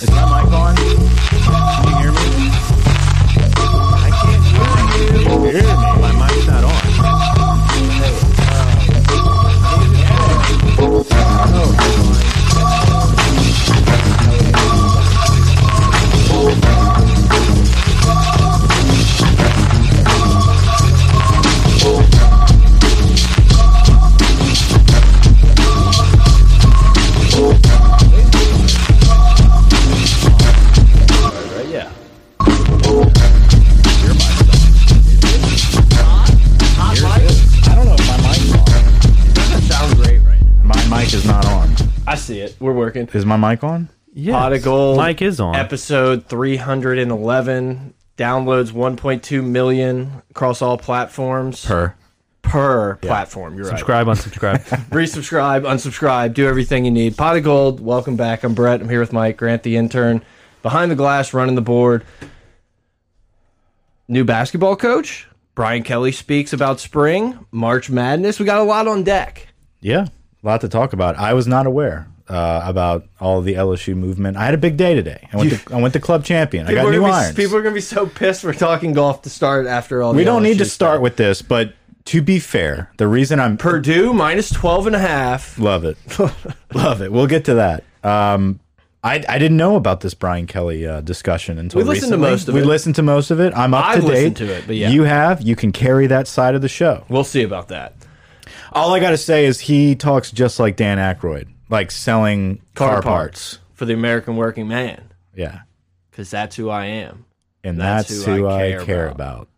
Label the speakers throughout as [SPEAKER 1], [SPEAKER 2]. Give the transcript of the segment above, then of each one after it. [SPEAKER 1] Is my mic on? Can you hear me? I can't hear you. Can you hear me? My mic's not on. Right? Yeah. Your mic's on. I don't know if my mic's on. It doesn't sound great right now. My mic is not on.
[SPEAKER 2] I see it. We're working.
[SPEAKER 1] Is my mic on?
[SPEAKER 3] Yes.
[SPEAKER 2] Pot of gold.
[SPEAKER 3] Mike is on.
[SPEAKER 2] Episode 311. Downloads 1.2 million across all platforms.
[SPEAKER 3] Per.
[SPEAKER 2] Per platform. You're
[SPEAKER 3] Subscribe, unsubscribe.
[SPEAKER 2] right. Resubscribe, unsubscribe, do everything you need. Pot of gold. Welcome back. I'm Brett. I'm here with Mike Grant, the intern. Behind the glass, running the board. New basketball coach. Brian Kelly speaks about spring, March Madness. We got a lot on deck.
[SPEAKER 1] Yeah. A lot to talk about. I was not aware uh, about all the LSU movement. I had a big day today. I went, to, I went to club champion. I got
[SPEAKER 2] People are
[SPEAKER 1] new
[SPEAKER 2] gonna be-
[SPEAKER 1] irons.
[SPEAKER 2] People are going to be so pissed we're talking golf to start after all.
[SPEAKER 1] we
[SPEAKER 2] the
[SPEAKER 1] don't need to
[SPEAKER 2] LSU
[SPEAKER 1] start
[SPEAKER 2] stuff.
[SPEAKER 1] with this, but to be fair, the reason I'm
[SPEAKER 2] Purdue minus 12 and a half.
[SPEAKER 1] Love it. Love it. We'll get to that. Um, I, I didn't know about this Brian Kelly uh, discussion until
[SPEAKER 2] We listened to
[SPEAKER 1] recently.
[SPEAKER 2] most of
[SPEAKER 1] we
[SPEAKER 2] it.
[SPEAKER 1] listened to most of it. I'm up
[SPEAKER 2] I've
[SPEAKER 1] to
[SPEAKER 2] listened
[SPEAKER 1] date.
[SPEAKER 2] to it, but yeah.
[SPEAKER 1] You have. You can carry that side of the show.
[SPEAKER 2] We'll see about that.
[SPEAKER 1] All I got to say is he talks just like Dan Aykroyd, like selling car, parts.
[SPEAKER 2] for the American working man
[SPEAKER 1] Yeah.
[SPEAKER 2] because that's who I am.
[SPEAKER 1] And
[SPEAKER 2] That's
[SPEAKER 1] that's,
[SPEAKER 2] who I
[SPEAKER 1] who,
[SPEAKER 2] care
[SPEAKER 1] I care, about.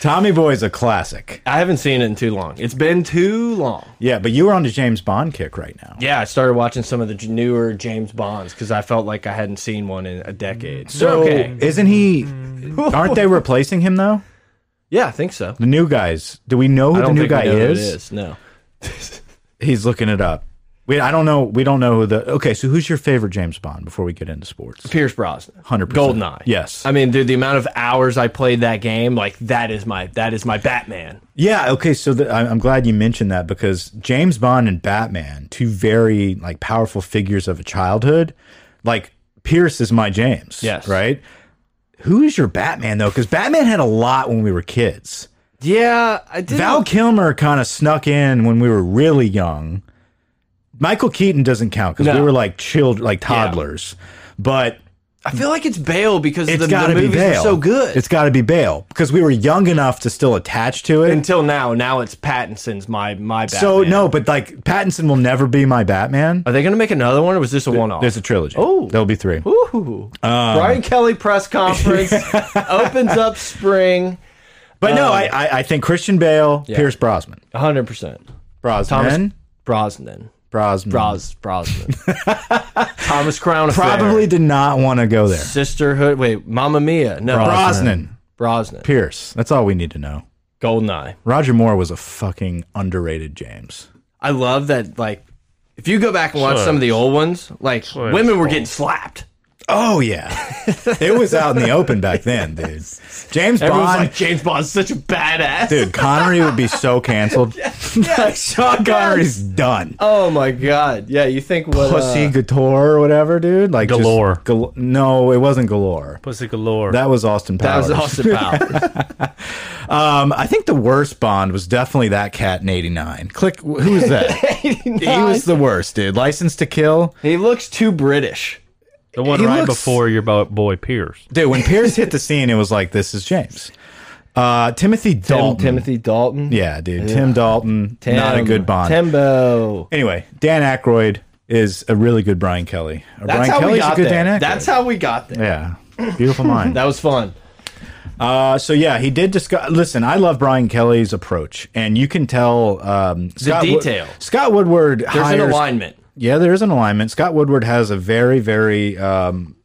[SPEAKER 1] Tommy Boy's a classic.
[SPEAKER 2] I haven't seen it in too long. It's been too long.
[SPEAKER 1] Yeah, but you were on the James Bond kick right now.
[SPEAKER 2] Yeah, I started watching some of the newer James Bonds because I felt like I hadn't seen one in a decade.
[SPEAKER 1] So
[SPEAKER 2] So, okay. Mm.
[SPEAKER 1] isn't he? Aren't they replacing him though?
[SPEAKER 2] Yeah, I think so.
[SPEAKER 1] The new guys. Do we know
[SPEAKER 2] I
[SPEAKER 1] who the
[SPEAKER 2] don't
[SPEAKER 1] new
[SPEAKER 2] think
[SPEAKER 1] guy
[SPEAKER 2] we know who it
[SPEAKER 1] is?
[SPEAKER 2] is. No.
[SPEAKER 1] He's looking it up. We I don't know. We don't know who the. Okay, so who's your favorite James Bond? Before we get into sports,
[SPEAKER 2] Pierce Brosnan.
[SPEAKER 1] 100%.
[SPEAKER 2] Goldeneye.
[SPEAKER 1] Yes.
[SPEAKER 2] I mean, dude, the amount of hours I played that game, like that is my that is my Batman.
[SPEAKER 1] yeah. Okay, so the, I, I'm glad you mentioned that because James Bond and Batman, two very like powerful figures of a childhood. Like Pierce is my James.
[SPEAKER 2] Yes.
[SPEAKER 1] Right. Who is your Batman though? Because Batman had a lot when we were kids.
[SPEAKER 2] Yeah, I did.
[SPEAKER 1] Val Kilmer kind of snuck in when we were really young. Michael Keaton doesn't count because we
[SPEAKER 2] No.
[SPEAKER 1] were like children, like toddlers. But
[SPEAKER 2] I feel like it's Bale because
[SPEAKER 1] it's
[SPEAKER 2] the,
[SPEAKER 1] got
[SPEAKER 2] the
[SPEAKER 1] to be
[SPEAKER 2] movies
[SPEAKER 1] Bale.
[SPEAKER 2] are so good.
[SPEAKER 1] It's got to be Bale because we were young enough to still attach to it.
[SPEAKER 2] Until now, now it's Pattinson's my my Batman.
[SPEAKER 1] so no, but like Pattinson will never be my Batman.
[SPEAKER 2] are they going to make another one, or was this a one off?
[SPEAKER 1] There's a trilogy.
[SPEAKER 2] Oh.
[SPEAKER 1] there'll be three.
[SPEAKER 2] Ooh. Brian Kelly press conference opens up spring.
[SPEAKER 1] But no, I, I I think Christian Bale, Pierce Brosnan,
[SPEAKER 2] hundred percent. Thomas
[SPEAKER 1] Brosnan,
[SPEAKER 2] Brosnan,
[SPEAKER 1] Brosnan,
[SPEAKER 2] Bros Brosnan, Thomas Crown Affair.
[SPEAKER 1] probably did not want to go there.
[SPEAKER 2] Sisterhood. Wait, Mamma Mia. No,
[SPEAKER 1] Brosnan,
[SPEAKER 2] Brosnan.
[SPEAKER 1] Pierce. That's all we need to know.
[SPEAKER 2] Goldeneye.
[SPEAKER 1] Roger Moore was a fucking underrated James.
[SPEAKER 2] I love that. Like, if you go back and watch some of the old ones, like women were getting slapped.
[SPEAKER 1] Oh yeah, it was out in the open back then, dude. James
[SPEAKER 2] Everyone's
[SPEAKER 1] Bond,
[SPEAKER 2] like, James Bond's such a badass.
[SPEAKER 1] dude. Connery would be so canceled. like Sean Connery's done.
[SPEAKER 2] Oh my god. Yeah, you think what?
[SPEAKER 1] Pussy
[SPEAKER 2] uh,
[SPEAKER 1] Couture or whatever, dude. Like just
[SPEAKER 3] Galore.
[SPEAKER 1] gal- no, it wasn't galore.
[SPEAKER 3] Pussy galore.
[SPEAKER 1] That was Austin
[SPEAKER 2] that
[SPEAKER 1] Powers.
[SPEAKER 2] was Austin Powers.
[SPEAKER 1] Um, I think the worst Bond was definitely that cat in '89. Click. Who was that? he was the worst, dude. License to Kill,
[SPEAKER 2] he looks too British.
[SPEAKER 3] the one
[SPEAKER 1] he
[SPEAKER 3] right
[SPEAKER 1] looks-
[SPEAKER 3] before your bo- boy Pierce.
[SPEAKER 1] dude. When Pierce hit the scene, it was like this is James. Uh, Timothy Dalton.
[SPEAKER 2] Timothy Dalton.
[SPEAKER 1] Yeah, dude. Tim Dalton,
[SPEAKER 2] Tim.
[SPEAKER 1] not a good Bond.
[SPEAKER 2] Timbo.
[SPEAKER 1] Anyway, Dan Aykroyd is a really good Brian Kelly. Or
[SPEAKER 2] That's
[SPEAKER 1] Brian
[SPEAKER 2] how
[SPEAKER 1] Kelly's
[SPEAKER 2] we got
[SPEAKER 1] a good
[SPEAKER 2] there.
[SPEAKER 1] Dan Aykroyd.
[SPEAKER 2] That's how we got there.
[SPEAKER 1] yeah, beautiful mind.
[SPEAKER 2] That was fun.
[SPEAKER 1] Uh, so yeah, he did discuss. Listen, I love Brian Kelly's approach, and you can tell um, Scott Wo-
[SPEAKER 2] detail.
[SPEAKER 1] Scott Woodward
[SPEAKER 2] There's
[SPEAKER 1] hires.
[SPEAKER 2] an alignment.
[SPEAKER 1] Yeah, there is an alignment. Scott Woodward has a very, very. Um,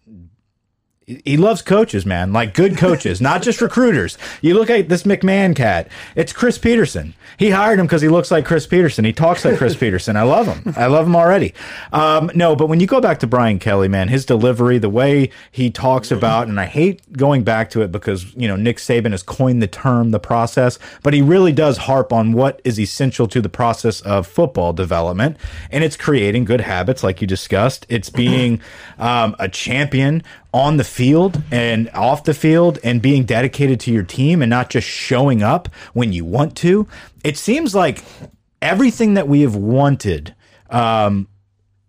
[SPEAKER 1] he loves coaches, man. Like good coaches, not just recruiters. You look at this McMahon cat. It's Chris Peterson. He hired him because he looks like Chris Peterson. He talks like Chris Peterson. I love him. I love him already. Um, no, but when you go back to Brian Kelly, man, his delivery, the way he talks about, and I hate going back to it because you know Nick Saban has coined the term the process, but he really does harp on what is essential to the process of football development, and it's creating good habits, like you discussed. It's being um, a champion on the field and off the field and being dedicated to your team and not just showing up when you want to. It seems like everything that we have wanted um,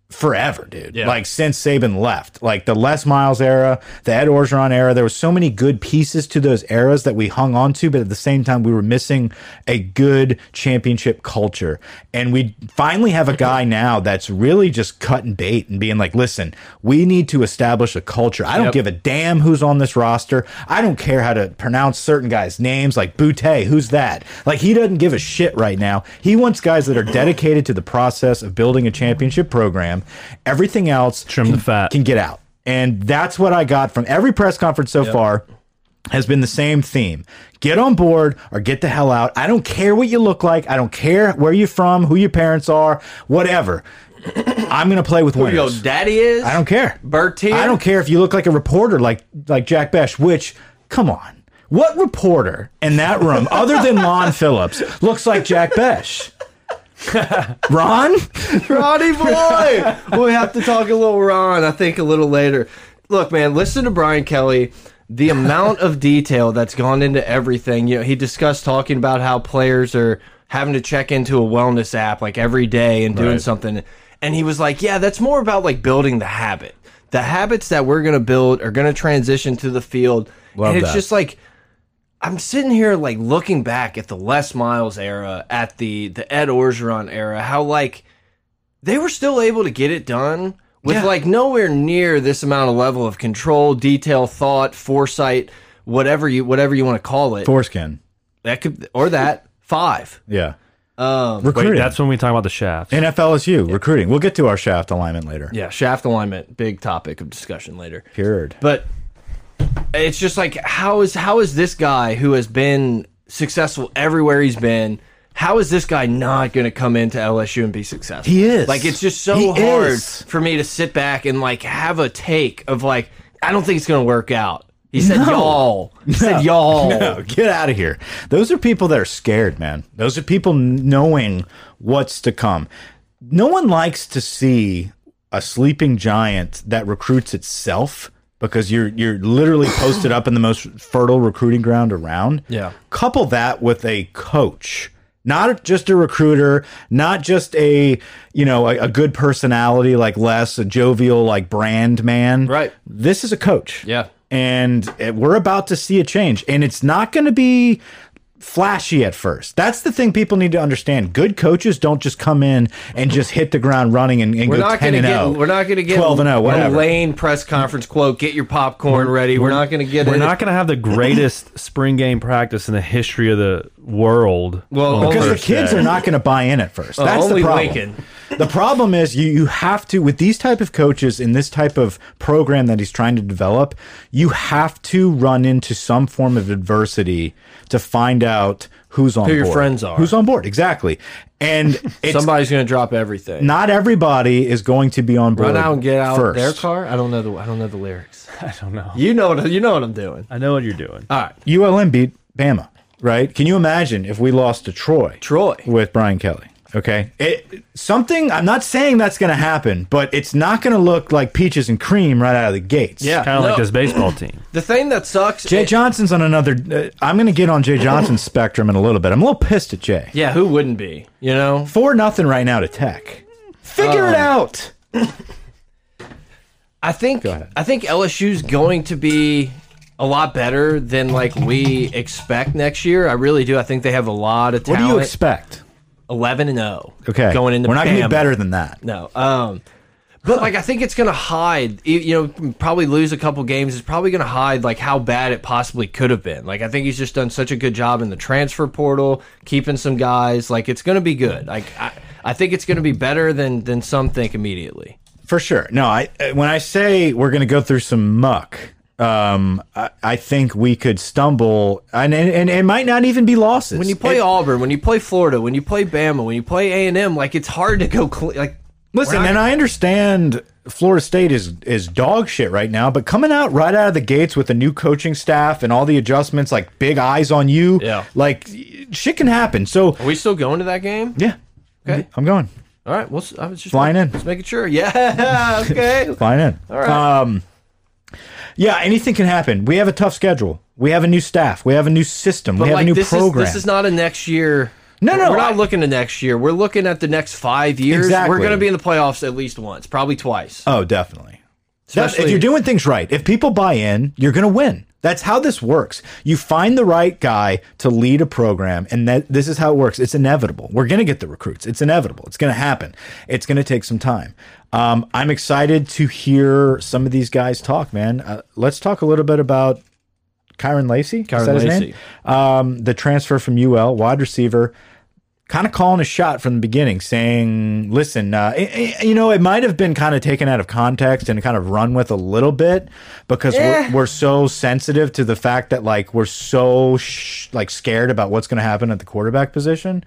[SPEAKER 1] forever, dude. Like since Saban left, like the Les Miles era, the Ed Orgeron era, there were so many good pieces to those eras that we hung on to, but at the same time, we were missing a good championship culture. And we finally have a guy now that's really just cutting bait and being like, listen, we need to establish a culture. I don't
[SPEAKER 2] Yep.
[SPEAKER 1] give a damn who's on this roster. I don't care how to pronounce certain guys' names, like Boutte, who's that? Like he doesn't give a shit right now. He wants guys that are dedicated to the process of building a championship program. Everything else
[SPEAKER 3] Trim
[SPEAKER 1] can,
[SPEAKER 3] the fat.
[SPEAKER 1] can get out. And that's what I got from every press conference so far has been the same theme. Get on board or get the hell out. I don't care what you look like. I don't care where you're from, who your parents are, whatever. I'm going to play with
[SPEAKER 2] Here you go,
[SPEAKER 1] winners.
[SPEAKER 2] daddy is.
[SPEAKER 1] I don't care.
[SPEAKER 2] Bertier.
[SPEAKER 1] I don't care if you look like a reporter like like Jack Besh, which come on. What reporter in that room other than Lon Phillips looks like Jack Besh? Ron?
[SPEAKER 2] Ronnie boy. we have to talk a little Ron, I think a little later. Look, man, listen to Brian Kelly. The amount of detail that's gone into everything. You know, he discussed talking about how players are having to check into a wellness app like every day and doing something. And he was like, "Yeah, that's more about like building the habit. The habits that we're going to build are going to transition to the field."
[SPEAKER 1] Love
[SPEAKER 2] and it's
[SPEAKER 1] that.
[SPEAKER 2] just like I'm sitting here like looking back at the Les Miles era, at the the Ed Orgeron era, how like they were still able to get it done with
[SPEAKER 1] Yeah.
[SPEAKER 2] like nowhere near this amount of level of control, detail, thought, foresight, whatever you whatever you want to call it.
[SPEAKER 1] Foreskin.
[SPEAKER 2] that could or that five.
[SPEAKER 1] Yeah.
[SPEAKER 2] Um,
[SPEAKER 1] Recruiting.
[SPEAKER 3] Wait, that's when we talk about the shafts.
[SPEAKER 1] NFLSU recruiting. We'll get to our shaft alignment later.
[SPEAKER 2] yeah, shaft alignment, big topic of discussion later.
[SPEAKER 1] Period.
[SPEAKER 2] But it's just like how is how is this guy who has been successful everywhere he's been? How is this guy not going to come into LSU and be successful?
[SPEAKER 1] He is.
[SPEAKER 2] Like it's just so
[SPEAKER 1] He
[SPEAKER 2] hard
[SPEAKER 1] is.
[SPEAKER 2] for me to sit back and like have a take of like I don't think it's going to work out. He said y'all. He said y'all.
[SPEAKER 1] No, get out of here. Those are people that are scared, man. Those are people knowing what's to come. No one likes to see a sleeping giant that recruits itself because you're you're literally posted up in the most fertile recruiting ground around.
[SPEAKER 2] Yeah.
[SPEAKER 1] Couple that with a coach. Not just a recruiter, not just a you know a, a good personality like Les, a jovial like brand man.
[SPEAKER 2] Right.
[SPEAKER 1] This is a coach
[SPEAKER 2] Yeah.
[SPEAKER 1] and it- we're about to see a change and it's not going to be flashy at first that's the thing people need to understand good coaches don't just come in and just hit the ground running and, and
[SPEAKER 2] We're
[SPEAKER 1] go
[SPEAKER 2] not
[SPEAKER 1] 10
[SPEAKER 2] going to
[SPEAKER 1] and
[SPEAKER 2] get.
[SPEAKER 1] 0
[SPEAKER 2] We're not going to get
[SPEAKER 1] 12 and 0
[SPEAKER 2] a
[SPEAKER 1] whatever
[SPEAKER 2] Lane press conference quote. Get your popcorn ready. We're not going to get.
[SPEAKER 3] We're
[SPEAKER 2] it.
[SPEAKER 3] not going to have the greatest spring game practice in the history of the world.
[SPEAKER 2] Well,
[SPEAKER 3] on
[SPEAKER 2] because
[SPEAKER 1] because the
[SPEAKER 3] first
[SPEAKER 1] kids
[SPEAKER 3] day.
[SPEAKER 1] are not going to buy in at first. That's
[SPEAKER 2] Uh, only
[SPEAKER 1] the problem.
[SPEAKER 2] Lincoln.
[SPEAKER 1] The problem is you you have to with these type of coaches in this type of program that he's trying to develop, you have to run into some form of adversity to find out who's on
[SPEAKER 2] Who
[SPEAKER 1] board.
[SPEAKER 2] your friends are.
[SPEAKER 1] Who's on board exactly. And it's
[SPEAKER 2] Somebody's going to drop everything.
[SPEAKER 1] not everybody is going to be on board.
[SPEAKER 2] Run out and get out
[SPEAKER 1] first.
[SPEAKER 2] their car. I don't know the I don't know the lyrics.
[SPEAKER 3] I don't know.
[SPEAKER 2] You know what you know what I'm doing.
[SPEAKER 3] I know what you're doing.
[SPEAKER 1] Uh,
[SPEAKER 2] All right,
[SPEAKER 1] ULM beat Bama, right? Can you imagine if we lost to Troy?
[SPEAKER 2] Troy.
[SPEAKER 1] with Brian Kelly. Okay, it, something. I'm not saying that's going to happen, but it's not going to look like peaches and cream right out of the gates.
[SPEAKER 2] Yeah.
[SPEAKER 3] Kind of
[SPEAKER 2] No.
[SPEAKER 3] like this baseball team.
[SPEAKER 2] The thing that sucks.
[SPEAKER 1] Jay
[SPEAKER 2] it-
[SPEAKER 1] Johnson's on another. Uh, I'm going to get on Jay Johnson's spectrum in a little bit. I'm a little pissed at Jay.
[SPEAKER 2] yeah, who wouldn't be? You know. Um,
[SPEAKER 1] Four nothing right now to Tech. Figure
[SPEAKER 2] Uh,
[SPEAKER 1] it out.
[SPEAKER 2] I think
[SPEAKER 1] ahead.
[SPEAKER 2] I think LSU's going to be a lot better than like we expect next year. I really do. I think they have a lot of
[SPEAKER 1] What
[SPEAKER 2] talent.
[SPEAKER 1] do you expect?
[SPEAKER 2] 11 and 0.
[SPEAKER 1] Okay,
[SPEAKER 2] Going into
[SPEAKER 1] we're not going to
[SPEAKER 2] Bama.
[SPEAKER 1] be better than that.
[SPEAKER 2] No. Um, but like I think it's gonna hide. You- You know, probably lose a couple games. It's probably gonna hide like how bad it possibly could have been. Like I think he's just done such a good job in the transfer portal, keeping some guys. Like it's gonna be good. Like I, I think it's gonna be better than than some think immediately.
[SPEAKER 1] For sure. No, I uh, when I say we're going to go through some muck, um, I, I think we could stumble, and, and and it might not even be losses.
[SPEAKER 2] When you play
[SPEAKER 1] It-
[SPEAKER 2] Auburn, when you play Florida, when you play Bama, when you play A and M, like it's hard to go clean. Like
[SPEAKER 1] Listen, and I understand Florida State is is dog shit right now, but coming out right out of the gates with a new coaching staff and all the adjustments, like big eyes on you,
[SPEAKER 2] Yeah.
[SPEAKER 1] like shit can happen. So
[SPEAKER 2] are we still going to that game?
[SPEAKER 1] yeah,
[SPEAKER 2] Okay.
[SPEAKER 1] I'm going
[SPEAKER 2] All right. Well, s- I was just
[SPEAKER 1] Flying in.
[SPEAKER 2] Just making sure. Yeah. Okay.
[SPEAKER 1] flying in.
[SPEAKER 2] All right.
[SPEAKER 1] Um, yeah, anything can happen. We have a tough schedule. We have a new staff. We have a new system. we have
[SPEAKER 2] like,
[SPEAKER 1] a new
[SPEAKER 2] this
[SPEAKER 1] program.
[SPEAKER 2] Is, this is not a next year.
[SPEAKER 1] No, no,
[SPEAKER 2] We're not
[SPEAKER 1] I-
[SPEAKER 2] looking to next year. We're looking at the next five years.
[SPEAKER 1] Exactly.
[SPEAKER 2] We're going to be in the playoffs at least once, probably twice.
[SPEAKER 1] oh, definitely. That's-
[SPEAKER 2] Especially
[SPEAKER 1] if you're doing things right, if people buy in, you're going to win. That's how this works. You find the right guy to lead a program, and that this is how it works. It's inevitable. We're going to get the recruits. It's inevitable. It's going to happen. It's going to take some time. Um, I'm excited to hear some of these guys talk, man. Uh, let's talk a little bit about Kyron Lacey.
[SPEAKER 2] Kyron
[SPEAKER 1] is that his
[SPEAKER 2] Lacy.
[SPEAKER 1] name? Um, the transfer from UL, wide receiver kind of calling a shot from the beginning, saying, "Listen, uh, i- i- you know, it might have been kind of taken out of context and kind of run with a little bit because we're, we're so sensitive to the fact that like we're so sh like scared about what's going to happen at the quarterback position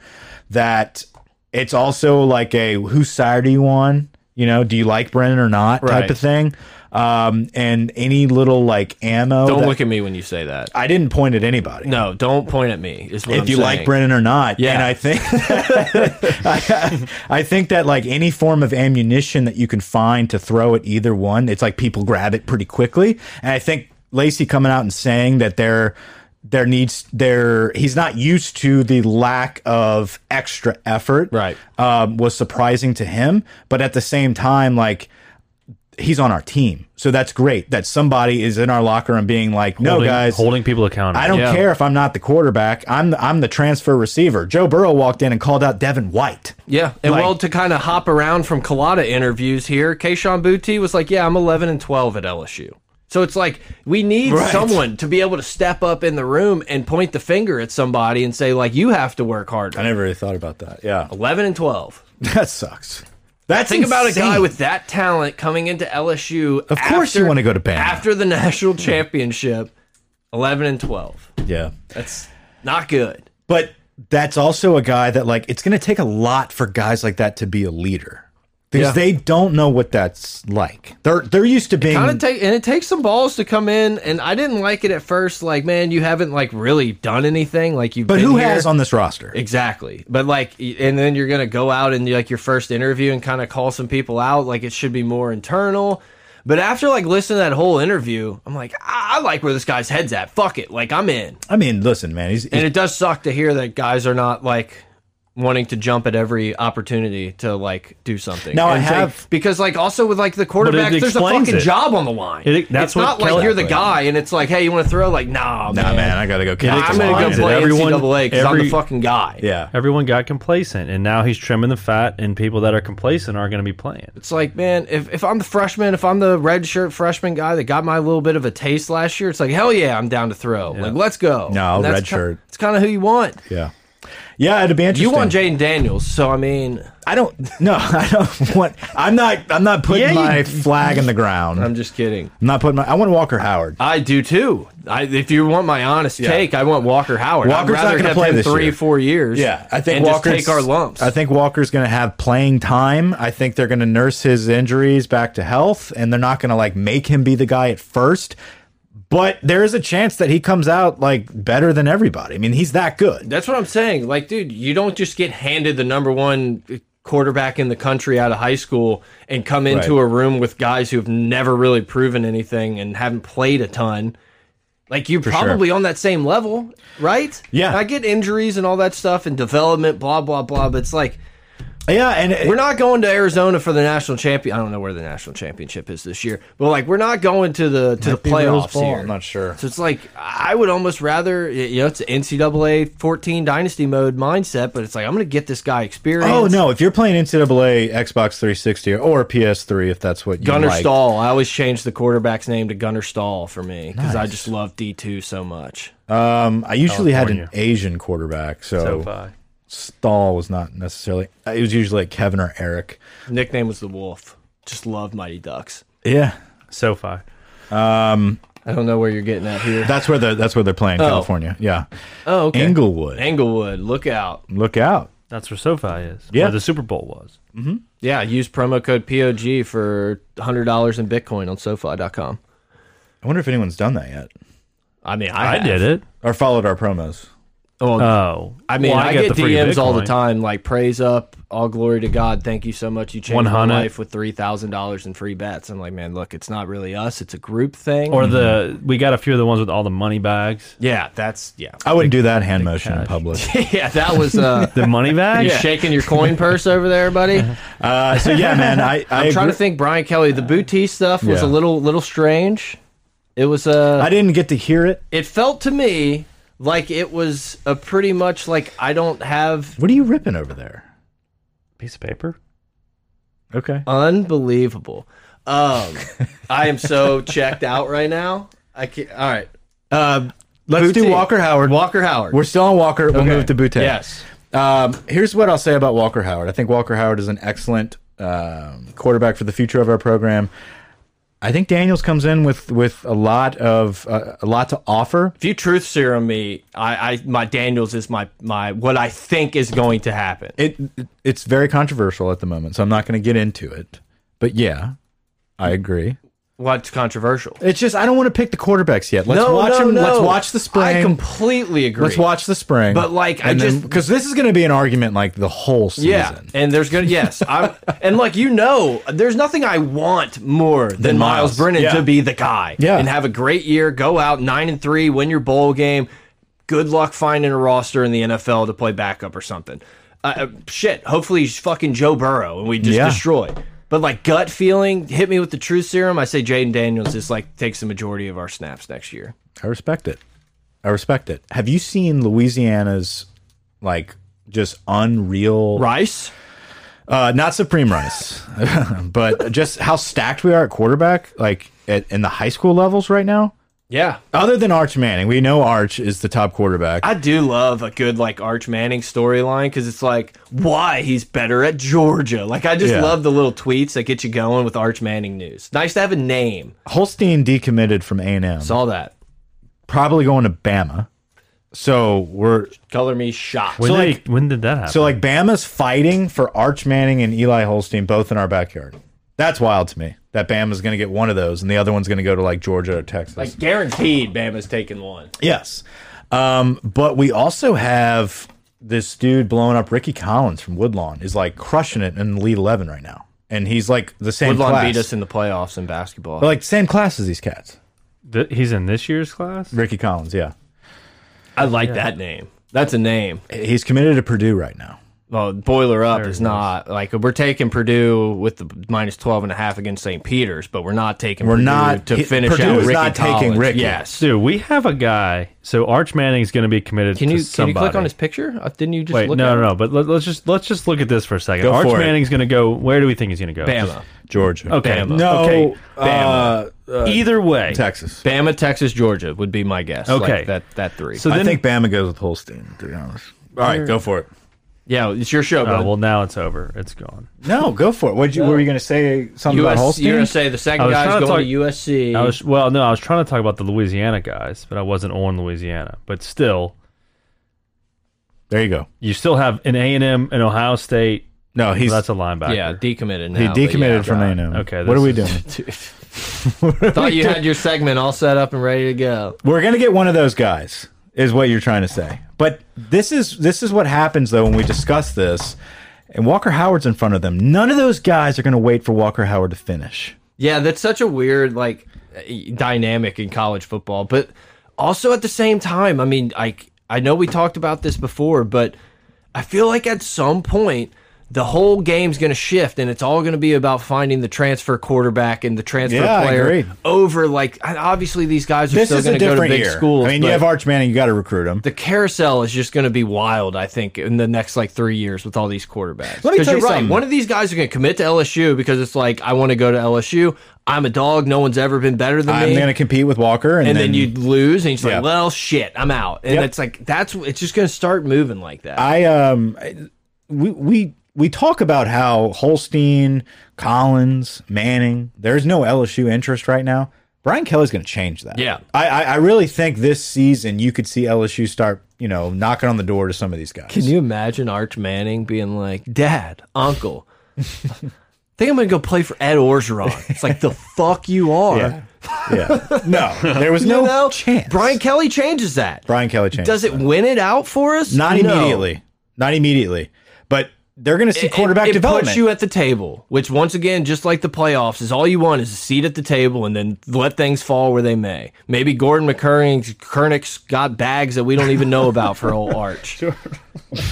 [SPEAKER 1] that it's also like a whose side are you on? You know, do you like Brennan or not type
[SPEAKER 2] Right.
[SPEAKER 1] of thing." Um, and any little like ammo.
[SPEAKER 2] don't
[SPEAKER 1] that-
[SPEAKER 2] look at me when you say that.
[SPEAKER 1] I didn't point at anybody
[SPEAKER 2] No, don't point at me. Is what
[SPEAKER 1] if
[SPEAKER 2] I'm
[SPEAKER 1] you like
[SPEAKER 2] saying.
[SPEAKER 1] Brennan or not.
[SPEAKER 2] Yeah.
[SPEAKER 1] And I think I, I think that like any form of ammunition that you can find to throw at either one, it's like people grab it pretty quickly. And I think Lacey coming out and saying that there there needs there he's not used to the lack of extra effort
[SPEAKER 2] Right.
[SPEAKER 1] um, was surprising to him but at the same time like he's on our team so that's great that somebody is in our locker and being like no
[SPEAKER 3] holding,
[SPEAKER 1] guys
[SPEAKER 3] holding people accountable.
[SPEAKER 1] I don't
[SPEAKER 2] Yeah.
[SPEAKER 1] care if I'm not the quarterback. I'm the, I'm the transfer receiver. Joe Burrow walked in and called out Devin White.
[SPEAKER 2] Yeah, and
[SPEAKER 1] Like-
[SPEAKER 2] well, to kind of hop around from Colada interviews here, Kayshawn Booty was like, "Yeah, I'm 11 and 12 at LSU." So it's like we need
[SPEAKER 1] Right.
[SPEAKER 2] someone to be able to step up in the room and point the finger at somebody and say, "Like, you have to work harder."
[SPEAKER 1] never really thought about that. Yeah,
[SPEAKER 2] 11 and 12.
[SPEAKER 1] that sucks. That's
[SPEAKER 2] Think about a
[SPEAKER 1] insane.
[SPEAKER 2] guy with that talent coming into LSU.
[SPEAKER 1] Of course you wanna go to Bama.
[SPEAKER 2] after the national championship. 11 and 12.
[SPEAKER 1] yeah,
[SPEAKER 2] That's not good.
[SPEAKER 1] but that's also a guy that like it's going to take a lot for guys like that to be a leader because
[SPEAKER 2] Yeah.
[SPEAKER 1] they don't know what that's like. They're they're used to being
[SPEAKER 2] kind of take and it takes some balls to come in and i didn't like it at first like man you haven't like really done anything like you've
[SPEAKER 1] but
[SPEAKER 2] been
[SPEAKER 1] who
[SPEAKER 2] here.
[SPEAKER 1] has on this roster?
[SPEAKER 2] exactly but like y- and then you're gonna go out and like your first interview and kind of call some people out like it should be more internal but after like listening to that whole interview i'm like i, I like where this guy's head's at fuck it like i'm in
[SPEAKER 1] I mean, listen, man, he's,
[SPEAKER 2] and it does suck to hear that guys are not like wanting to jump at every opportunity to like do something.
[SPEAKER 1] Now, I
[SPEAKER 2] And take-
[SPEAKER 1] have-
[SPEAKER 2] because like also with like the quarterback, there's a
[SPEAKER 3] explains
[SPEAKER 2] fucking
[SPEAKER 3] it.
[SPEAKER 2] job on the line.
[SPEAKER 3] It- that's
[SPEAKER 2] it's not
[SPEAKER 3] what
[SPEAKER 2] like you're the
[SPEAKER 3] Kelly-
[SPEAKER 2] guy and it's like, hey, you want to throw? Like, nah,
[SPEAKER 1] nah,
[SPEAKER 2] man.
[SPEAKER 1] man, I gotta go. kick
[SPEAKER 2] I'm
[SPEAKER 1] some
[SPEAKER 2] gonna
[SPEAKER 1] lines.
[SPEAKER 2] go play
[SPEAKER 3] Everyone-
[SPEAKER 2] NCAA because I'm the
[SPEAKER 3] every-
[SPEAKER 2] fucking guy.
[SPEAKER 1] Yeah,
[SPEAKER 3] Everyone got complacent, and now he's trimming the fat, and people that are complacent aren't going to be playing.
[SPEAKER 2] It's like, man, if, if I'm the freshman, if I'm the red shirt freshman guy that got my little bit of a taste last year, it's like, hell yeah, I'm down to throw. Like, let's go.
[SPEAKER 1] No,
[SPEAKER 2] And that's
[SPEAKER 1] red
[SPEAKER 2] ki-
[SPEAKER 1] shirt.
[SPEAKER 2] It's kind of who you want.
[SPEAKER 1] yeah, yeah. It'd be interesting.
[SPEAKER 2] You want Jaden Daniels, so I mean,
[SPEAKER 1] I don't. No, I don't want. I'm not. I'm not putting
[SPEAKER 3] Yeah, you-
[SPEAKER 1] my flag in the ground.
[SPEAKER 2] I'm
[SPEAKER 1] I'm,
[SPEAKER 2] just kidding.
[SPEAKER 1] not putting my. I want Walker Howard.
[SPEAKER 2] I do too. I, if you want my honest take, I want Walker Howard.
[SPEAKER 1] Walker's
[SPEAKER 2] I'd
[SPEAKER 1] not
[SPEAKER 2] rather
[SPEAKER 1] gonna
[SPEAKER 2] have
[SPEAKER 1] play
[SPEAKER 2] him
[SPEAKER 1] this
[SPEAKER 2] three,
[SPEAKER 1] year.
[SPEAKER 2] four years.
[SPEAKER 1] Yeah, I think
[SPEAKER 2] and just
[SPEAKER 1] Walker's
[SPEAKER 2] take our lumps.
[SPEAKER 1] I think Walker's going to have playing time. I think they're going to nurse his injuries back to health, and they're not going to like make him be the guy at first. But there is a chance that he comes out like better than everybody. I mean, he's that good.
[SPEAKER 2] That's what I'm saying. Like, dude, you don't just get handed the number one quarterback in the country out of high school and come into
[SPEAKER 1] Right.
[SPEAKER 2] a room with guys who have never really proven anything and haven't played a ton. Like you're
[SPEAKER 1] sure.
[SPEAKER 2] probably on that same level, right?
[SPEAKER 1] Yeah.
[SPEAKER 2] I get injuries and all that stuff and development, blah blah blah. But it's like
[SPEAKER 1] Yeah, and
[SPEAKER 2] We're not going to Arizona for the national champion. I don't know where the national championship is this year, but like we're not going to the to the
[SPEAKER 1] be Rose
[SPEAKER 2] playoffs
[SPEAKER 1] Bowl,
[SPEAKER 2] here.
[SPEAKER 1] I'm not sure.
[SPEAKER 2] So it's like I would almost rather you know it's an NCAA 14 dynasty mode mindset, but it's like I'm going to get this guy experience.
[SPEAKER 1] Oh no! If you're playing NCAA, Xbox 360, or PS3, if that's what you
[SPEAKER 2] Gunnar
[SPEAKER 1] like,
[SPEAKER 2] Stahl. I always change the quarterback's name to Gunnar Stahl for me because I just love D2 so much.
[SPEAKER 1] Um, I usually had an
[SPEAKER 3] California.
[SPEAKER 1] Asian quarterback, so,
[SPEAKER 3] So far.
[SPEAKER 1] Stahl was not necessarily. uh, It was usually like Kevin or Eric.
[SPEAKER 2] Nickname was the Wolf. Just love Mighty Ducks.
[SPEAKER 1] Yeah.
[SPEAKER 3] So far.
[SPEAKER 2] I don't know where you're getting at here.
[SPEAKER 1] That's where the that's where they're playing California. Yeah,
[SPEAKER 2] Oh, okay.
[SPEAKER 1] Inglewood.
[SPEAKER 2] Englewood, look out.
[SPEAKER 1] Look out.
[SPEAKER 3] That's where SoFi is.
[SPEAKER 1] Yeah.
[SPEAKER 3] Where the Super Bowl was.
[SPEAKER 2] Yeah, use promo code POG for $100 in Bitcoin on SoFi.com.
[SPEAKER 1] I wonder if anyone's done that yet
[SPEAKER 2] I mean,
[SPEAKER 3] I,
[SPEAKER 2] I,
[SPEAKER 3] did it.
[SPEAKER 1] or followed our promos.
[SPEAKER 2] Well,
[SPEAKER 3] Oh.
[SPEAKER 2] I mean,
[SPEAKER 3] Well,
[SPEAKER 2] I,
[SPEAKER 3] got
[SPEAKER 2] get
[SPEAKER 3] the free
[SPEAKER 2] DMs all the
[SPEAKER 3] Bitcoin.
[SPEAKER 2] time, like praise up, all glory to God, thank you so much. You changed my
[SPEAKER 3] 100.
[SPEAKER 2] life with three thousand dollars in free bets. I'm like, man, look, it's not really us; it's a group thing.
[SPEAKER 3] Or the we got a few of the ones with all the money bags.
[SPEAKER 2] yeah, that's yeah,
[SPEAKER 1] I wouldn't do that hand motion in public.
[SPEAKER 2] yeah. That was uh,
[SPEAKER 3] The money
[SPEAKER 2] you
[SPEAKER 3] bags?
[SPEAKER 2] shaking your coin purse over there, buddy.
[SPEAKER 1] Uh, so yeah, man, I I,
[SPEAKER 2] I'm trying
[SPEAKER 1] agree-
[SPEAKER 2] to think, Brian Kelly. The booty stuff was
[SPEAKER 1] Yeah.
[SPEAKER 2] a little little strange. It was uh,
[SPEAKER 1] I didn't get to hear it.
[SPEAKER 2] it felt to me like it was a pretty much like I don't have
[SPEAKER 1] What are you ripping over there?
[SPEAKER 3] Piece of paper?
[SPEAKER 1] Okay.
[SPEAKER 2] Unbelievable. Um, I am so checked out right now. I can't. All right. Um,
[SPEAKER 1] Let's do
[SPEAKER 2] Boutte.
[SPEAKER 1] Walker Howard.
[SPEAKER 2] Walker Howard.
[SPEAKER 1] We're still on Walker. We'll
[SPEAKER 2] Okay.
[SPEAKER 1] move to Boutte.
[SPEAKER 2] Yes.
[SPEAKER 1] Um, here's what I'll say about Walker Howard. I think Walker Howard is an excellent um, quarterback for the future of our program. I think Daniels comes in with with a lot of uh, a lot to offer.
[SPEAKER 2] If you truth serum me, I, I my Daniels is my my what I think is going to happen.
[SPEAKER 1] It it's very controversial at the moment, so I'm not going to get into it. But yeah, I agree.
[SPEAKER 2] What's controversial?
[SPEAKER 1] It's just I don't want to pick the quarterbacks yet. Let's
[SPEAKER 2] no,
[SPEAKER 1] watch
[SPEAKER 2] no,
[SPEAKER 1] them.
[SPEAKER 2] no.
[SPEAKER 1] Let's watch the
[SPEAKER 2] I
[SPEAKER 1] spring.
[SPEAKER 2] completely agree.
[SPEAKER 1] Let's watch the spring.
[SPEAKER 2] But, like, I just-
[SPEAKER 1] because this is going to be an argument like the whole season.
[SPEAKER 2] Yeah, and there's gonna yes, I'm and like you know, there's nothing I want more than, Miles
[SPEAKER 1] Miles.
[SPEAKER 2] Brennan
[SPEAKER 1] Yeah.
[SPEAKER 2] to be the guy.
[SPEAKER 1] Yeah.
[SPEAKER 2] and have a great year, go out nine and three, win your bowl game. Good luck finding a roster in the NFL to play backup or something. Uh, uh, shit, hopefully he's fucking Joe Burrow and we just
[SPEAKER 1] Yeah.
[SPEAKER 2] destroy. But like gut feeling, hit me with the truth serum. I say Jaden Daniels just like takes the majority of our snaps next year.
[SPEAKER 1] I respect it. I respect it. Have you seen Louisiana's like just unreal
[SPEAKER 2] Rice,
[SPEAKER 1] uh not supreme rice but just how stacked we are at quarterback like at, in the high school levels right now
[SPEAKER 2] yeah,
[SPEAKER 1] other than Arch Manning we know Arch is the top quarterback
[SPEAKER 2] I do love a good like Arch Manning storyline because it's like why he's better at Georgia. Like I just
[SPEAKER 1] Yeah.
[SPEAKER 2] love the little tweets that get you going with Arch Manning news. Nice to have a name.
[SPEAKER 1] Holstein decommitted from A&M
[SPEAKER 2] Saw that.
[SPEAKER 1] probably going to Bama so we're
[SPEAKER 2] Color me shocked.
[SPEAKER 3] When,
[SPEAKER 1] So,
[SPEAKER 3] did,
[SPEAKER 1] like-
[SPEAKER 3] when did that happen?
[SPEAKER 1] so like Bama's fighting for Arch Manning and Eli Holstein both in our backyard that's wild to me that Bama's going to get one of those and the other one's going to go to like Georgia or Texas
[SPEAKER 2] like guaranteed, Bama's taking one.
[SPEAKER 1] Yes. Um, but we also have this dude blowing up Ricky Collins from Woodlawn is like crushing it in lead 11 right now. And he's like the same
[SPEAKER 2] Woodlawn
[SPEAKER 1] class.
[SPEAKER 2] beat us in the playoffs in basketball.
[SPEAKER 1] But, like same class as these cats.
[SPEAKER 3] Th- he's in this year's class?
[SPEAKER 1] Ricky Collins, yeah.
[SPEAKER 2] I like that name. That's a name.
[SPEAKER 1] He's committed to Purdue right now.
[SPEAKER 2] Well, boiler up is not like we're taking Purdue with the minus 12 and a half against St. Peter's, but we're not taking
[SPEAKER 1] We're
[SPEAKER 2] Purdue
[SPEAKER 1] not-
[SPEAKER 2] to
[SPEAKER 1] he-
[SPEAKER 2] finish
[SPEAKER 1] Purdue
[SPEAKER 2] out
[SPEAKER 1] is
[SPEAKER 2] Ricky
[SPEAKER 1] not taking
[SPEAKER 2] Collins.
[SPEAKER 1] Ricky.
[SPEAKER 2] Yes.
[SPEAKER 3] Dude, we have a guy. So Arch Manning's going to be committed
[SPEAKER 2] Can you
[SPEAKER 3] to
[SPEAKER 2] can you
[SPEAKER 3] somebody.
[SPEAKER 2] click on his picture? Uh, Didn't you just
[SPEAKER 3] Wait,
[SPEAKER 2] look
[SPEAKER 3] no,
[SPEAKER 2] at
[SPEAKER 3] no, no. But let, us just let's just look at this for a second.
[SPEAKER 1] Go
[SPEAKER 3] Arch
[SPEAKER 1] for it.
[SPEAKER 3] Manning's going to go. Where do we think he's going to go? Just-
[SPEAKER 2] Bama.
[SPEAKER 1] Georgia.
[SPEAKER 3] Okay.
[SPEAKER 2] Bama.
[SPEAKER 1] No.
[SPEAKER 3] Okay.
[SPEAKER 1] Bama.
[SPEAKER 3] Either way.
[SPEAKER 1] Texas.
[SPEAKER 2] Bama, Texas, Georgia would be my guess.
[SPEAKER 3] Okay.
[SPEAKER 2] Like that that three.
[SPEAKER 3] So
[SPEAKER 1] I
[SPEAKER 3] then,
[SPEAKER 1] think Bama goes with Holstein, to be honest. All right, go for it.
[SPEAKER 2] yeah, it's your show,
[SPEAKER 3] oh,
[SPEAKER 2] bro.
[SPEAKER 3] well, now it's over. It's gone.
[SPEAKER 1] No, go for it. What you, were you going to say something about
[SPEAKER 2] US,
[SPEAKER 1] Holstein?
[SPEAKER 2] USA, the
[SPEAKER 3] I
[SPEAKER 2] second
[SPEAKER 3] was
[SPEAKER 2] guy's
[SPEAKER 3] trying to
[SPEAKER 2] going
[SPEAKER 3] talk-
[SPEAKER 2] to USC.
[SPEAKER 3] I was well, no, I was trying to talk about the Louisiana guys, but I wasn't on Louisiana. But still,
[SPEAKER 1] There you go.
[SPEAKER 3] you still have an A and M and Ohio State.
[SPEAKER 1] No, he's
[SPEAKER 3] Well, that's a linebacker.
[SPEAKER 2] yeah, decommitted now.
[SPEAKER 1] he
[SPEAKER 2] but
[SPEAKER 1] decommitted
[SPEAKER 2] yeah.
[SPEAKER 1] from A&M.
[SPEAKER 3] Okay,
[SPEAKER 1] What are
[SPEAKER 3] this
[SPEAKER 1] we
[SPEAKER 3] is-
[SPEAKER 1] doing?
[SPEAKER 2] Thought you had your segment all set up and ready to go.
[SPEAKER 1] We're gonna get one of those guys, is what you're trying to say. But this is this is what happens though when we discuss this, and Walker Howard's in front of them. None of those guys are gonna wait for Walker Howard to finish.
[SPEAKER 2] Yeah, that's such a weird like dynamic in college football, but also at the same time, I mean, I I know we talked about this before, but I feel like at some point the whole game's going to shift and it's all going to be about finding the transfer quarterback and the transfer
[SPEAKER 1] Yeah, I
[SPEAKER 2] player
[SPEAKER 1] agree.
[SPEAKER 2] over like and obviously these guys are
[SPEAKER 1] This
[SPEAKER 2] still
[SPEAKER 1] is a
[SPEAKER 2] going to go to
[SPEAKER 1] different
[SPEAKER 2] big
[SPEAKER 1] year.
[SPEAKER 2] schools.
[SPEAKER 1] I mean,
[SPEAKER 2] but
[SPEAKER 1] you have Arch Manning, you got to recruit him.
[SPEAKER 2] the carousel is just going to be wild, I think, in the next like three years with all these quarterbacks.
[SPEAKER 1] Let me
[SPEAKER 2] 'Cause
[SPEAKER 1] tell
[SPEAKER 2] you're
[SPEAKER 1] you
[SPEAKER 2] right.
[SPEAKER 1] something.
[SPEAKER 2] One of these guys are going to commit to LSU because it's like, I want to go to LSU. I'm a dog. No one's ever been better than
[SPEAKER 1] I'm
[SPEAKER 2] me.
[SPEAKER 1] gonna compete with Walker, and,
[SPEAKER 2] and
[SPEAKER 1] then,
[SPEAKER 2] then, you lose, and you're just
[SPEAKER 1] Yeah.
[SPEAKER 2] like, well, shit, I'm out. And
[SPEAKER 1] Yep.
[SPEAKER 2] it's like, that's it's just going to start moving like that.
[SPEAKER 1] I um, I- we we we talk about how Holstein, Collins, Manning. There's no LSU interest right now. Brian Kelly's going to change that.
[SPEAKER 2] Yeah.
[SPEAKER 1] I, I I really think this season you could see LSU start you know knocking on the door to some of these guys.
[SPEAKER 2] Can you imagine Arch Manning being like, Dad, Uncle, I think I'm going to go play for Ed Orgeron? It's like, the fuck you are.
[SPEAKER 1] Yeah. yeah. No, there was
[SPEAKER 2] You
[SPEAKER 1] no
[SPEAKER 2] know?
[SPEAKER 1] chance.
[SPEAKER 2] Brian Kelly changes that.
[SPEAKER 1] Brian Kelly changed.
[SPEAKER 2] Does it win it out for us?
[SPEAKER 1] Not
[SPEAKER 2] No.
[SPEAKER 1] immediately. Not immediately. But they're going to see
[SPEAKER 2] It-
[SPEAKER 1] quarterback
[SPEAKER 2] it, it
[SPEAKER 1] development.
[SPEAKER 2] puts you at the table, which once again, just like the playoffs, is all you want is a seat at the table and then let things fall where they may. Maybe Gordon McKernick's got bags that we don't even know about for old Arch.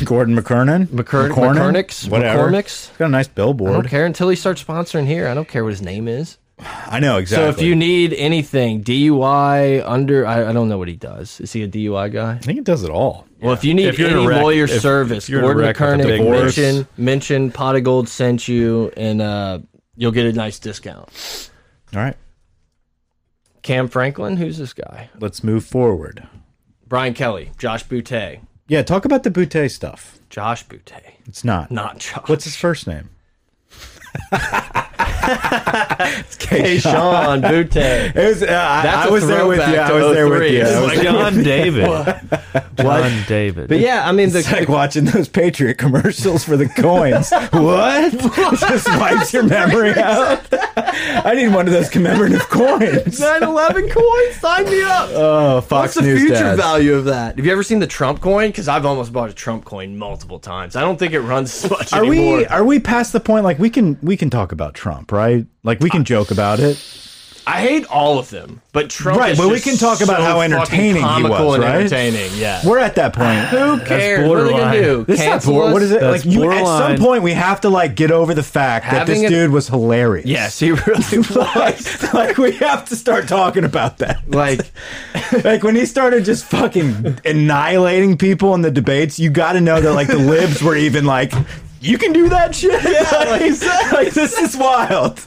[SPEAKER 1] Gordon McKernan.
[SPEAKER 2] McKern-
[SPEAKER 1] McKernan?
[SPEAKER 2] McKernicks?
[SPEAKER 1] Whatever.
[SPEAKER 2] McCormicks?
[SPEAKER 1] He's got a nice
[SPEAKER 2] I don't
[SPEAKER 1] billboard.
[SPEAKER 2] care until he starts sponsoring here. I don't care what his name is.
[SPEAKER 1] I know
[SPEAKER 2] So
[SPEAKER 1] exactly.
[SPEAKER 2] if you need anything, DUI under, I, I don't know what he does. Is he a DUI guy?
[SPEAKER 1] I think it does it all.
[SPEAKER 2] Well, if you need
[SPEAKER 3] If you're
[SPEAKER 2] any
[SPEAKER 3] in a wreck-
[SPEAKER 2] lawyer
[SPEAKER 3] if- if
[SPEAKER 2] service,
[SPEAKER 3] you're in a
[SPEAKER 2] Gordon
[SPEAKER 3] wreck with a
[SPEAKER 2] McKernick,
[SPEAKER 3] big horse.
[SPEAKER 2] mention mention Pot of Gold sent you, and uh, you'll get a nice discount.
[SPEAKER 1] All right.
[SPEAKER 2] Cam Franklin, who's this guy?
[SPEAKER 1] Let's move forward.
[SPEAKER 2] Brian Kelly, Josh Boutte,
[SPEAKER 1] Yeah, talk about the Boutte stuff.
[SPEAKER 2] Josh Boutte,
[SPEAKER 1] It's not.
[SPEAKER 2] not Josh.
[SPEAKER 1] What's his first name? it's
[SPEAKER 2] hey,
[SPEAKER 1] K-Shot.
[SPEAKER 2] Sean Boutte?
[SPEAKER 1] It was, uh, I-
[SPEAKER 2] That's
[SPEAKER 1] I
[SPEAKER 2] a
[SPEAKER 1] was there with you.
[SPEAKER 2] throwback
[SPEAKER 1] I
[SPEAKER 2] to
[SPEAKER 1] was there with
[SPEAKER 2] 03.
[SPEAKER 1] you. I
[SPEAKER 2] It's
[SPEAKER 1] was
[SPEAKER 2] like,
[SPEAKER 3] John David. John David.
[SPEAKER 2] But yeah, I mean the
[SPEAKER 1] It's like watching those Patriot commercials for the coins. what? It Just wipes your memory out. I need one of those commemorative coins.
[SPEAKER 2] 9/11 coin. Sign me up.
[SPEAKER 1] Oh, Fox
[SPEAKER 2] What's the
[SPEAKER 1] News
[SPEAKER 2] future
[SPEAKER 1] dads.
[SPEAKER 2] value of that? Have you ever seen the Trump coin? Because I've almost bought a Trump coin multiple times. I don't think it runs as much
[SPEAKER 1] Are
[SPEAKER 2] anymore.
[SPEAKER 1] we are we past the point like we can we can talk about Trump, right? Like
[SPEAKER 2] Uh,
[SPEAKER 1] we can joke about it.
[SPEAKER 2] I hate all of them, but Trump.
[SPEAKER 1] Right,
[SPEAKER 2] is
[SPEAKER 1] but we
[SPEAKER 2] just
[SPEAKER 1] can talk about
[SPEAKER 2] so
[SPEAKER 1] how entertaining he
[SPEAKER 2] fucking comical
[SPEAKER 1] was,
[SPEAKER 2] and
[SPEAKER 1] right?
[SPEAKER 2] entertaining. Yeah.
[SPEAKER 1] We're at that point.
[SPEAKER 2] Who cares? What are they gonna
[SPEAKER 3] borderline.
[SPEAKER 2] do?
[SPEAKER 1] This is not
[SPEAKER 2] Cancel
[SPEAKER 1] bor-
[SPEAKER 2] us?
[SPEAKER 1] what is it?
[SPEAKER 3] That's
[SPEAKER 1] Like you, at some
[SPEAKER 3] borderline.
[SPEAKER 1] point we have to like get over the fact
[SPEAKER 2] Having
[SPEAKER 1] that
[SPEAKER 2] a-
[SPEAKER 1] this dude was hilarious.
[SPEAKER 2] Yes, he really was.
[SPEAKER 1] like we have to start talking about that.
[SPEAKER 2] like
[SPEAKER 1] like when he started just fucking annihilating people in the debates, you got to know that like the libs were even like, you can do that shit. like, like, this is wild.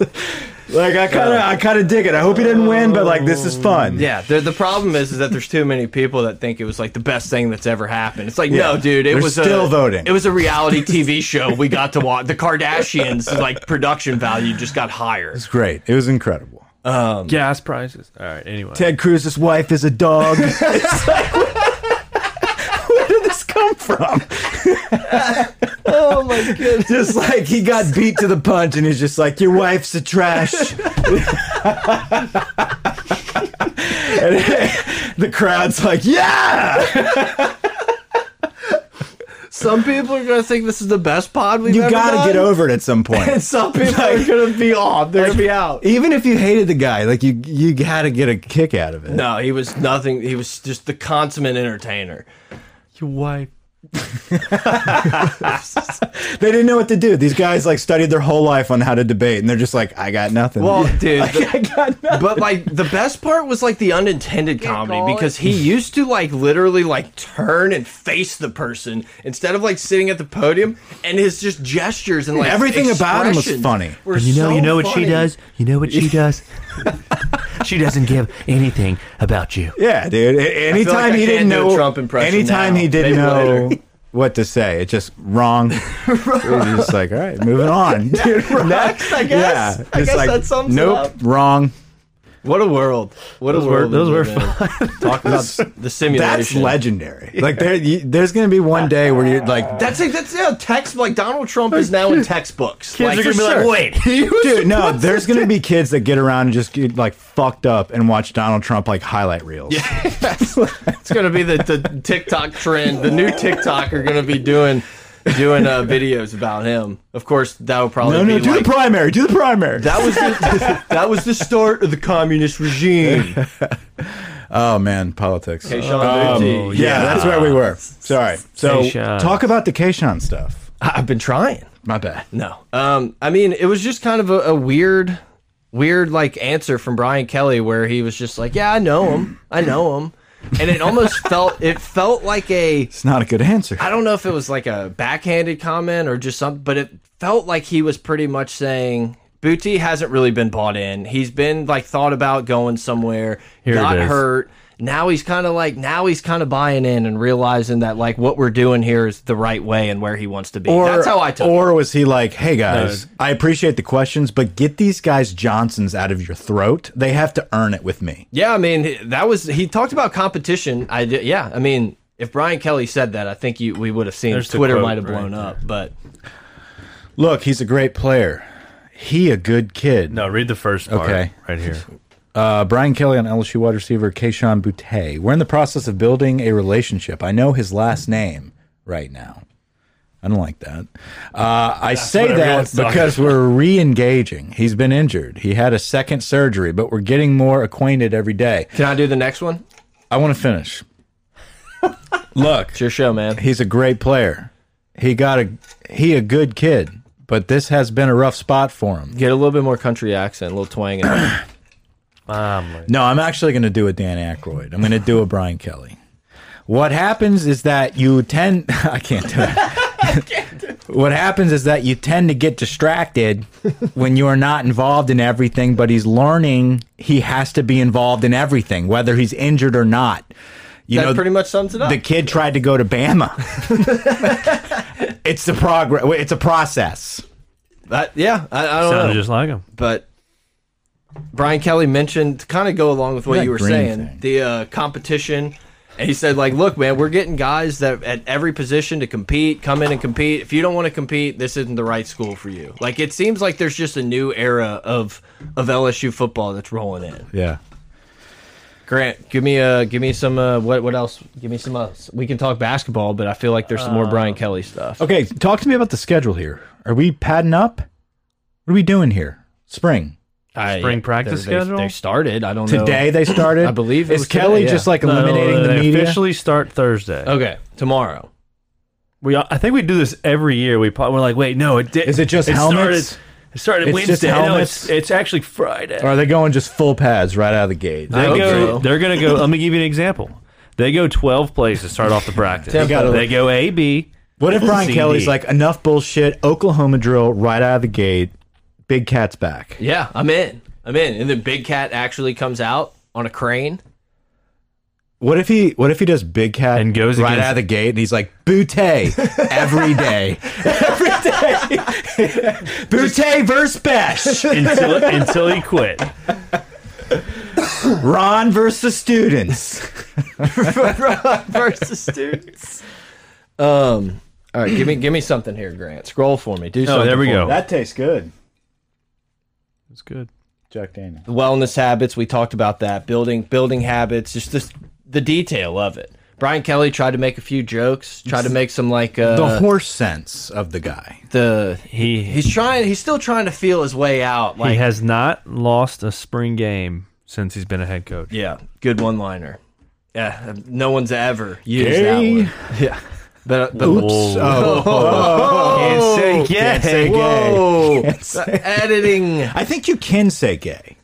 [SPEAKER 1] Like I kind of, I kind of dig it. I hope he didn't win, but like this is fun.
[SPEAKER 2] Yeah, the, the problem is, is that there's too many people that think it was like the best thing that's ever happened. It's like, no,
[SPEAKER 1] Yeah.
[SPEAKER 2] dude, it
[SPEAKER 1] They're
[SPEAKER 2] was
[SPEAKER 1] still
[SPEAKER 2] a,
[SPEAKER 1] voting.
[SPEAKER 2] It was a reality TV show. We got to watch the Kardashians. Like production value just got higher.
[SPEAKER 1] it's great. It was incredible.
[SPEAKER 3] gas prices. All right. Anyway,
[SPEAKER 1] Ted Cruz's wife is a dog. it's like, where did this come from?
[SPEAKER 2] Oh my goodness!
[SPEAKER 1] Just like he got beat to the punch, and he's just like, "Your wife's a trash." and the crowd's like, "Yeah,
[SPEAKER 2] Some people are gonna think this is the best pod we've
[SPEAKER 1] you
[SPEAKER 2] ever
[SPEAKER 1] gotta
[SPEAKER 2] done.
[SPEAKER 1] get over it at some
[SPEAKER 2] And
[SPEAKER 1] point."
[SPEAKER 2] some people are gonna be off. They're gonna be out.
[SPEAKER 1] Even if you hated the guy, like you, you gotta get a kick out of it.
[SPEAKER 2] No, he was nothing. He was just the consummate entertainer.
[SPEAKER 3] your wife.
[SPEAKER 1] They didn't know what to do. These guys like studied their whole life on how to debate, and they're just like, "I got nothing."
[SPEAKER 2] Well, dude, the-
[SPEAKER 1] I got nothing.
[SPEAKER 2] but like the best part was like the unintended comedy because he used to like literally like turn and face the person instead of like sitting at the podium and his just gestures and like
[SPEAKER 1] Everything about him was
[SPEAKER 2] expressions
[SPEAKER 1] funny.
[SPEAKER 2] were
[SPEAKER 4] And you know,
[SPEAKER 2] so
[SPEAKER 4] you know what she
[SPEAKER 2] funny.
[SPEAKER 4] does. You know what she does. she doesn't give anything about you.
[SPEAKER 1] Yeah, dude. A- Anytime
[SPEAKER 2] like I
[SPEAKER 1] he
[SPEAKER 2] can't
[SPEAKER 1] didn't
[SPEAKER 2] do a
[SPEAKER 1] know
[SPEAKER 2] Trump impression
[SPEAKER 1] Anytime
[SPEAKER 2] now.
[SPEAKER 1] he didn't
[SPEAKER 2] Maybe
[SPEAKER 1] know
[SPEAKER 2] later.
[SPEAKER 1] what to say, it's just wrong. You're just like, all right, moving on, dude.
[SPEAKER 2] Next, I guess.
[SPEAKER 1] Yeah,
[SPEAKER 2] I
[SPEAKER 1] just
[SPEAKER 2] guess
[SPEAKER 1] like,
[SPEAKER 2] that sums it
[SPEAKER 1] nope,
[SPEAKER 2] up.
[SPEAKER 1] wrong.
[SPEAKER 2] What a world! What
[SPEAKER 3] Those
[SPEAKER 2] a
[SPEAKER 3] were-
[SPEAKER 2] world!
[SPEAKER 3] those
[SPEAKER 2] we
[SPEAKER 3] were
[SPEAKER 2] live in. Talk about the simulation.
[SPEAKER 1] That's legendary. Like there, you, there's gonna be one day where you're like,
[SPEAKER 2] That's like that's yeah, text like Donald Trump is now in textbooks.
[SPEAKER 3] Kids
[SPEAKER 2] like,
[SPEAKER 3] are gonna
[SPEAKER 2] for
[SPEAKER 3] be
[SPEAKER 2] sure.
[SPEAKER 3] like, wait.
[SPEAKER 2] He was-
[SPEAKER 1] dude, no. There's gonna be kids that get around and just get like fucked up and watch Donald Trump like highlight reels.
[SPEAKER 2] It's gonna be the, the TikTok trend. The new TikTok are gonna be doing doing uh, videos about him. Of course, that would probably
[SPEAKER 1] No, no,
[SPEAKER 2] be
[SPEAKER 1] do
[SPEAKER 2] like,
[SPEAKER 1] the primary. Do the primary.
[SPEAKER 2] that was the, that was the start of the communist regime.
[SPEAKER 1] oh man, politics.
[SPEAKER 2] Hey,
[SPEAKER 1] Um,
[SPEAKER 2] Sean Booty.
[SPEAKER 1] yeah, that's where we were. Sorry. So
[SPEAKER 3] Keyshawn.
[SPEAKER 1] talk about the Kayshawn stuff.
[SPEAKER 2] I've been trying.
[SPEAKER 1] My bad.
[SPEAKER 2] No, um, I mean it was just kind of a, a weird, weird like answer from Brian Kelly where he was just like, "Yeah, I know him. I know him," and it almost felt it felt like a
[SPEAKER 1] It's not a good answer.
[SPEAKER 2] I don't know if it was like a backhanded comment or just something, but it felt like he was pretty much saying, Booty hasn't really been bought in. He's been like thought about going somewhere,
[SPEAKER 3] Here it
[SPEAKER 2] got
[SPEAKER 3] is.
[SPEAKER 2] hurt. Now he's kind of like now he's kind of buying in and realizing that like what we're doing here is the right way and where he wants to be.
[SPEAKER 1] Or,
[SPEAKER 2] That's how I took. it.
[SPEAKER 1] Or was he like, "Hey guys, I appreciate the questions, but get these guys Johnsons out of your throat. They have to earn it with me."
[SPEAKER 2] Yeah, I mean that was he talked about competition. I did, yeah, I mean if Brian Kelly said that, I think you we would have seen
[SPEAKER 3] There's the
[SPEAKER 2] Twitter
[SPEAKER 3] quote
[SPEAKER 2] might have
[SPEAKER 3] right
[SPEAKER 2] blown up. But
[SPEAKER 1] Look, he's a great player. He a good kid.
[SPEAKER 3] No, read the first part
[SPEAKER 1] Okay.
[SPEAKER 3] right here.
[SPEAKER 1] Uh, Brian Kelly on LSU wide receiver Keishon Boutte. We're in the process of building a relationship. I know his last name right now. I don't like that. Uh, I say
[SPEAKER 3] what
[SPEAKER 1] that
[SPEAKER 3] everyone's talking
[SPEAKER 1] because we're re engaging. He's been injured. He had a second surgery, but we're getting more acquainted every day.
[SPEAKER 2] can I do the next one?
[SPEAKER 1] I want to finish. Look,
[SPEAKER 2] It's your show, man.
[SPEAKER 1] he's a great player. He got a he a good kid, but this has been a rough spot for him.
[SPEAKER 2] Get a little bit more country accent, a little twang. In there.
[SPEAKER 3] Um,
[SPEAKER 1] No, I'm actually going to do a Dan Aykroyd. I'm going to do a Brian Kelly. What happens is that you tend I can't do it. What happens is that you tend to get distracted when you are not involved in everything, but he's learning he has to be involved in everything, whether he's injured or not. You
[SPEAKER 2] that
[SPEAKER 1] know,
[SPEAKER 2] pretty much sums it up.
[SPEAKER 1] the kid tried to go to Bama. it's the progress. It's a process.
[SPEAKER 2] That- yeah, I, I don't know,
[SPEAKER 3] sounded just like him.
[SPEAKER 2] but. Brian Kelly mentioned to kind of go along with what
[SPEAKER 1] That
[SPEAKER 2] you were
[SPEAKER 1] green
[SPEAKER 2] saying
[SPEAKER 1] thing.
[SPEAKER 2] the uh, competition. And he said, like, look, man, we're getting guys that at every position to compete, come in and compete. If you don't want to compete, this isn't the right school for you. Like, it seems like there's just a new era of of LSU football that's rolling in.
[SPEAKER 1] Yeah.
[SPEAKER 2] Grant, give me uh, give me some uh, what what else? Give me some else. We can talk basketball, but I feel like there's some more Brian Kelly stuff.
[SPEAKER 1] Okay, talk to me about the schedule here. Are we padding up? What are we doing here? Spring.
[SPEAKER 2] I-
[SPEAKER 3] Spring practice
[SPEAKER 2] they- they-
[SPEAKER 3] schedule?
[SPEAKER 2] They started. I don't know
[SPEAKER 1] Today they started.
[SPEAKER 2] I believe it
[SPEAKER 1] is
[SPEAKER 2] was
[SPEAKER 1] Kelly
[SPEAKER 2] today, yeah.
[SPEAKER 1] just like
[SPEAKER 3] No, no,
[SPEAKER 1] eliminating
[SPEAKER 3] they
[SPEAKER 1] the media.
[SPEAKER 3] Officially start Thursday.
[SPEAKER 2] Okay, tomorrow.
[SPEAKER 3] We, I think we do this every year. We pro- we're like, wait, no, it did.
[SPEAKER 1] Is it just helmets?
[SPEAKER 3] Started, it started
[SPEAKER 1] It's just
[SPEAKER 3] Wednesday. No,
[SPEAKER 1] helmets?
[SPEAKER 3] it's, it's actually Friday.
[SPEAKER 1] Or are they going just full pads right out of the gate?
[SPEAKER 3] They
[SPEAKER 2] hope
[SPEAKER 3] go.
[SPEAKER 2] so.
[SPEAKER 3] They're gonna go. Let me give you an example. They go twelve plays to start off the practice.
[SPEAKER 1] Tempo. Gotta-
[SPEAKER 3] they go A B.
[SPEAKER 1] what if Brian
[SPEAKER 3] CD.
[SPEAKER 1] Kelly's like enough bullshit? Oklahoma drill right out of the gate. Big cat's back.
[SPEAKER 2] Yeah, I'm in. I'm in. And then Big Cat actually comes out on a crane.
[SPEAKER 1] What if he? What if he does big cat
[SPEAKER 3] And goes
[SPEAKER 1] right
[SPEAKER 3] against-
[SPEAKER 1] out of the gate, and he's like Boutte every day, every day. Boutte versus Besh,
[SPEAKER 3] until until he quit?
[SPEAKER 1] Ron versus the students.
[SPEAKER 2] versus students. Um. All right, give me give me something here, Grant. Scroll for me. Do something.
[SPEAKER 3] Oh, there we
[SPEAKER 2] for
[SPEAKER 3] go.
[SPEAKER 2] me.
[SPEAKER 1] That tastes good.
[SPEAKER 3] It's good.
[SPEAKER 1] Jack Daniel.
[SPEAKER 2] Wellness habits. We talked about that. Building building habits. Just this the detail of it. Brian Kelly tried to make a few jokes. Tried to make some like uh,
[SPEAKER 1] The horse sense of the guy.
[SPEAKER 2] the
[SPEAKER 3] He
[SPEAKER 2] he's trying. He's still trying to feel his way out.
[SPEAKER 3] he
[SPEAKER 2] Like
[SPEAKER 3] has not lost a spring game since he's been a head coach.
[SPEAKER 2] yeah, good one liner. Yeah, no one's ever used that
[SPEAKER 1] Gay.
[SPEAKER 2] one. Yeah, but but
[SPEAKER 1] Oops. Oh,
[SPEAKER 3] Can't say
[SPEAKER 1] Can't say
[SPEAKER 3] yay.
[SPEAKER 1] gay.
[SPEAKER 2] Whoa!
[SPEAKER 1] Can't say-
[SPEAKER 2] Editing.
[SPEAKER 1] I think you can say gay.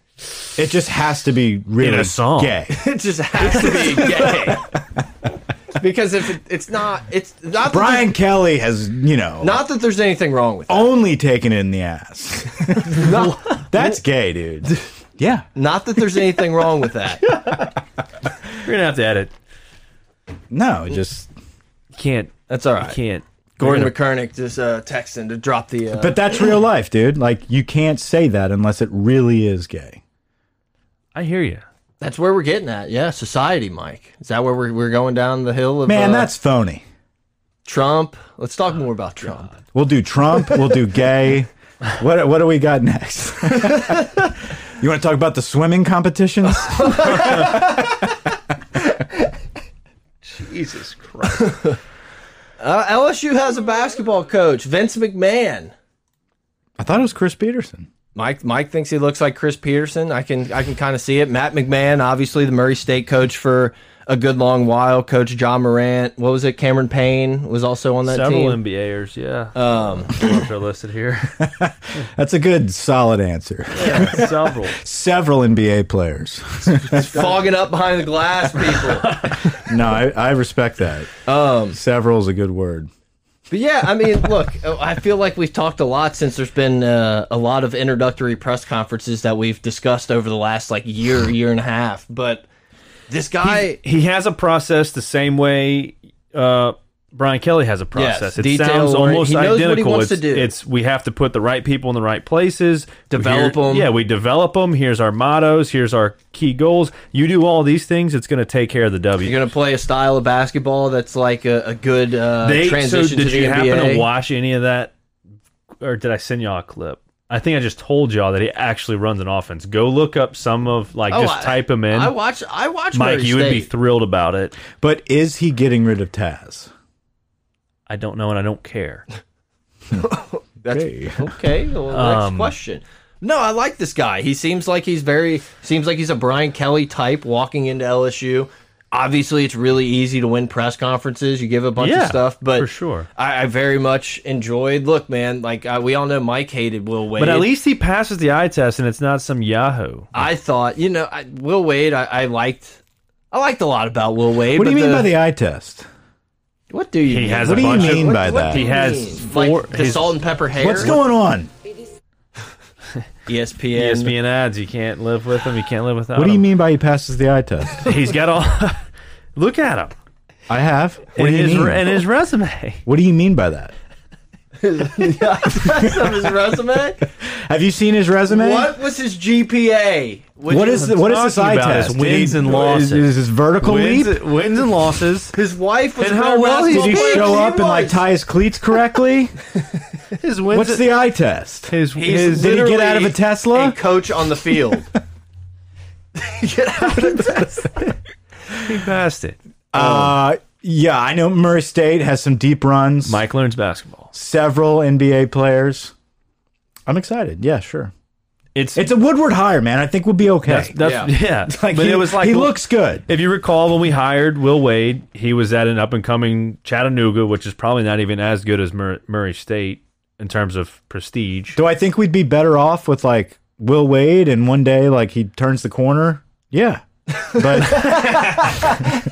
[SPEAKER 1] It just has to be really
[SPEAKER 3] In a song.
[SPEAKER 1] gay.
[SPEAKER 2] It just has to be gay. because if it, it's not, it's not.
[SPEAKER 1] Brian
[SPEAKER 2] That
[SPEAKER 1] Kelly has, you know,
[SPEAKER 2] there's- not that there's anything wrong with it.
[SPEAKER 1] only taken it in the ass. That's gay, dude. Yeah.
[SPEAKER 2] Not that there's anything wrong with that.
[SPEAKER 3] You're gonna have to edit.
[SPEAKER 1] No, it just.
[SPEAKER 3] Can't.
[SPEAKER 2] That's all right.
[SPEAKER 3] Can't.
[SPEAKER 2] Gordon McKernick just uh, texting to drop the. Uh,
[SPEAKER 1] But that's real life, dude. Like, you can't say that unless it really is gay.
[SPEAKER 3] I hear you.
[SPEAKER 2] that's where we're getting at. Yeah, society, Mike. Is that where we're, we're going down the hill of
[SPEAKER 1] Man,
[SPEAKER 2] uh,
[SPEAKER 1] that's phony.
[SPEAKER 2] Trump? Let's talk more about Trump.
[SPEAKER 1] We'll do Trump. We'll do gay. What what do we got next? you want to talk about the swimming competitions?
[SPEAKER 3] Jesus Christ.
[SPEAKER 2] Uh, LSU has a basketball coach, Vince McMahon.
[SPEAKER 1] I thought it was Chris Peterson.
[SPEAKER 2] Mike Mike thinks he looks like Chris Peterson. I can I can kind of see it. Matt McMahon, obviously the Murray State coach for a good long while. Coach John Morant. What was it? Cameron Payne was also on that
[SPEAKER 3] Several
[SPEAKER 2] team.
[SPEAKER 3] NBAers. Yeah. Um. They're listed here.
[SPEAKER 1] That's a good solid answer.
[SPEAKER 3] Several.
[SPEAKER 1] Several NBA players.
[SPEAKER 2] Fogging up behind the glass, people.
[SPEAKER 1] No, I, I respect that. Um, Several is a good word.
[SPEAKER 2] But yeah, I mean, look, I feel like we've talked a lot since there's been uh, a lot of introductory press conferences that we've discussed over the last like year, year and a half. But this guy,
[SPEAKER 3] he has a process the same way uh, Brian Kelly has a process. it
[SPEAKER 2] detail
[SPEAKER 3] sounds
[SPEAKER 2] orient-
[SPEAKER 3] almost
[SPEAKER 2] he knows what he
[SPEAKER 3] identical.
[SPEAKER 2] wants to
[SPEAKER 3] it's,
[SPEAKER 2] do.
[SPEAKER 3] it's- we have to put the right people in the right places. We
[SPEAKER 2] Develop
[SPEAKER 3] hear-
[SPEAKER 2] 'em.
[SPEAKER 3] Yeah, we develop them. Here's our mottos. Here's our key goals. You do all these things, it's going to take care of the W.
[SPEAKER 2] you're going to play a style of basketball that's like a, a good uh,
[SPEAKER 3] They-
[SPEAKER 2] transition
[SPEAKER 3] so did
[SPEAKER 2] to the
[SPEAKER 3] you
[SPEAKER 2] NBA.
[SPEAKER 3] happen to watch any of that, or did I send y'all a clip? I think I just told y'all that he actually runs an offense. Go look up some of like
[SPEAKER 2] Oh,
[SPEAKER 3] just
[SPEAKER 2] I-
[SPEAKER 3] type him in.
[SPEAKER 2] I watch. I watch.
[SPEAKER 3] Mike,
[SPEAKER 2] Murray
[SPEAKER 3] you would be
[SPEAKER 2] State.
[SPEAKER 3] thrilled about it.
[SPEAKER 1] But is he getting rid of Taz?
[SPEAKER 3] I don't know and I don't care.
[SPEAKER 2] That's,
[SPEAKER 1] Okay.
[SPEAKER 2] okay. Well, next
[SPEAKER 3] Um,
[SPEAKER 2] question. No, I like this guy. He seems like he's very seems like he's a Brian Kelly type walking into LSU. Obviously, it's really easy to win press conferences. You give a bunch
[SPEAKER 3] Yeah,
[SPEAKER 2] of stuff, but
[SPEAKER 3] for sure.
[SPEAKER 2] I, I very much enjoyed. Look, man, like I, we all know, Mike hated Will Wade.
[SPEAKER 3] But at least he passes the eye test and it's not some Yahoo.
[SPEAKER 2] I thought, you know, I, Will Wade. I, I liked. I liked a lot about Will Wade.
[SPEAKER 1] What do you
[SPEAKER 2] but
[SPEAKER 1] mean by the eye test?
[SPEAKER 2] What do you?
[SPEAKER 3] He
[SPEAKER 2] mean?
[SPEAKER 3] has
[SPEAKER 1] What
[SPEAKER 3] a
[SPEAKER 1] do you
[SPEAKER 3] bunch
[SPEAKER 1] mean
[SPEAKER 3] of
[SPEAKER 1] by that?
[SPEAKER 2] do
[SPEAKER 3] He
[SPEAKER 2] you
[SPEAKER 3] has
[SPEAKER 2] mean?
[SPEAKER 3] four-
[SPEAKER 2] Like, the
[SPEAKER 3] his-
[SPEAKER 2] salt and pepper hair.
[SPEAKER 1] What's going on?
[SPEAKER 3] E
[SPEAKER 2] ESPN.
[SPEAKER 3] ESPN ads. You can't live with him. You can't live without
[SPEAKER 1] What do you
[SPEAKER 3] him.
[SPEAKER 1] mean by he passes the eye test?
[SPEAKER 3] He's got all. Look at him.
[SPEAKER 1] I have. What
[SPEAKER 3] and,
[SPEAKER 1] do you
[SPEAKER 3] his,
[SPEAKER 1] mean?
[SPEAKER 3] and his resume.
[SPEAKER 1] what do you mean by that?
[SPEAKER 2] of his resume.
[SPEAKER 1] Have you seen his resume?
[SPEAKER 2] What was his GPA? Would
[SPEAKER 1] What
[SPEAKER 2] you-
[SPEAKER 1] is the, what is
[SPEAKER 3] talking
[SPEAKER 1] this eye
[SPEAKER 3] about is
[SPEAKER 1] test? Did
[SPEAKER 3] wins
[SPEAKER 1] he-
[SPEAKER 3] and
[SPEAKER 1] is-
[SPEAKER 3] losses.
[SPEAKER 1] Is, this vertical leap?
[SPEAKER 3] Wins, wins and losses.
[SPEAKER 2] his wife was
[SPEAKER 3] And
[SPEAKER 2] a
[SPEAKER 3] how
[SPEAKER 2] pro
[SPEAKER 3] well
[SPEAKER 1] Did
[SPEAKER 2] basketball
[SPEAKER 1] he
[SPEAKER 2] player.
[SPEAKER 1] show
[SPEAKER 2] She
[SPEAKER 1] up and like
[SPEAKER 2] was.
[SPEAKER 1] tie his cleats correctly?
[SPEAKER 3] His wins.
[SPEAKER 1] What's the eye test?
[SPEAKER 3] his,
[SPEAKER 2] He's
[SPEAKER 3] his,
[SPEAKER 1] did he get
[SPEAKER 2] literally
[SPEAKER 1] out of a Tesla?
[SPEAKER 2] A coach on the field. get out of Tesla.
[SPEAKER 3] he passed it.
[SPEAKER 1] Uh, yeah, I know Murray State has some deep runs.
[SPEAKER 3] Mike learns basketball.
[SPEAKER 1] several NBA players. I'm excited. Yeah, sure.
[SPEAKER 3] It's
[SPEAKER 1] It's a Woodward hire, man. I think we'll be okay.
[SPEAKER 3] that's, that's yeah.
[SPEAKER 1] Like,
[SPEAKER 3] but
[SPEAKER 1] he,
[SPEAKER 3] it was like
[SPEAKER 1] he looks good.
[SPEAKER 3] If you recall, when we hired Will Wade, he was at an up and coming Chattanooga, which is probably not even as good as Mur Murray State in terms of prestige.
[SPEAKER 1] Do I think we'd be better off with like Will Wade and one day like he turns the corner? Yeah. But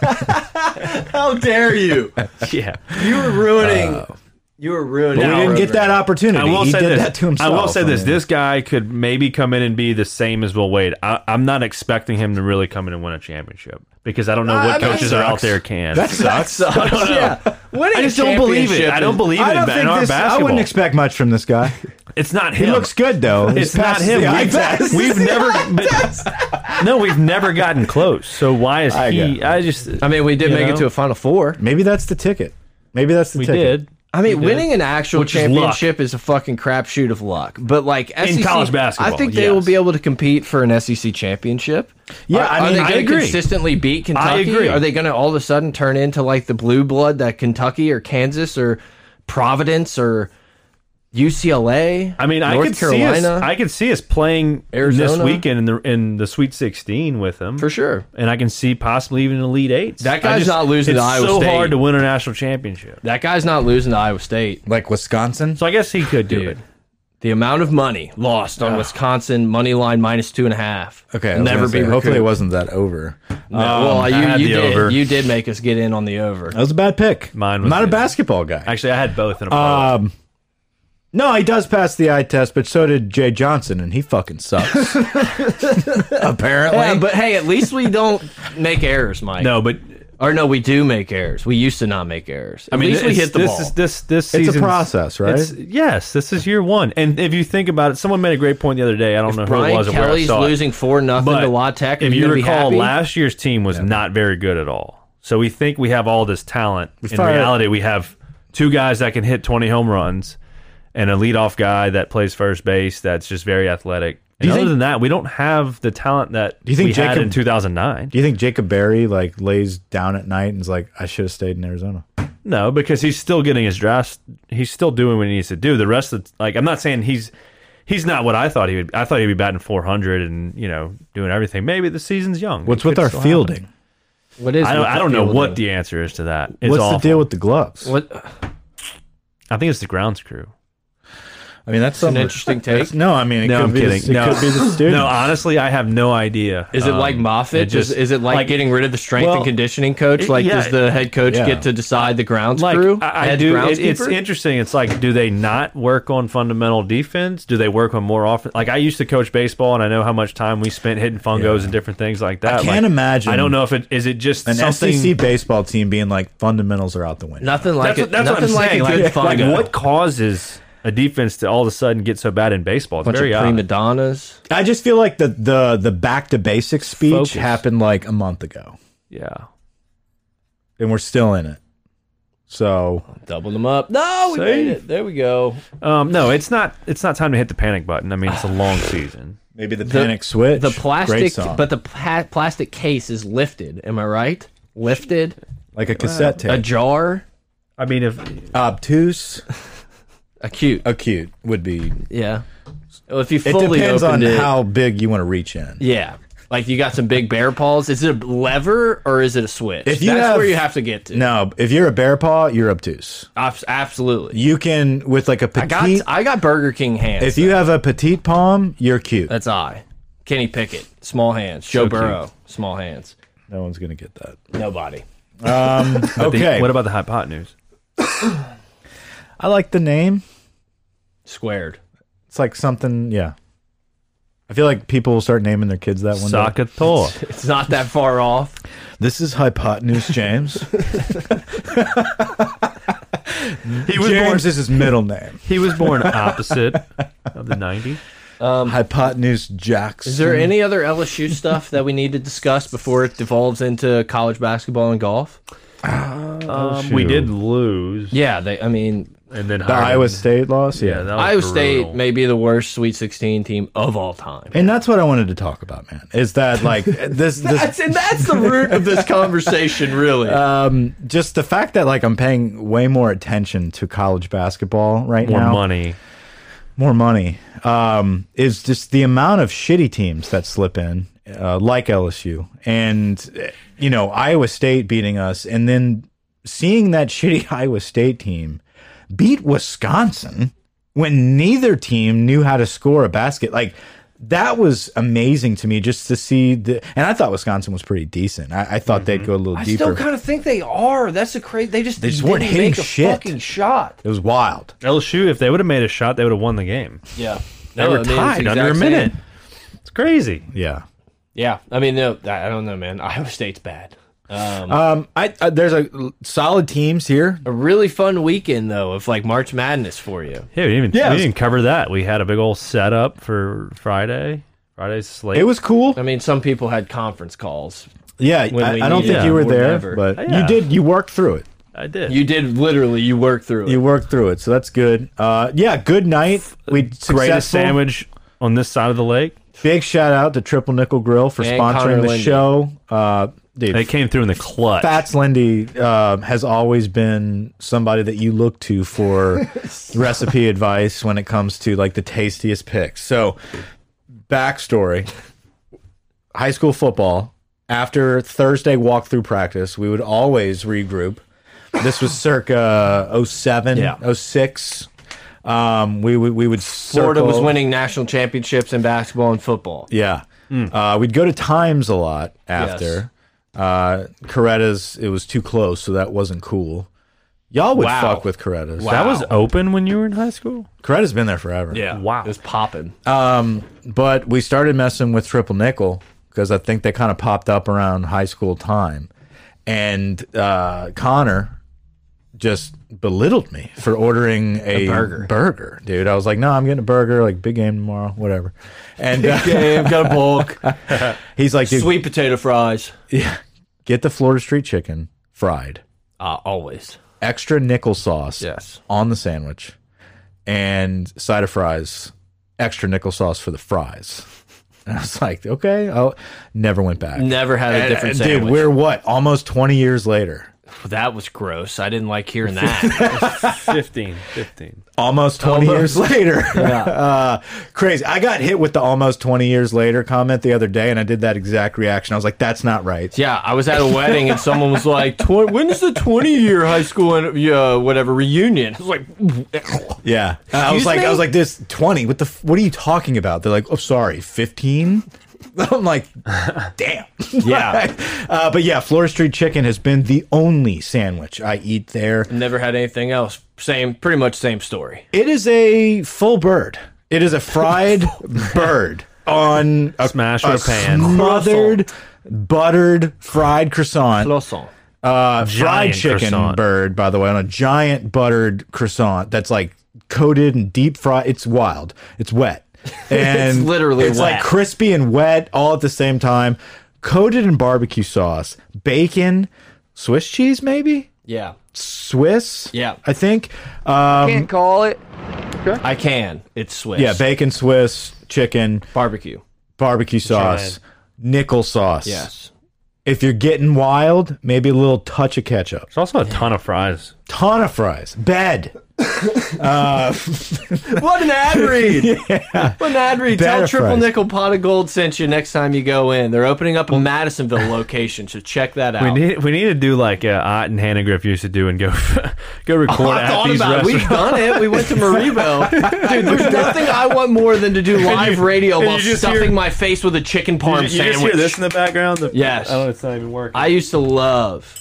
[SPEAKER 2] How dare you?
[SPEAKER 3] yeah.
[SPEAKER 2] You were ruining. you were ruining.
[SPEAKER 1] Oh. we
[SPEAKER 2] our
[SPEAKER 1] didn't get that
[SPEAKER 2] program.
[SPEAKER 1] opportunity.
[SPEAKER 3] I will
[SPEAKER 1] he
[SPEAKER 3] say
[SPEAKER 1] did
[SPEAKER 3] this.
[SPEAKER 1] that to himself.
[SPEAKER 3] I will say this.
[SPEAKER 1] mean,
[SPEAKER 3] This guy could maybe come in and be the same as Will Wade. I, I'm not expecting him to really come in and win a championship because I don't know
[SPEAKER 2] I
[SPEAKER 3] what
[SPEAKER 2] mean,
[SPEAKER 3] coaches
[SPEAKER 2] that
[SPEAKER 3] are out
[SPEAKER 1] sucks.
[SPEAKER 3] there can.
[SPEAKER 1] that sucks.
[SPEAKER 2] Sucks, yeah. Winning
[SPEAKER 3] I just don't believe it. I don't believe it
[SPEAKER 1] I
[SPEAKER 3] in,
[SPEAKER 1] don't
[SPEAKER 3] ba- in
[SPEAKER 1] think
[SPEAKER 3] our
[SPEAKER 1] this, I
[SPEAKER 3] basketball.
[SPEAKER 1] wouldn't expect much from this guy.
[SPEAKER 3] it's not
[SPEAKER 1] He
[SPEAKER 3] him.
[SPEAKER 1] looks good though. He
[SPEAKER 3] It's not
[SPEAKER 1] passes
[SPEAKER 3] him.
[SPEAKER 1] the eye
[SPEAKER 3] We've,
[SPEAKER 1] test.
[SPEAKER 3] we've never been- No, we've never gotten close. So why is
[SPEAKER 1] I
[SPEAKER 3] he?
[SPEAKER 1] got-
[SPEAKER 3] I just.
[SPEAKER 2] I mean, we did
[SPEAKER 3] You
[SPEAKER 2] make it
[SPEAKER 3] know?
[SPEAKER 2] to a Final Four.
[SPEAKER 1] Maybe that's the ticket. Maybe that's the
[SPEAKER 3] we
[SPEAKER 1] ticket.
[SPEAKER 3] did.
[SPEAKER 2] I mean, winning an actual
[SPEAKER 3] Which is luck.
[SPEAKER 2] championship is, a fucking crapshoot of luck. But like SEC,
[SPEAKER 3] college basketball,
[SPEAKER 2] I think they
[SPEAKER 3] yes.
[SPEAKER 2] will be able to compete for an SEC championship.
[SPEAKER 1] Yeah,
[SPEAKER 2] are,
[SPEAKER 1] I
[SPEAKER 2] are
[SPEAKER 1] mean,
[SPEAKER 2] they
[SPEAKER 1] I
[SPEAKER 2] gonna
[SPEAKER 3] agree.
[SPEAKER 2] consistently beat Kentucky?
[SPEAKER 3] agree.
[SPEAKER 2] Are they going to all of a sudden turn into like the blue blood that Kentucky or Kansas or Providence or UCLA?
[SPEAKER 3] I mean, I
[SPEAKER 2] North
[SPEAKER 3] could
[SPEAKER 2] Carolina
[SPEAKER 3] see us. I could see us playing this
[SPEAKER 2] Arizona.
[SPEAKER 3] weekend in the in the Sweet 16 with him
[SPEAKER 2] for sure.
[SPEAKER 3] and I can see possibly even an Elite Eight.
[SPEAKER 2] That guy's not losing
[SPEAKER 3] It's
[SPEAKER 2] to Iowa
[SPEAKER 3] so
[SPEAKER 2] State.
[SPEAKER 3] hard to win a national championship.
[SPEAKER 2] That guy's not losing to Iowa State.
[SPEAKER 1] Like Wisconsin.
[SPEAKER 3] So I guess he could do it.
[SPEAKER 2] The amount of money lost on Wisconsin money line minus two and a half.
[SPEAKER 1] Okay, I was
[SPEAKER 2] never
[SPEAKER 1] gonna
[SPEAKER 2] be.
[SPEAKER 1] say, hopefully it
[SPEAKER 2] recouped.
[SPEAKER 1] wasn't that over.
[SPEAKER 2] No, well, you,
[SPEAKER 3] Um, had
[SPEAKER 2] you
[SPEAKER 3] the
[SPEAKER 2] did.
[SPEAKER 3] over.
[SPEAKER 2] You did make us get in on the over.
[SPEAKER 1] That was a bad pick.
[SPEAKER 3] Mine was
[SPEAKER 1] I'm not a
[SPEAKER 3] the-
[SPEAKER 1] basketball guy.
[SPEAKER 3] Actually, I had both in a row.
[SPEAKER 1] Um, no, he does pass the eye test, but so did Jay Johnson, and he fucking sucks. Apparently,
[SPEAKER 2] Yeah, but hey, at least we don't make errors, Mike.
[SPEAKER 3] no, but
[SPEAKER 2] or no, we do make errors. We used to not make errors. At
[SPEAKER 3] I mean,
[SPEAKER 2] least we
[SPEAKER 3] it's-
[SPEAKER 2] hit the
[SPEAKER 3] this
[SPEAKER 2] ball.
[SPEAKER 3] Is, this this
[SPEAKER 1] a
[SPEAKER 3] season
[SPEAKER 1] process, right?
[SPEAKER 3] yes, this is year one. And if you think about it, someone made a great point the other day. I don't know who
[SPEAKER 2] Brian
[SPEAKER 3] it was or where I
[SPEAKER 2] Kelly's
[SPEAKER 3] saw it.
[SPEAKER 2] losing four nothing
[SPEAKER 3] But
[SPEAKER 2] to La Tech. are
[SPEAKER 3] if you
[SPEAKER 2] gonna be
[SPEAKER 3] recall,
[SPEAKER 2] happy?
[SPEAKER 3] last year's team was not very good at all. So we think we have all this talent. In
[SPEAKER 1] fired-
[SPEAKER 3] reality, we have two guys that can hit 20 home runs and a leadoff guy that plays first base that's just very athletic. And
[SPEAKER 1] you
[SPEAKER 3] other
[SPEAKER 1] think-
[SPEAKER 3] than that, we don't have the talent that
[SPEAKER 1] you think
[SPEAKER 3] we had
[SPEAKER 1] Jacob-
[SPEAKER 3] in 2009.
[SPEAKER 1] do you think Jacob Berry like lays down at night and is like, "I should have stayed in Arizona"?
[SPEAKER 3] No, because he's still getting his draft. He's still doing what he needs to do. The rest of like, I'm not saying he's he's not what I thought he would. I thought he'd be batting 400 and you know doing everything. Maybe the season's young. It
[SPEAKER 1] What's
[SPEAKER 3] could
[SPEAKER 1] with our
[SPEAKER 3] still happen.
[SPEAKER 1] fielding?
[SPEAKER 2] what is?
[SPEAKER 3] I don't,
[SPEAKER 2] with
[SPEAKER 3] I
[SPEAKER 2] the
[SPEAKER 3] don't know
[SPEAKER 2] field
[SPEAKER 3] what
[SPEAKER 2] though?
[SPEAKER 3] the answer is to that. It's
[SPEAKER 1] What's
[SPEAKER 3] awful.
[SPEAKER 1] the deal with the gloves?
[SPEAKER 2] What
[SPEAKER 3] I think it's the grounds crew.
[SPEAKER 1] I mean, that's
[SPEAKER 2] an
[SPEAKER 1] something-
[SPEAKER 2] interesting take.
[SPEAKER 1] No, I mean, it
[SPEAKER 3] No,
[SPEAKER 1] could
[SPEAKER 3] I'm
[SPEAKER 1] be
[SPEAKER 3] kidding.
[SPEAKER 1] The, it
[SPEAKER 3] no,
[SPEAKER 1] could be the student.
[SPEAKER 3] No, honestly, I have no idea.
[SPEAKER 2] Is it
[SPEAKER 3] Um,
[SPEAKER 2] like Moffitt?
[SPEAKER 3] it just-
[SPEAKER 2] is, is it like,
[SPEAKER 3] like-
[SPEAKER 2] getting rid of the strength
[SPEAKER 3] Well,
[SPEAKER 2] and conditioning coach?
[SPEAKER 3] it-
[SPEAKER 2] Like,
[SPEAKER 3] yeah.
[SPEAKER 2] does the head coach
[SPEAKER 1] Yeah.
[SPEAKER 2] get to decide the grounds
[SPEAKER 3] like
[SPEAKER 2] crew?
[SPEAKER 3] I, I
[SPEAKER 2] Head
[SPEAKER 3] do. It, it's
[SPEAKER 2] groundskeeper?
[SPEAKER 3] interesting. It's like, do they not work on fundamental defense? Do they work on more often? Like I used to coach baseball, and I know how much time we spent hitting fungos and different things like that.
[SPEAKER 1] can't
[SPEAKER 3] Like,
[SPEAKER 1] imagine
[SPEAKER 3] I don't know if it is. It just
[SPEAKER 1] an
[SPEAKER 2] E
[SPEAKER 3] something.
[SPEAKER 1] SEC baseball team being like fundamentals are out the window.
[SPEAKER 2] nothing like
[SPEAKER 3] that's
[SPEAKER 2] it.
[SPEAKER 3] what, that's what I'm
[SPEAKER 2] nothing
[SPEAKER 3] saying.
[SPEAKER 2] like a good
[SPEAKER 3] Like, like,
[SPEAKER 2] fungo.
[SPEAKER 3] what causes a defense to all of a sudden get so bad in baseball? It's
[SPEAKER 2] bunch
[SPEAKER 3] very
[SPEAKER 2] of
[SPEAKER 3] odd.
[SPEAKER 2] prima donnas?
[SPEAKER 1] I just feel like the the the back to basics speech
[SPEAKER 3] Focus.
[SPEAKER 1] happened like a month ago,
[SPEAKER 3] Yeah.
[SPEAKER 1] and we're still in it. So
[SPEAKER 2] Double them up. No, we made
[SPEAKER 3] Safe.
[SPEAKER 2] it. There we go.
[SPEAKER 3] Um, no, it's not. It's not time to hit the panic button. I mean, it's a long season.
[SPEAKER 1] maybe the, panic switch,
[SPEAKER 2] The
[SPEAKER 1] great
[SPEAKER 2] plastic,
[SPEAKER 1] song.
[SPEAKER 2] but the pla plastic case is lifted. Am I right? Lifted.
[SPEAKER 1] like a cassette
[SPEAKER 2] A
[SPEAKER 1] tape,
[SPEAKER 2] jar.
[SPEAKER 3] I mean, if
[SPEAKER 1] obtuse,
[SPEAKER 2] Acute.
[SPEAKER 1] acute would be.
[SPEAKER 2] Yeah. Well, if you
[SPEAKER 1] Uh, It
[SPEAKER 2] fully
[SPEAKER 1] depends on
[SPEAKER 2] opened it,
[SPEAKER 1] how big you want to reach in.
[SPEAKER 2] yeah. Like you got some big bear paws. Is it a lever or is it a switch?
[SPEAKER 1] If you
[SPEAKER 2] That's
[SPEAKER 1] have-
[SPEAKER 2] where you have to get to.
[SPEAKER 1] No, if you're a bear paw, you're obtuse.
[SPEAKER 2] Abs- Absolutely.
[SPEAKER 1] You can with like a
[SPEAKER 2] I got
[SPEAKER 1] petite.
[SPEAKER 2] I got Burger King hands.
[SPEAKER 1] If you have a petite palm, you're cute.
[SPEAKER 2] That's I. Kenny Pickett, small hands. Joe
[SPEAKER 3] So cute.
[SPEAKER 2] Burrow, small hands.
[SPEAKER 1] No one's gonna get that. Um,
[SPEAKER 2] Nobody.
[SPEAKER 3] the-
[SPEAKER 1] Okay,
[SPEAKER 3] what about the hypotenuse?
[SPEAKER 1] I like the name.
[SPEAKER 2] Squared.
[SPEAKER 1] It's like something. Yeah, I feel like people will start naming their kids that one. day.
[SPEAKER 3] Sakatoa.
[SPEAKER 2] It's not that far off.
[SPEAKER 1] This is hypotenuse James.
[SPEAKER 3] He was born.
[SPEAKER 1] James is his middle name.
[SPEAKER 3] He was born opposite of the '90s. Um,
[SPEAKER 1] hypotenuse Jackson.
[SPEAKER 2] Is there any other LSU stuff that we need to discuss before it devolves into college basketball and golf?
[SPEAKER 3] Um, we
[SPEAKER 1] shoot.
[SPEAKER 3] did lose,
[SPEAKER 2] Yeah, they. I mean,
[SPEAKER 3] and then
[SPEAKER 1] the Iowa State loss? Yeah.
[SPEAKER 3] Yeah, that was
[SPEAKER 2] Iowa State
[SPEAKER 3] brutal.
[SPEAKER 2] may be the worst Sweet 16 team of all time.
[SPEAKER 1] and that's what I wanted to talk about, man. Is that like this?
[SPEAKER 2] That's
[SPEAKER 1] this
[SPEAKER 2] and that's the root of this conversation, really.
[SPEAKER 1] just the fact that like I'm paying way more attention to college basketball right
[SPEAKER 3] more
[SPEAKER 1] now.
[SPEAKER 3] money.
[SPEAKER 1] more money um, is just the amount of shitty teams that slip in, uh, like LSU, and eh, you know Iowa State beating us, and then seeing that shitty Iowa State team beat Wisconsin when neither team knew how to score a basket, like. That was amazing to me just to see the, and I thought Wisconsin was pretty decent. I, I thought they'd go a little
[SPEAKER 2] Mm-hmm. I
[SPEAKER 1] deeper.
[SPEAKER 2] still kind of think they are. That's a crazy. They just
[SPEAKER 1] They just
[SPEAKER 2] didn't
[SPEAKER 1] weren't hitting
[SPEAKER 2] make a
[SPEAKER 1] shit.
[SPEAKER 2] fucking shot.
[SPEAKER 1] it was wild.
[SPEAKER 3] LSU, if they would have made a shot, they would have won the game.
[SPEAKER 2] Yeah,
[SPEAKER 3] They were tied under a minute. It's crazy.
[SPEAKER 1] Yeah.
[SPEAKER 2] Yeah, I mean, no, I I don't know, man. Iowa State's bad. Um,
[SPEAKER 1] Um, I, I there's a solid teams here.
[SPEAKER 2] a really fun weekend though of like March Madness for you.
[SPEAKER 3] Yeah, we didn't, even,
[SPEAKER 1] Yeah, it
[SPEAKER 3] we
[SPEAKER 1] was-
[SPEAKER 3] didn't cover that. We had a big old setup for Friday. Friday's slate.
[SPEAKER 1] It was cool.
[SPEAKER 2] I mean, some people had conference calls.
[SPEAKER 1] Yeah,
[SPEAKER 2] when
[SPEAKER 1] I,
[SPEAKER 2] we
[SPEAKER 1] I don't
[SPEAKER 2] needed
[SPEAKER 1] think
[SPEAKER 3] it
[SPEAKER 1] you were
[SPEAKER 2] more
[SPEAKER 1] there,
[SPEAKER 2] than ever.
[SPEAKER 1] but
[SPEAKER 3] Yeah.
[SPEAKER 1] you did. You worked through it.
[SPEAKER 3] I did.
[SPEAKER 2] You did literally. You worked through it.
[SPEAKER 1] You worked through it, so that's good. Uh, yeah, good night. We successful.
[SPEAKER 3] greatest sandwich on this side of the lake.
[SPEAKER 1] Big shout out to Triple Nickel Grill for
[SPEAKER 2] And
[SPEAKER 1] sponsoring
[SPEAKER 2] Connor
[SPEAKER 1] the
[SPEAKER 2] Lindy.
[SPEAKER 1] show. Uh, dude,
[SPEAKER 3] They came through in the clutch.
[SPEAKER 1] Fats Lindy uh, has always been somebody that you look to for recipe advice when it comes to like the tastiest picks. So, backstory: high school football. After Thursday walkthrough practice, we would always regroup. This was circa 07,
[SPEAKER 3] Yeah.
[SPEAKER 1] 06. Um, we would we would
[SPEAKER 2] Florida was
[SPEAKER 1] circle-
[SPEAKER 2] winning national championships in basketball and football.
[SPEAKER 1] yeah.
[SPEAKER 2] Hmm.
[SPEAKER 1] Uh, we'd go to Times a lot after. Uh, Coretta's, it was too close, so that wasn't cool. Y'all would
[SPEAKER 2] Wow.
[SPEAKER 1] fuck with Coretta's.
[SPEAKER 2] Wow.
[SPEAKER 3] That was open when you were in high school.
[SPEAKER 1] Coretta's been there forever.
[SPEAKER 3] Wow.
[SPEAKER 2] it was popping.
[SPEAKER 1] But we started messing with Triple Nickel because I think they kind of popped up around high school time. And uh, Connor just belittled me for ordering a,
[SPEAKER 2] burger.
[SPEAKER 1] burger, dude. I was like, no, I'm getting a burger, like big game tomorrow, whatever. And uh,
[SPEAKER 2] Game got a bulk.
[SPEAKER 1] he's like, dude,
[SPEAKER 2] Sweet potato fries.
[SPEAKER 1] get the Florida Street chicken fried.
[SPEAKER 2] Uh, always.
[SPEAKER 1] extra nickel sauce
[SPEAKER 2] Yes.
[SPEAKER 1] on the sandwich and side of fries, extra nickel sauce for the fries. And I was like, okay, I never went back.
[SPEAKER 2] Never had a different
[SPEAKER 1] And, uh,
[SPEAKER 2] sandwich.
[SPEAKER 1] Dude, we're what? Almost 20 years later.
[SPEAKER 5] That was gross. I didn't like hearing that.
[SPEAKER 3] 15, 15.
[SPEAKER 1] almost 20 years later. uh, crazy. I got hit with the almost 20 years later comment the other day, and I did that exact reaction. I was like, that's not right.
[SPEAKER 2] Yeah, I was at a wedding and someone was like, "Tw- "When is the 20 year high school and uh, whatever reunion?" I was like,
[SPEAKER 1] Yeah. And I was
[SPEAKER 2] Excuse
[SPEAKER 1] like, I was
[SPEAKER 2] me?
[SPEAKER 1] like, this 20, what the, f- what are you talking about? They're like, oh, sorry, 15? I'm like, damn.
[SPEAKER 2] Yeah.
[SPEAKER 1] uh, but yeah, Florida Street Chicken has been the only sandwich I eat there.
[SPEAKER 2] "Never had anything else." Same, pretty much same story.
[SPEAKER 1] It is a full bird. It is a fried bird on a,
[SPEAKER 3] Smash
[SPEAKER 1] a
[SPEAKER 3] or pan.
[SPEAKER 1] smothered, buttered, fried croissant.
[SPEAKER 2] Croissant.
[SPEAKER 1] Uh, fried
[SPEAKER 3] Giant
[SPEAKER 1] chicken
[SPEAKER 3] croissant.
[SPEAKER 1] bird, by the way, on a giant buttered croissant that's like coated and deep fried. It's wild. It's wet. And
[SPEAKER 2] literally
[SPEAKER 1] it's like
[SPEAKER 2] wet.
[SPEAKER 1] crispy and wet all at the same time, coated in barbecue sauce, bacon, Swiss cheese, maybe
[SPEAKER 2] Yeah,
[SPEAKER 1] Swiss.
[SPEAKER 2] Yeah.
[SPEAKER 1] I think. Um,
[SPEAKER 6] Can't call it.
[SPEAKER 2] I can. It's Swiss.
[SPEAKER 1] yeah, bacon, Swiss chicken,
[SPEAKER 2] barbecue.
[SPEAKER 1] barbecue sauce, nickel sauce.
[SPEAKER 2] Yes.
[SPEAKER 1] If you're getting wild, maybe a little touch of ketchup.
[SPEAKER 3] There's also a ton of fries.
[SPEAKER 1] Ton of fries. Bed.
[SPEAKER 2] What an ad read! What an ad read! Tell
[SPEAKER 1] Batter
[SPEAKER 2] Triple
[SPEAKER 1] fries.
[SPEAKER 2] Nickel Pot of Gold sent you next time you go in. They're opening up a Madisonville location, so check that out.
[SPEAKER 3] We need we need to do like uh, Ott and Hannah Griff used to do and go go record
[SPEAKER 2] I
[SPEAKER 3] at
[SPEAKER 2] thought
[SPEAKER 3] these
[SPEAKER 2] about it. We've
[SPEAKER 3] restaurants.
[SPEAKER 2] done it. We went to Maribel. Dude, there's nothing I want more than to do live radio
[SPEAKER 3] and
[SPEAKER 2] while
[SPEAKER 3] you just
[SPEAKER 2] stuffing
[SPEAKER 3] hear-
[SPEAKER 2] my face with a chicken parm
[SPEAKER 3] You, you
[SPEAKER 2] sandwich.
[SPEAKER 3] just hear this in the background. The,
[SPEAKER 2] Yes.
[SPEAKER 3] Oh, it's not even working.
[SPEAKER 2] I used to love.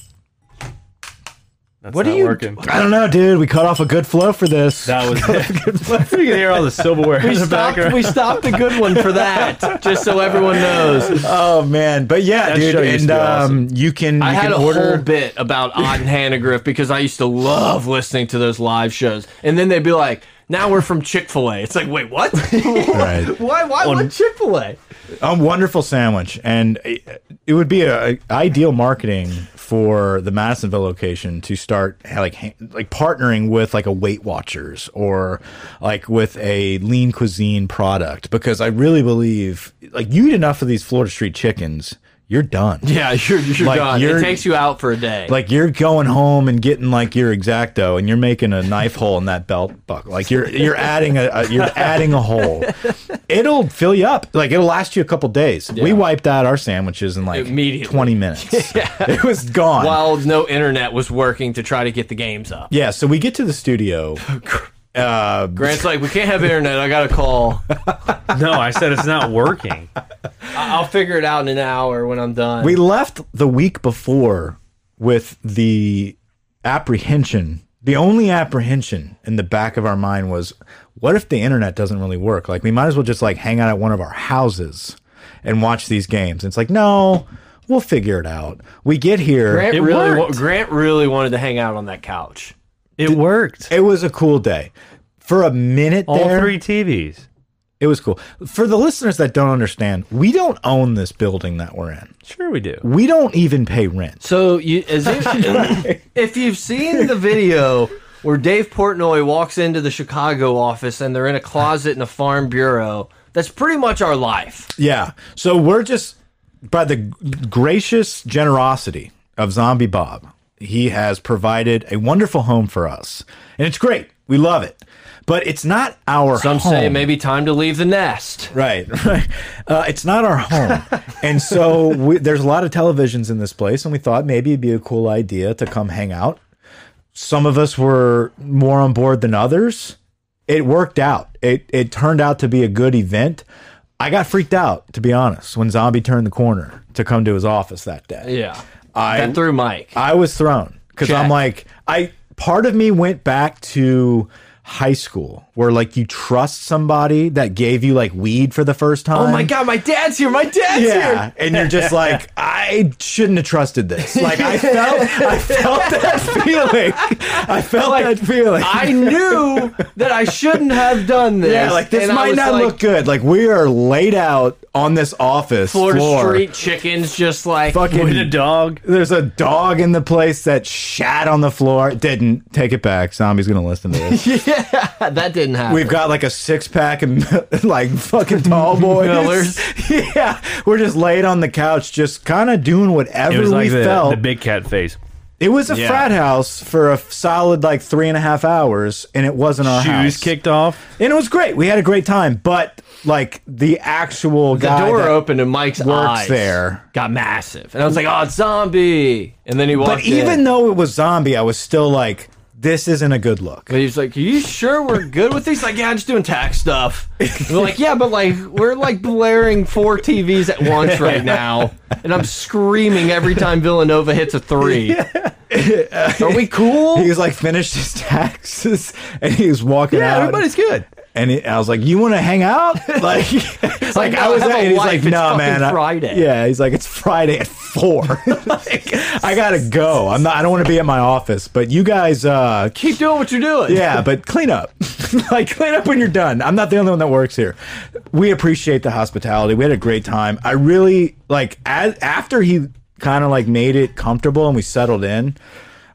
[SPEAKER 3] That's
[SPEAKER 2] what do
[SPEAKER 3] not
[SPEAKER 2] you-
[SPEAKER 3] Working.
[SPEAKER 1] I don't know, dude. We cut off a good flow for this.
[SPEAKER 3] That was it. you can hear all the silverware in
[SPEAKER 2] We
[SPEAKER 3] the
[SPEAKER 2] stopped.
[SPEAKER 3] background.
[SPEAKER 2] We stopped the good one for that, just so everyone knows.
[SPEAKER 1] Oh man, but yeah,
[SPEAKER 3] That
[SPEAKER 1] dude,
[SPEAKER 3] show used
[SPEAKER 1] and
[SPEAKER 3] to be awesome.
[SPEAKER 1] um, you can.
[SPEAKER 2] I
[SPEAKER 1] you
[SPEAKER 2] had
[SPEAKER 1] can
[SPEAKER 2] a
[SPEAKER 1] order.
[SPEAKER 2] whole bit about Odd and Hannegriff because I used to love listening to those live shows, and then they'd be like, "Now we're from Chick Fil A." It's like, wait, what?
[SPEAKER 1] Right.
[SPEAKER 2] Why? Why would Chick Fil A?
[SPEAKER 1] a wonderful sandwich, and it, it would be a, a ideal marketing for the Madisonville location to start like ha- like partnering with like a Weight Watchers or like with a Lean Cuisine product because I really believe like you eat enough of these Florida Street chickens, you're done.
[SPEAKER 2] Yeah, you're, you're
[SPEAKER 1] Like,
[SPEAKER 2] done.
[SPEAKER 1] you're-
[SPEAKER 2] it takes you out for a day.
[SPEAKER 1] Like you're going home and getting like your exacto, and you're making a knife hole in that belt buckle. Like you're you're adding a, a you're adding a hole. It'll fill you up. Like it'll last you a couple days. We wiped out our sandwiches in like
[SPEAKER 2] Immediately.
[SPEAKER 1] twenty minutes. It was gone.
[SPEAKER 2] while no internet was working to try to get the games up.
[SPEAKER 1] yeah. So we get to the studio. Uh,
[SPEAKER 2] Grant's like, we can't have internet. I got to call.
[SPEAKER 3] no, I said it's not working.
[SPEAKER 2] I- I'll figure it out in an hour when I'm done.
[SPEAKER 1] we left the week before with the apprehension. The only apprehension in the back of our mind was, what if the internet doesn't really work? Like we might as well just like hang out at one of our houses and watch these games. And it's like, no, we'll figure it out. We get here.
[SPEAKER 2] Grant
[SPEAKER 3] It
[SPEAKER 2] really, wa-
[SPEAKER 3] worked.
[SPEAKER 2] Grant really wanted to hang out on that couch.
[SPEAKER 3] It worked.
[SPEAKER 1] It was a cool day. For a minute
[SPEAKER 3] all
[SPEAKER 1] there,
[SPEAKER 3] three TVs.
[SPEAKER 1] it was cool. For the listeners that don't understand, we don't own this building that we're in.
[SPEAKER 3] Sure, we do.
[SPEAKER 1] We don't even pay rent.
[SPEAKER 2] So you, as if, if you've seen the video where Dave Portnoy walks into the Chicago office and they're in a closet in a farm bureau, that's pretty much our life.
[SPEAKER 1] Yeah. So we're just by the gracious generosity of Zombie Bob, he has provided a wonderful home for us. And it's great. We love it. But it's not our
[SPEAKER 2] Some
[SPEAKER 1] home.
[SPEAKER 2] say maybe time to leave the nest.
[SPEAKER 1] Right, right. Uh, it's not our home. and so we, there's a lot of televisions in this place, and we thought maybe it'd be a cool idea to come hang out. Some of us were more on board than others. It worked out. It it turned out to be a good event. I got freaked out, to be honest, when Zombie turned the corner to come to his office that day.
[SPEAKER 2] Yeah.
[SPEAKER 1] I
[SPEAKER 2] that through Mike.
[SPEAKER 1] I was thrown because
[SPEAKER 2] Check.
[SPEAKER 1] I'm like, I part of me went back to high school where like you trust somebody that gave you like weed for the first time.
[SPEAKER 2] Oh my God, my dad's here. My dad's here.
[SPEAKER 1] Yeah, and you're just like, I shouldn't have trusted this. Like I felt, I felt that feeling. I felt
[SPEAKER 2] Like,
[SPEAKER 1] that feeling.
[SPEAKER 2] I knew that I shouldn't have done this.
[SPEAKER 1] yeah, like this
[SPEAKER 2] and I
[SPEAKER 1] might
[SPEAKER 2] was
[SPEAKER 1] not
[SPEAKER 2] like,
[SPEAKER 1] look good. Like we are laid out on this office
[SPEAKER 2] Florida
[SPEAKER 1] floor.
[SPEAKER 2] Street chickens, just like
[SPEAKER 1] Fucking
[SPEAKER 3] With a dog.
[SPEAKER 1] There's a dog in the place that shat on the floor. Didn't take it back. Zombie's gonna listen to this.
[SPEAKER 2] that didn't happen.
[SPEAKER 1] We've got like a six pack of like fucking tall boys.
[SPEAKER 2] Millers.
[SPEAKER 1] Yeah, we're just laid on the couch, just kind of doing whatever
[SPEAKER 3] It was
[SPEAKER 1] we
[SPEAKER 3] like the,
[SPEAKER 1] felt.
[SPEAKER 3] the big cat face.
[SPEAKER 1] It was a
[SPEAKER 5] Yeah.
[SPEAKER 1] frat house for a solid like three and a half hours, and it wasn't our
[SPEAKER 3] Shoes
[SPEAKER 1] house.
[SPEAKER 3] kicked off.
[SPEAKER 1] and it was great. We had a great time, but like the actual
[SPEAKER 2] The
[SPEAKER 1] guy
[SPEAKER 2] door
[SPEAKER 1] that-
[SPEAKER 2] opened and Mike's
[SPEAKER 1] works
[SPEAKER 2] eyes
[SPEAKER 1] there.
[SPEAKER 2] got massive, and I was like, "Oh, it's zombie!" And then he walked.
[SPEAKER 1] But even
[SPEAKER 2] in.
[SPEAKER 1] though it was zombie, I was still like, this isn't a good look.
[SPEAKER 2] But he's like, "Are you sure we're good with these?" Like, "Yeah, I'm just doing tax stuff." And we're like, "Yeah, but like we're like blaring four TVs at once right now, and I'm screaming every time Villanova hits a three. Are we cool?"
[SPEAKER 1] He was like finished his taxes and he was walking
[SPEAKER 2] yeah,
[SPEAKER 1] out.
[SPEAKER 2] everybody's good.
[SPEAKER 1] and he, I was like, "You want to hang out?" Like, like,
[SPEAKER 2] like,
[SPEAKER 1] I
[SPEAKER 2] "No,
[SPEAKER 1] was.
[SPEAKER 2] I have a
[SPEAKER 1] and he's
[SPEAKER 2] life.
[SPEAKER 1] like,
[SPEAKER 2] It's
[SPEAKER 1] "No,
[SPEAKER 2] fucking
[SPEAKER 1] man, I-
[SPEAKER 2] Friday."
[SPEAKER 1] yeah, he's like, "It's Friday at four. like, I gotta go. I'm not. I don't want to be at my office. But you guys, uh,
[SPEAKER 2] Keep doing what you're doing.
[SPEAKER 1] yeah, but clean up. like clean up when you're done. I'm not the only one that works here. We appreciate the hospitality. We had a great time. I really like as, after he kind of like made it comfortable and we settled in.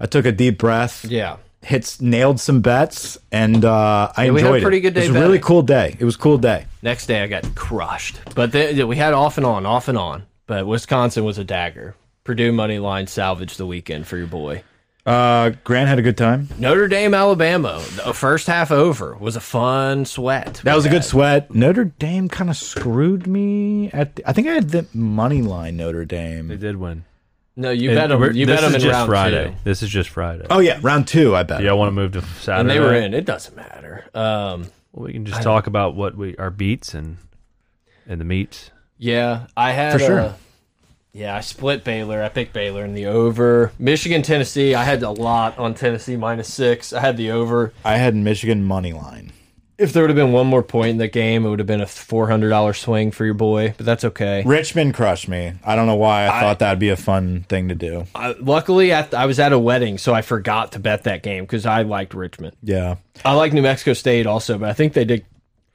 [SPEAKER 1] I took a deep breath.
[SPEAKER 2] Yeah.
[SPEAKER 1] Hits nailed some bets and uh, I
[SPEAKER 2] we
[SPEAKER 1] enjoyed
[SPEAKER 2] had a pretty
[SPEAKER 1] it.
[SPEAKER 2] good
[SPEAKER 1] it
[SPEAKER 2] day
[SPEAKER 1] was a really
[SPEAKER 2] betting.
[SPEAKER 1] cool day. It was a cool day.
[SPEAKER 2] Next day, I got crushed. But th we had off and on, off and on. But Wisconsin was a dagger. Purdue money line salvaged the weekend for your boy.
[SPEAKER 1] Uh, Grant had a good time.
[SPEAKER 2] Notre Dame, Alabama. The first half over was a fun sweat.
[SPEAKER 1] That was a good sweat. Notre Dame kind of screwed me at. The, I think I had the money line Notre
[SPEAKER 3] They
[SPEAKER 1] Dame.
[SPEAKER 3] did win.
[SPEAKER 2] No, you
[SPEAKER 3] And
[SPEAKER 2] bet them.
[SPEAKER 3] we're-
[SPEAKER 2] You
[SPEAKER 3] this
[SPEAKER 2] bet them
[SPEAKER 3] is
[SPEAKER 2] in
[SPEAKER 3] just
[SPEAKER 2] round
[SPEAKER 3] Friday.
[SPEAKER 2] two,
[SPEAKER 3] This is just Friday.
[SPEAKER 1] Oh yeah, round two. I bet.
[SPEAKER 3] Do y'all want to move to
[SPEAKER 2] and
[SPEAKER 3] Saturday?
[SPEAKER 2] they were in. It doesn't matter. Um,
[SPEAKER 3] Well, we can just talk about what we our beats and and the meats.
[SPEAKER 2] yeah, I had
[SPEAKER 1] For sure.
[SPEAKER 2] uh, yeah, I split Baylor. I picked Baylor in the over. Michigan, Tennessee. I had a lot on Tennessee minus six. I had the over.
[SPEAKER 1] I had Michigan money line.
[SPEAKER 2] If there would have been one more point in the game, it would have been a four hundred dollar swing for your boy. But that's okay.
[SPEAKER 1] Richmond crushed me. I don't know why. I, thought that'd be a fun thing to do.
[SPEAKER 2] I, luckily, at, I was at a wedding, so I forgot to bet that game because I liked Richmond.
[SPEAKER 1] Yeah.
[SPEAKER 2] I like New Mexico State also, but I think they did.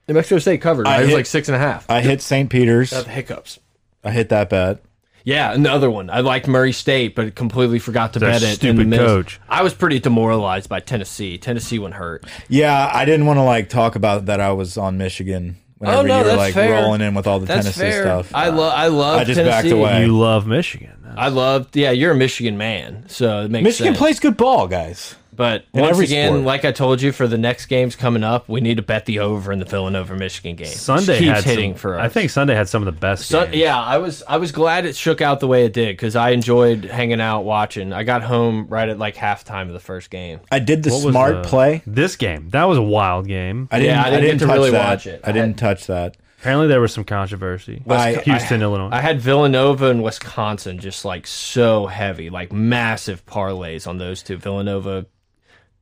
[SPEAKER 2] New Mexico State covered. Right?
[SPEAKER 1] I
[SPEAKER 2] It was
[SPEAKER 1] hit-
[SPEAKER 2] like six and a half.
[SPEAKER 1] I hit St. Peter's.
[SPEAKER 2] Got the hiccups.
[SPEAKER 1] I hit that bet.
[SPEAKER 2] Yeah, another one. I liked Murray State, but completely forgot to
[SPEAKER 3] Their
[SPEAKER 2] bet it.
[SPEAKER 3] stupid
[SPEAKER 2] middle.
[SPEAKER 3] coach.
[SPEAKER 2] I was pretty demoralized by Tennessee. Tennessee went hurt.
[SPEAKER 1] Yeah, I didn't want to like talk about that I was on Michigan
[SPEAKER 2] Oh,
[SPEAKER 1] whenever
[SPEAKER 2] no,
[SPEAKER 1] you were
[SPEAKER 2] that's
[SPEAKER 1] like
[SPEAKER 2] fair.
[SPEAKER 1] rolling in with all the
[SPEAKER 2] That's
[SPEAKER 1] Tennessee
[SPEAKER 2] fair.
[SPEAKER 1] stuff.
[SPEAKER 2] I love. I love.
[SPEAKER 1] I just
[SPEAKER 2] Tennessee.
[SPEAKER 1] backed away. Hey.
[SPEAKER 3] You love Michigan. Uh,
[SPEAKER 2] I loved. Yeah, you're a Michigan man, so it makes
[SPEAKER 1] Michigan
[SPEAKER 2] sense.
[SPEAKER 1] plays good ball, guys.
[SPEAKER 2] But
[SPEAKER 1] In
[SPEAKER 2] once
[SPEAKER 1] every
[SPEAKER 2] again,
[SPEAKER 1] sport.
[SPEAKER 2] like I told you, for the next games coming up, we need to bet the over in the Villanova Michigan game.
[SPEAKER 3] Sunday
[SPEAKER 2] Just keeps
[SPEAKER 3] had some-
[SPEAKER 2] hitting for us.
[SPEAKER 3] I think Sunday had some of the best.
[SPEAKER 2] So,
[SPEAKER 3] games.
[SPEAKER 2] yeah, I was I was glad it shook out the way it did because I enjoyed hanging out watching. I got home right at like halftime of the first game.
[SPEAKER 1] I did the
[SPEAKER 3] What was
[SPEAKER 1] smart
[SPEAKER 3] the-
[SPEAKER 1] play.
[SPEAKER 3] This game that was a wild game.
[SPEAKER 1] I
[SPEAKER 2] Yeah,
[SPEAKER 1] didn't.
[SPEAKER 2] I
[SPEAKER 1] I
[SPEAKER 2] didn't get
[SPEAKER 1] didn't,
[SPEAKER 2] to
[SPEAKER 1] touch
[SPEAKER 2] really
[SPEAKER 1] that.
[SPEAKER 2] watch it.
[SPEAKER 1] I didn't touch that.
[SPEAKER 3] Apparently there was some controversy.
[SPEAKER 1] I-
[SPEAKER 3] Houston, Illinois.
[SPEAKER 2] I had Villanova and Wisconsin just like so heavy, like massive parlays on those two. Villanova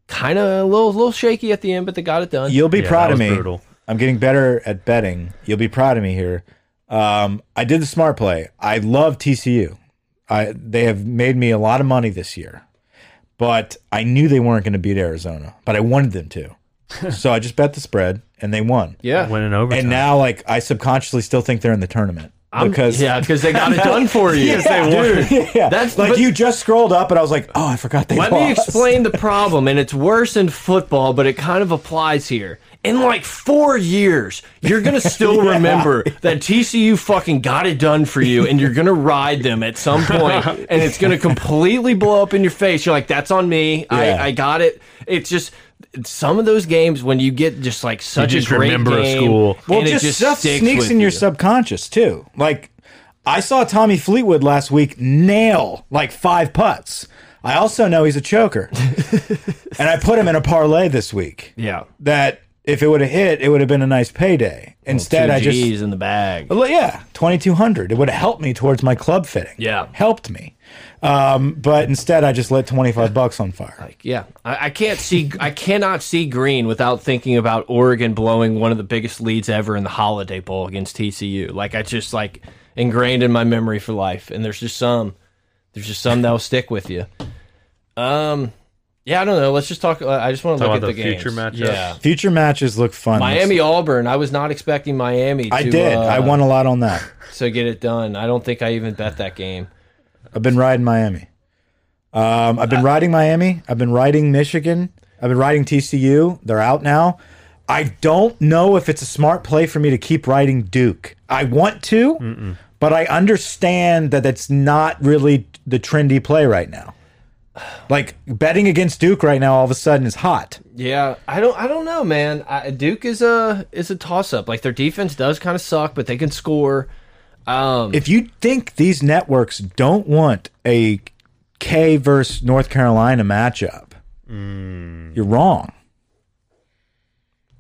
[SPEAKER 2] kind of a little little shaky at the end, but they got it done.
[SPEAKER 1] You'll be
[SPEAKER 3] Yeah,
[SPEAKER 1] proud
[SPEAKER 3] that
[SPEAKER 1] of
[SPEAKER 3] was
[SPEAKER 1] me.
[SPEAKER 3] brutal.
[SPEAKER 1] I'm getting better at betting. You'll be proud of me here. Um, I did the smart play. I love TCU. I they have made me a lot of money this year, but I knew they weren't going to beat Arizona, but I wanted them to, so I just bet the spread and they won.
[SPEAKER 2] yeah,
[SPEAKER 3] winning overtime.
[SPEAKER 1] And now, like, I subconsciously still think they're in the tournament because
[SPEAKER 2] yeah, because they got it done for you.
[SPEAKER 1] Dude, yeah.
[SPEAKER 2] That's-
[SPEAKER 1] like
[SPEAKER 2] but-
[SPEAKER 1] you just scrolled up and I was like, oh, I forgot they
[SPEAKER 2] Let
[SPEAKER 1] lost.
[SPEAKER 2] me explain the problem, and it's worse in football, but it kind of applies here. In like four years, you're gonna still remember that TCU fucking got it done for you, and you're gonna ride them at some point, and it's gonna completely blow up in your face. You're like, "That's on me.
[SPEAKER 1] Yeah.
[SPEAKER 2] I, I got it." It's just some of those games when you get just like such
[SPEAKER 3] just
[SPEAKER 2] a great
[SPEAKER 3] remember a
[SPEAKER 2] game,
[SPEAKER 3] school.
[SPEAKER 2] and
[SPEAKER 1] Well,
[SPEAKER 2] it
[SPEAKER 1] just, stuff
[SPEAKER 2] sticks
[SPEAKER 1] sneaks
[SPEAKER 2] with
[SPEAKER 1] in your
[SPEAKER 2] you.
[SPEAKER 1] subconscious too. Like I saw Tommy Fleetwood last week nail like five putts. I also know he's a choker, and I put him in a parlay this week.
[SPEAKER 2] Yeah,
[SPEAKER 1] That if it would have hit, it would have been a nice payday. Instead,
[SPEAKER 2] two
[SPEAKER 1] I just
[SPEAKER 2] G's in the bag.
[SPEAKER 1] well, yeah, twenty two hundred. It would have helped me towards my club fitting.
[SPEAKER 2] Yeah.
[SPEAKER 1] helped me. Um, but instead, I just lit twenty five bucks on fire.
[SPEAKER 2] Like, yeah, I, I can't see, I cannot see green without thinking about Oregon blowing one of the biggest leads ever in the Holiday Bowl against TCU. Like, I just like ingrained in my memory for life. And there's just some, there's just some that'll stick with you. Um, yeah, I don't know. Let's just talk. uh, I just want to look
[SPEAKER 3] Talk
[SPEAKER 2] at
[SPEAKER 3] about
[SPEAKER 2] the,
[SPEAKER 3] the
[SPEAKER 2] games.
[SPEAKER 3] future matchups?
[SPEAKER 2] Yeah,
[SPEAKER 1] Future matches look fun.
[SPEAKER 2] Miami Auburn. I was not expecting Miami. To,
[SPEAKER 1] I did.
[SPEAKER 2] uh,
[SPEAKER 1] I won a lot on that.
[SPEAKER 2] to get it done. I don't think I even bet that game.
[SPEAKER 1] I've been riding Miami. Um, I've been
[SPEAKER 2] Uh,
[SPEAKER 1] riding Miami. I've been riding Michigan. I've been riding TCU. They're out now. I don't know if it's a smart play for me to keep riding Duke. I want to, but I understand that that's not really the trendy play right now. Like betting against Duke right now, all of a sudden is hot.
[SPEAKER 2] Yeah, I don't. I don't know, man. I, Duke is a is a toss up. Like their defense does kind of suck, but they can score. Um,
[SPEAKER 1] If you think these networks don't want a K versus North Carolina matchup,
[SPEAKER 3] Mm.
[SPEAKER 1] you're wrong.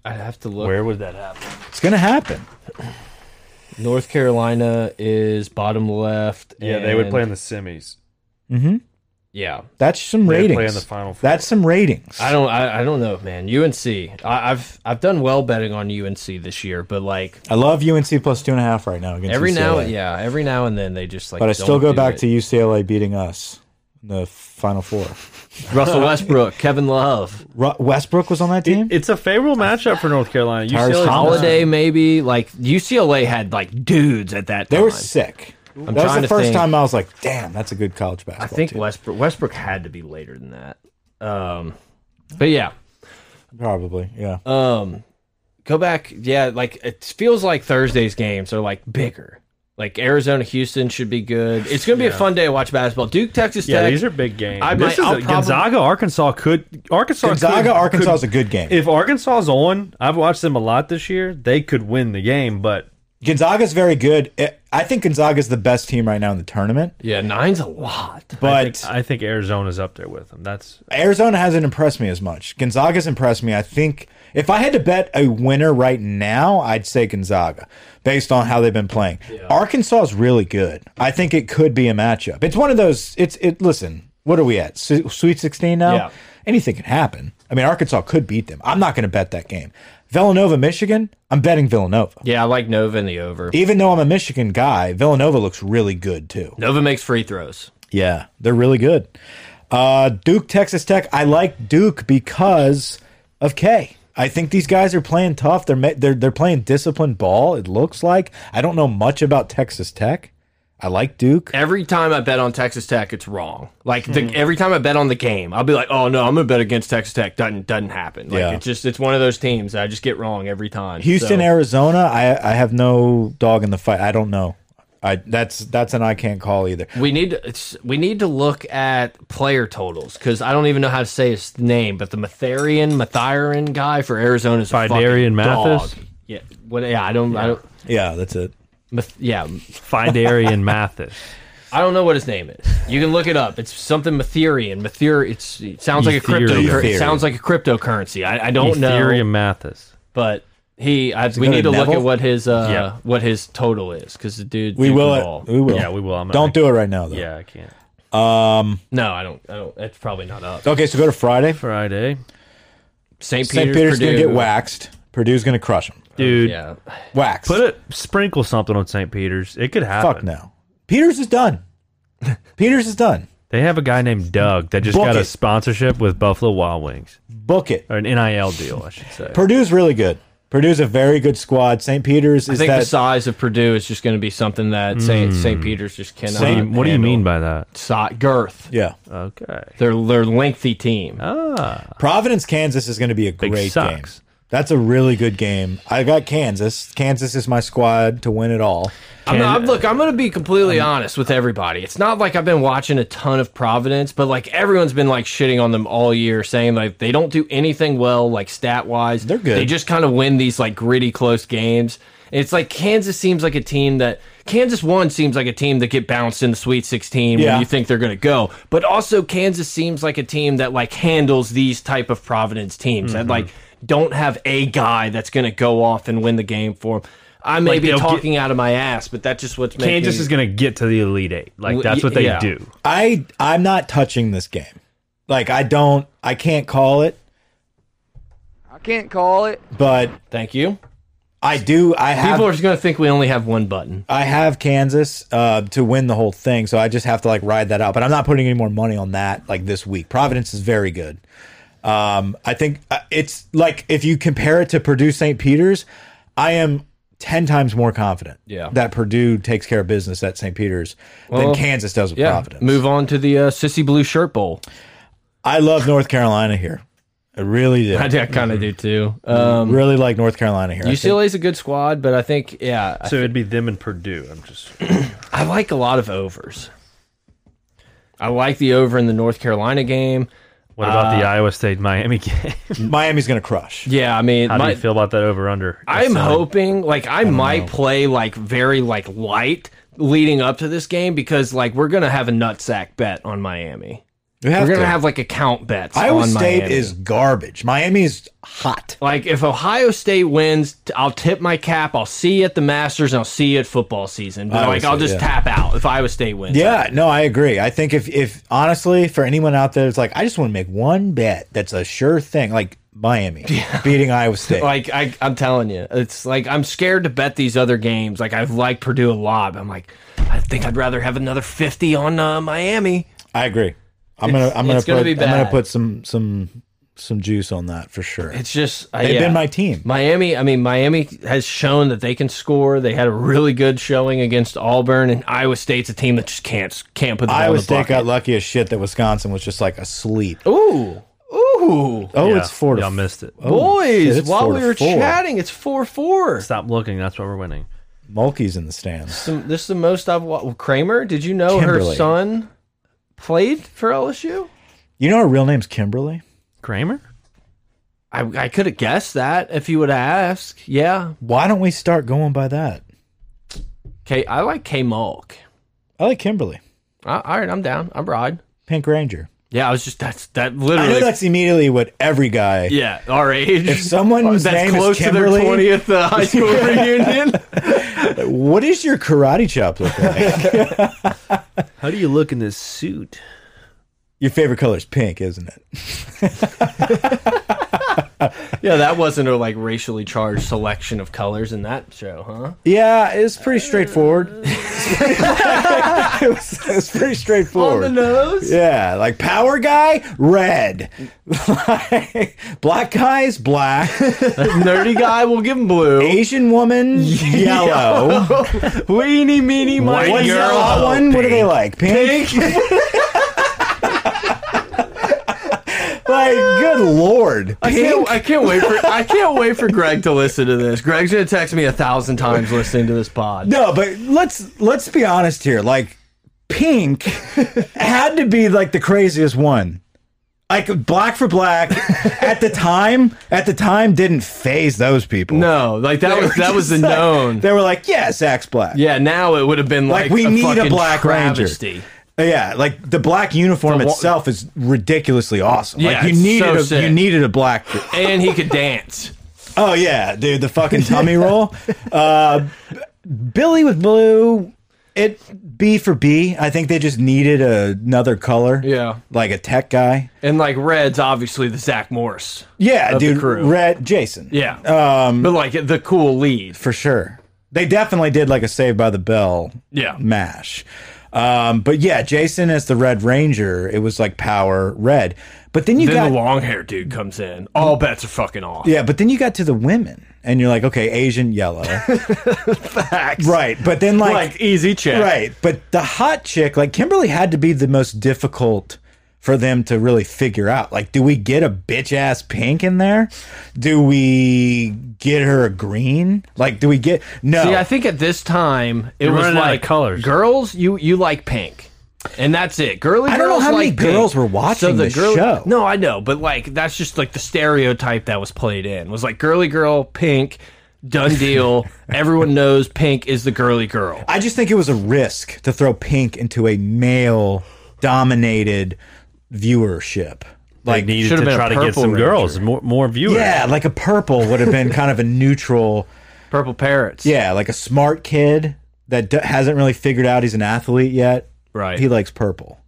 [SPEAKER 2] I'd have to look.
[SPEAKER 3] Where would that happen?
[SPEAKER 1] It's gonna happen.
[SPEAKER 2] North Carolina is bottom left.
[SPEAKER 3] Yeah, they would
[SPEAKER 2] and-
[SPEAKER 3] play in the semis.
[SPEAKER 2] Yeah,
[SPEAKER 1] That's some
[SPEAKER 3] They
[SPEAKER 1] ratings.
[SPEAKER 3] play in the Final Four.
[SPEAKER 1] That's some ratings.
[SPEAKER 2] I don't. I, I don't know, man. UNC. I, I've I've done well betting on UNC this year, but like
[SPEAKER 1] I love UNC plus two and a half right now against
[SPEAKER 2] every now,
[SPEAKER 1] UCLA.
[SPEAKER 2] yeah, every now and then they just like.
[SPEAKER 1] But I still go back to
[SPEAKER 2] you.
[SPEAKER 1] UCLA beating us in the Final Four.
[SPEAKER 2] Russell Westbrook, Kevin Love,
[SPEAKER 1] Ru Westbrook was on that team.
[SPEAKER 3] It's a favorable matchup for North Carolina.
[SPEAKER 1] Tyrese
[SPEAKER 3] UCLA 's
[SPEAKER 1] Thomas.
[SPEAKER 3] not.
[SPEAKER 2] Holiday, maybe. Like UCLA had like dudes at that.
[SPEAKER 1] they
[SPEAKER 2] Time.
[SPEAKER 1] were sick. that was
[SPEAKER 2] trying
[SPEAKER 1] the
[SPEAKER 2] to
[SPEAKER 1] first
[SPEAKER 2] think.
[SPEAKER 1] time I was like, "Damn, that's a good college basketball."
[SPEAKER 2] I think
[SPEAKER 1] team.
[SPEAKER 2] Westbrook Westbrook had to be later than that. Um, but yeah,
[SPEAKER 1] probably, yeah.
[SPEAKER 2] um, go back. Yeah, like it feels like Thursday's games are like bigger. Like Arizona, Houston should be good. It's going to be a fun day to watch basketball. Duke, Texas
[SPEAKER 3] Yeah,
[SPEAKER 2] Tech.
[SPEAKER 3] these are big games.
[SPEAKER 2] I
[SPEAKER 3] this
[SPEAKER 2] might- I'll
[SPEAKER 3] is a,
[SPEAKER 2] probably-
[SPEAKER 3] Gonzaga, Arkansas could Arkansas.
[SPEAKER 1] Gonzaga,
[SPEAKER 3] could-
[SPEAKER 1] Arkansas
[SPEAKER 3] could-
[SPEAKER 1] is a good game.
[SPEAKER 3] If Arkansas's on, I've watched them a lot this year. They could win the game, but
[SPEAKER 1] Gonzaga's very good. I- I think Gonzaga's the best team right now in the tournament.
[SPEAKER 2] yeah, nine's a lot.
[SPEAKER 3] I
[SPEAKER 1] But
[SPEAKER 3] think, I think Arizona's up there with them. That's
[SPEAKER 1] Arizona hasn't impressed me as much. Gonzaga's impressed me. I think if I had to bet a winner right now, I'd say Gonzaga based on how they've been playing. Arkansas is really good. I think it could be a matchup. It's one of those. It's it. Listen, what are we at? Su Sweet sixteen now.
[SPEAKER 2] Yeah.
[SPEAKER 1] Anything can happen. I mean, Arkansas could beat them. I'm not going to bet that game. Villanova, Michigan. I'm betting Villanova.
[SPEAKER 2] Yeah, I like Nova in the over.
[SPEAKER 1] Even though I'm a Michigan guy, Villanova looks really good too.
[SPEAKER 2] Nova makes free throws.
[SPEAKER 1] Yeah, they're really good. Uh, Duke, Texas Tech. I like Duke because of K. I think these guys are playing tough. They're ma- they're they're playing disciplined ball. It looks like I don't know much about Texas Tech. I like Duke.
[SPEAKER 2] Every time I bet on Texas Tech, it's wrong. Like the, every time I bet on the game, I'll be like, "Oh no, I'm gonna bet against Texas Tech." Doesn't doesn't happen. Like
[SPEAKER 1] Yeah.
[SPEAKER 2] it's just it's one of those teams that I just get wrong every time.
[SPEAKER 1] Houston,
[SPEAKER 2] So-
[SPEAKER 1] Arizona. I I have no dog in the fight. I don't know. I that's that's an I can't call either.
[SPEAKER 2] We need to, it's, we need to look at player totals because I don't even know how to say his name, but the Matharian Matharian guy for Arizona is a fucking
[SPEAKER 3] Fidarian Mathis?
[SPEAKER 2] dog. Yeah, what, yeah, I don't, I don't,
[SPEAKER 1] Yeah, that's it.
[SPEAKER 2] Math, yeah,
[SPEAKER 3] Fidarian Mathis.
[SPEAKER 2] I don't know what his name is. You can look it up. It's something Matherian. Mather. It's it sounds like a crypto.
[SPEAKER 3] Ethereum.
[SPEAKER 2] It sounds like a cryptocurrency. I, I don't
[SPEAKER 3] Ethereum
[SPEAKER 2] know,
[SPEAKER 3] Mathis.
[SPEAKER 2] but he. I, we
[SPEAKER 1] go
[SPEAKER 2] need
[SPEAKER 1] to
[SPEAKER 2] to look
[SPEAKER 1] Neville?
[SPEAKER 2] at what his uh,
[SPEAKER 3] Yeah.
[SPEAKER 2] what his total is because the dude.
[SPEAKER 1] We
[SPEAKER 2] dude
[SPEAKER 1] will.
[SPEAKER 2] can
[SPEAKER 1] It,
[SPEAKER 2] ball.
[SPEAKER 1] we will.
[SPEAKER 3] Yeah, we will. I'm not-
[SPEAKER 1] Don't do it right now though.
[SPEAKER 3] Yeah, I can't.
[SPEAKER 2] No, I don't. I don't. That's probably not up.
[SPEAKER 1] Okay, so go to Friday.
[SPEAKER 3] Friday,
[SPEAKER 1] Oh,
[SPEAKER 2] St. Peter's,
[SPEAKER 1] St. Peter's gonna
[SPEAKER 2] Purdue.
[SPEAKER 1] get waxed. Purdue's gonna crush them.
[SPEAKER 3] dude.
[SPEAKER 2] Yeah.
[SPEAKER 1] Waxed.
[SPEAKER 3] Put it. Sprinkle something on St. Peter's. It could happen.
[SPEAKER 1] Fuck no. Peters is done. Peters is done.
[SPEAKER 3] They have a guy named Doug that just
[SPEAKER 1] Book
[SPEAKER 3] got
[SPEAKER 1] it.
[SPEAKER 3] a sponsorship with Buffalo Wild Wings
[SPEAKER 1] Book it.
[SPEAKER 3] or an NIL deal, I should say.
[SPEAKER 1] Purdue's really good. Purdue's a very good squad. St. Peter's
[SPEAKER 2] I
[SPEAKER 1] is
[SPEAKER 2] think
[SPEAKER 1] that
[SPEAKER 2] the size of Purdue is just going to be something that St. St. Peter's just cannot.
[SPEAKER 3] What do you- Hmm. what do you
[SPEAKER 2] handle.
[SPEAKER 3] mean by that?
[SPEAKER 2] Si girth.
[SPEAKER 1] yeah.
[SPEAKER 3] Okay.
[SPEAKER 2] They're they're lengthy team.
[SPEAKER 1] Providence, Kansas is going to be a great game.
[SPEAKER 3] sucks.
[SPEAKER 1] That's a really good game. I got Kansas. Kansas is my squad to win it all.
[SPEAKER 2] I'm not, I'm- look, I'm going to be completely honest with everybody. It's not like I've been watching a ton of Providence, but like everyone's been like shitting on them all year, saying like they don't do anything well, like stat wise.
[SPEAKER 1] They're good.
[SPEAKER 2] They just kind of win these like gritty, close games. And It's like Kansas seems like a team that Kansas one seems like a team that get bounced in the Sweet 16
[SPEAKER 1] Yeah.
[SPEAKER 2] when you think they're going to go, but also Kansas seems like a team that like handles these type of Providence teams that like don't have a guy that's going to go off and win the game for them. I may be
[SPEAKER 3] they'll get-
[SPEAKER 2] talking out of my ass, but that's just what's making
[SPEAKER 3] Kansas is going to get to the Elite Eight. Like, that's what they
[SPEAKER 2] yeah.
[SPEAKER 3] do.
[SPEAKER 1] I I'm not touching this game. Like I don't. I can't call it.
[SPEAKER 6] I can't call it.
[SPEAKER 1] But
[SPEAKER 2] Thank you.
[SPEAKER 1] I do. I have.
[SPEAKER 2] People are just going to think we only have one button.
[SPEAKER 1] I have Kansas uh, to win the whole thing, so I just have to like ride that out. But I'm not putting any more money on that like this week. Providence is very good. Um, I think uh, it's like if you compare it to Purdue St. Peter's, I am ten times more confident
[SPEAKER 2] Yeah.
[SPEAKER 1] that Purdue takes care of business at St. Peter's than Kansas does with Providence.
[SPEAKER 2] Move on to the uh, Sissy Blue Shirt Bowl.
[SPEAKER 1] I love North Carolina here. I really do.
[SPEAKER 2] I,
[SPEAKER 1] I
[SPEAKER 2] kind of do too. Um,
[SPEAKER 1] really like North Carolina here. Mm-hmm. I think-
[SPEAKER 2] UCLA's a good squad, but I think yeah, I,
[SPEAKER 3] So it'd be them and Purdue. I'm just.
[SPEAKER 2] I like a lot of overs. I like the over in the North Carolina game.
[SPEAKER 3] What about the Iowa State Miami game?
[SPEAKER 1] Miami's going to crush.
[SPEAKER 2] Yeah, I mean,
[SPEAKER 3] How do
[SPEAKER 2] my,
[SPEAKER 3] you feel about that uh, over under?
[SPEAKER 2] I'm hoping like I, might play like very like light leading up to this game because like we're gonna have a nutsack bet on Miami.
[SPEAKER 1] You
[SPEAKER 2] We're
[SPEAKER 1] have
[SPEAKER 2] gonna
[SPEAKER 1] to.
[SPEAKER 2] have like account bets.
[SPEAKER 1] Iowa
[SPEAKER 2] on
[SPEAKER 1] State
[SPEAKER 2] Miami.
[SPEAKER 1] is garbage. Miami's hot.
[SPEAKER 2] like if Ohio State wins, t- I'll tip my cap. I'll see you at the Masters and I'll see you at football season. But
[SPEAKER 1] Iowa
[SPEAKER 2] like I'll
[SPEAKER 1] State,
[SPEAKER 2] just
[SPEAKER 1] yeah.
[SPEAKER 2] tap out if Iowa State wins.
[SPEAKER 1] Yeah, no, I agree. I think if if honestly, for anyone out there, it's like I just want to make one bet that's a sure thing, like Miami beating Iowa State.
[SPEAKER 2] Like I, I'm telling you, it's like I'm scared to bet these other games. Like I've liked Purdue a lot. But I'm like, I think I'd rather have another 50 on uh, Miami.
[SPEAKER 1] I agree. I'm gonna I'm gonna
[SPEAKER 2] it's gonna
[SPEAKER 1] put
[SPEAKER 2] be
[SPEAKER 1] I'm gonna
[SPEAKER 2] bad.
[SPEAKER 1] put some some some juice on that for sure.
[SPEAKER 2] It's just uh,
[SPEAKER 1] They've
[SPEAKER 2] yeah.
[SPEAKER 1] been my team.
[SPEAKER 2] Miami, I mean, Miami has shown that they can score. They had a really good showing against Auburn, and Iowa State's a team that just can't can't put the ball in
[SPEAKER 1] Iowa
[SPEAKER 2] the
[SPEAKER 1] State got
[SPEAKER 2] bucket. Oh,
[SPEAKER 1] lucky as shit that Wisconsin was just like asleep.
[SPEAKER 2] Ooh, ooh,
[SPEAKER 1] Oh,
[SPEAKER 3] Yeah,
[SPEAKER 1] it's four to
[SPEAKER 3] Y'all missed it.
[SPEAKER 1] Oh, shit,
[SPEAKER 2] boys!
[SPEAKER 1] it's
[SPEAKER 2] while
[SPEAKER 1] four
[SPEAKER 2] we
[SPEAKER 1] to
[SPEAKER 2] were
[SPEAKER 1] four.
[SPEAKER 2] chatting, it's four four.
[SPEAKER 3] Stop looking. That's why we're winning.
[SPEAKER 1] Mulkey's in the stands.
[SPEAKER 2] This is the most I've watched. Kramer, did you know her
[SPEAKER 1] Kimberly.
[SPEAKER 2] son played for LSU?
[SPEAKER 1] You know her real name's Kimberly.
[SPEAKER 3] Kramer?
[SPEAKER 2] I, I could have guessed that if you would have asked. Yeah.
[SPEAKER 1] Why don't we start going by that?
[SPEAKER 2] K, I like K Mulk.
[SPEAKER 1] I like Kimberly,
[SPEAKER 2] I, all right, I'm down. I'm ride.
[SPEAKER 1] Pink Ranger.
[SPEAKER 2] Yeah, I was just that's that
[SPEAKER 1] I
[SPEAKER 2] literally.
[SPEAKER 1] know that's immediately what every guy.
[SPEAKER 2] yeah, our age.
[SPEAKER 1] If someone's
[SPEAKER 2] that's
[SPEAKER 1] name is
[SPEAKER 2] close
[SPEAKER 1] Kimberly-
[SPEAKER 2] to their 20th uh, high school reunion.
[SPEAKER 1] What does your karate chop look like?
[SPEAKER 3] How do you look in this suit?
[SPEAKER 1] your favorite color is pink, isn't it?
[SPEAKER 2] Yeah, that wasn't a like racially charged selection of colors in that show, huh?
[SPEAKER 1] Yeah, it was pretty straightforward. it, was, it was pretty straightforward.
[SPEAKER 2] nose.
[SPEAKER 1] Yeah, like power guy, red. Like, black guy is black.
[SPEAKER 2] Nerdy guy, we'll give him blue.
[SPEAKER 1] Asian woman, yellow.
[SPEAKER 2] Weenie, meenie, miny,
[SPEAKER 1] What's the
[SPEAKER 2] girl.
[SPEAKER 1] hot one? What are they like? Pink? like, good lord.
[SPEAKER 2] I can't, I can't wait for I can't wait for Greg to listen to this. Greg's gonna text me a thousand times listening to this pod.
[SPEAKER 1] No, but let's let's be honest here. Like pink had to be like the craziest one. Like black for black at the time, at the time didn't phase those people.
[SPEAKER 2] No, like that was that was the
[SPEAKER 1] Like,
[SPEAKER 2] known.
[SPEAKER 1] They were like, yeah, Zach's black.
[SPEAKER 2] Yeah, now it would have been like,
[SPEAKER 1] Like, we
[SPEAKER 2] a
[SPEAKER 1] need a
[SPEAKER 2] fucking
[SPEAKER 1] Black Ranger.
[SPEAKER 2] travesty.
[SPEAKER 1] Yeah, like the black uniform
[SPEAKER 2] The wa-
[SPEAKER 1] itself is ridiculously awesome.
[SPEAKER 2] Yeah,
[SPEAKER 1] like you
[SPEAKER 2] it's
[SPEAKER 1] needed
[SPEAKER 2] so
[SPEAKER 1] a,
[SPEAKER 2] sick.
[SPEAKER 1] you needed a black.
[SPEAKER 2] and he could dance.
[SPEAKER 1] Oh yeah, dude, the fucking tummy roll. Uh, B- Billy with blue. It B for B. I think they just needed another color.
[SPEAKER 2] Yeah,
[SPEAKER 1] like a tech guy.
[SPEAKER 2] and like Red's obviously the Zach Morse,
[SPEAKER 1] Yeah,
[SPEAKER 2] the
[SPEAKER 1] dude,
[SPEAKER 2] crew.
[SPEAKER 1] Red Jason.
[SPEAKER 2] Yeah.
[SPEAKER 1] um,
[SPEAKER 2] but like the cool lead.
[SPEAKER 1] for sure. They definitely did like a Save by the Bell.
[SPEAKER 2] Yeah.
[SPEAKER 1] mash. Um, but yeah, Jason as the Red Ranger, it was like power red. But then you
[SPEAKER 2] Then
[SPEAKER 1] got
[SPEAKER 2] the long hair dude comes in. All bets are fucking off.
[SPEAKER 1] Yeah, but then you got to the women, and you're like, okay, Asian, yellow, right? But then like,
[SPEAKER 2] Like easy check.
[SPEAKER 1] right? But the hot chick, like Kimberly, had to be the most difficult for them to really figure out. Like, do we get a bitch ass pink in there? Do we get her a green? Like, do we get no?
[SPEAKER 2] See, I think at this time it
[SPEAKER 3] You're
[SPEAKER 2] was
[SPEAKER 3] running out of
[SPEAKER 2] like
[SPEAKER 3] colors.
[SPEAKER 2] Girls, you you like pink, and that's it. Girly
[SPEAKER 1] I
[SPEAKER 2] girls
[SPEAKER 1] don't know how many
[SPEAKER 2] like pink.
[SPEAKER 1] girls were watching this show.
[SPEAKER 2] No, I know, but like that's just like the stereotype that was played in was like girly girl, pink, done deal. Everyone knows pink is the girly girl.
[SPEAKER 1] I just think it was a risk to throw pink into a male dominated viewership.
[SPEAKER 3] Like, needed
[SPEAKER 2] should've
[SPEAKER 3] to
[SPEAKER 2] been a
[SPEAKER 3] try to get
[SPEAKER 2] purple
[SPEAKER 3] some
[SPEAKER 2] ranger.
[SPEAKER 3] girls, more, more viewers.
[SPEAKER 1] Yeah, like a purple would have been kind of a neutral.
[SPEAKER 2] Purple parrots.
[SPEAKER 1] Yeah, like a smart kid that d hasn't really figured out he's an athlete yet.
[SPEAKER 2] Right.
[SPEAKER 1] He likes purple.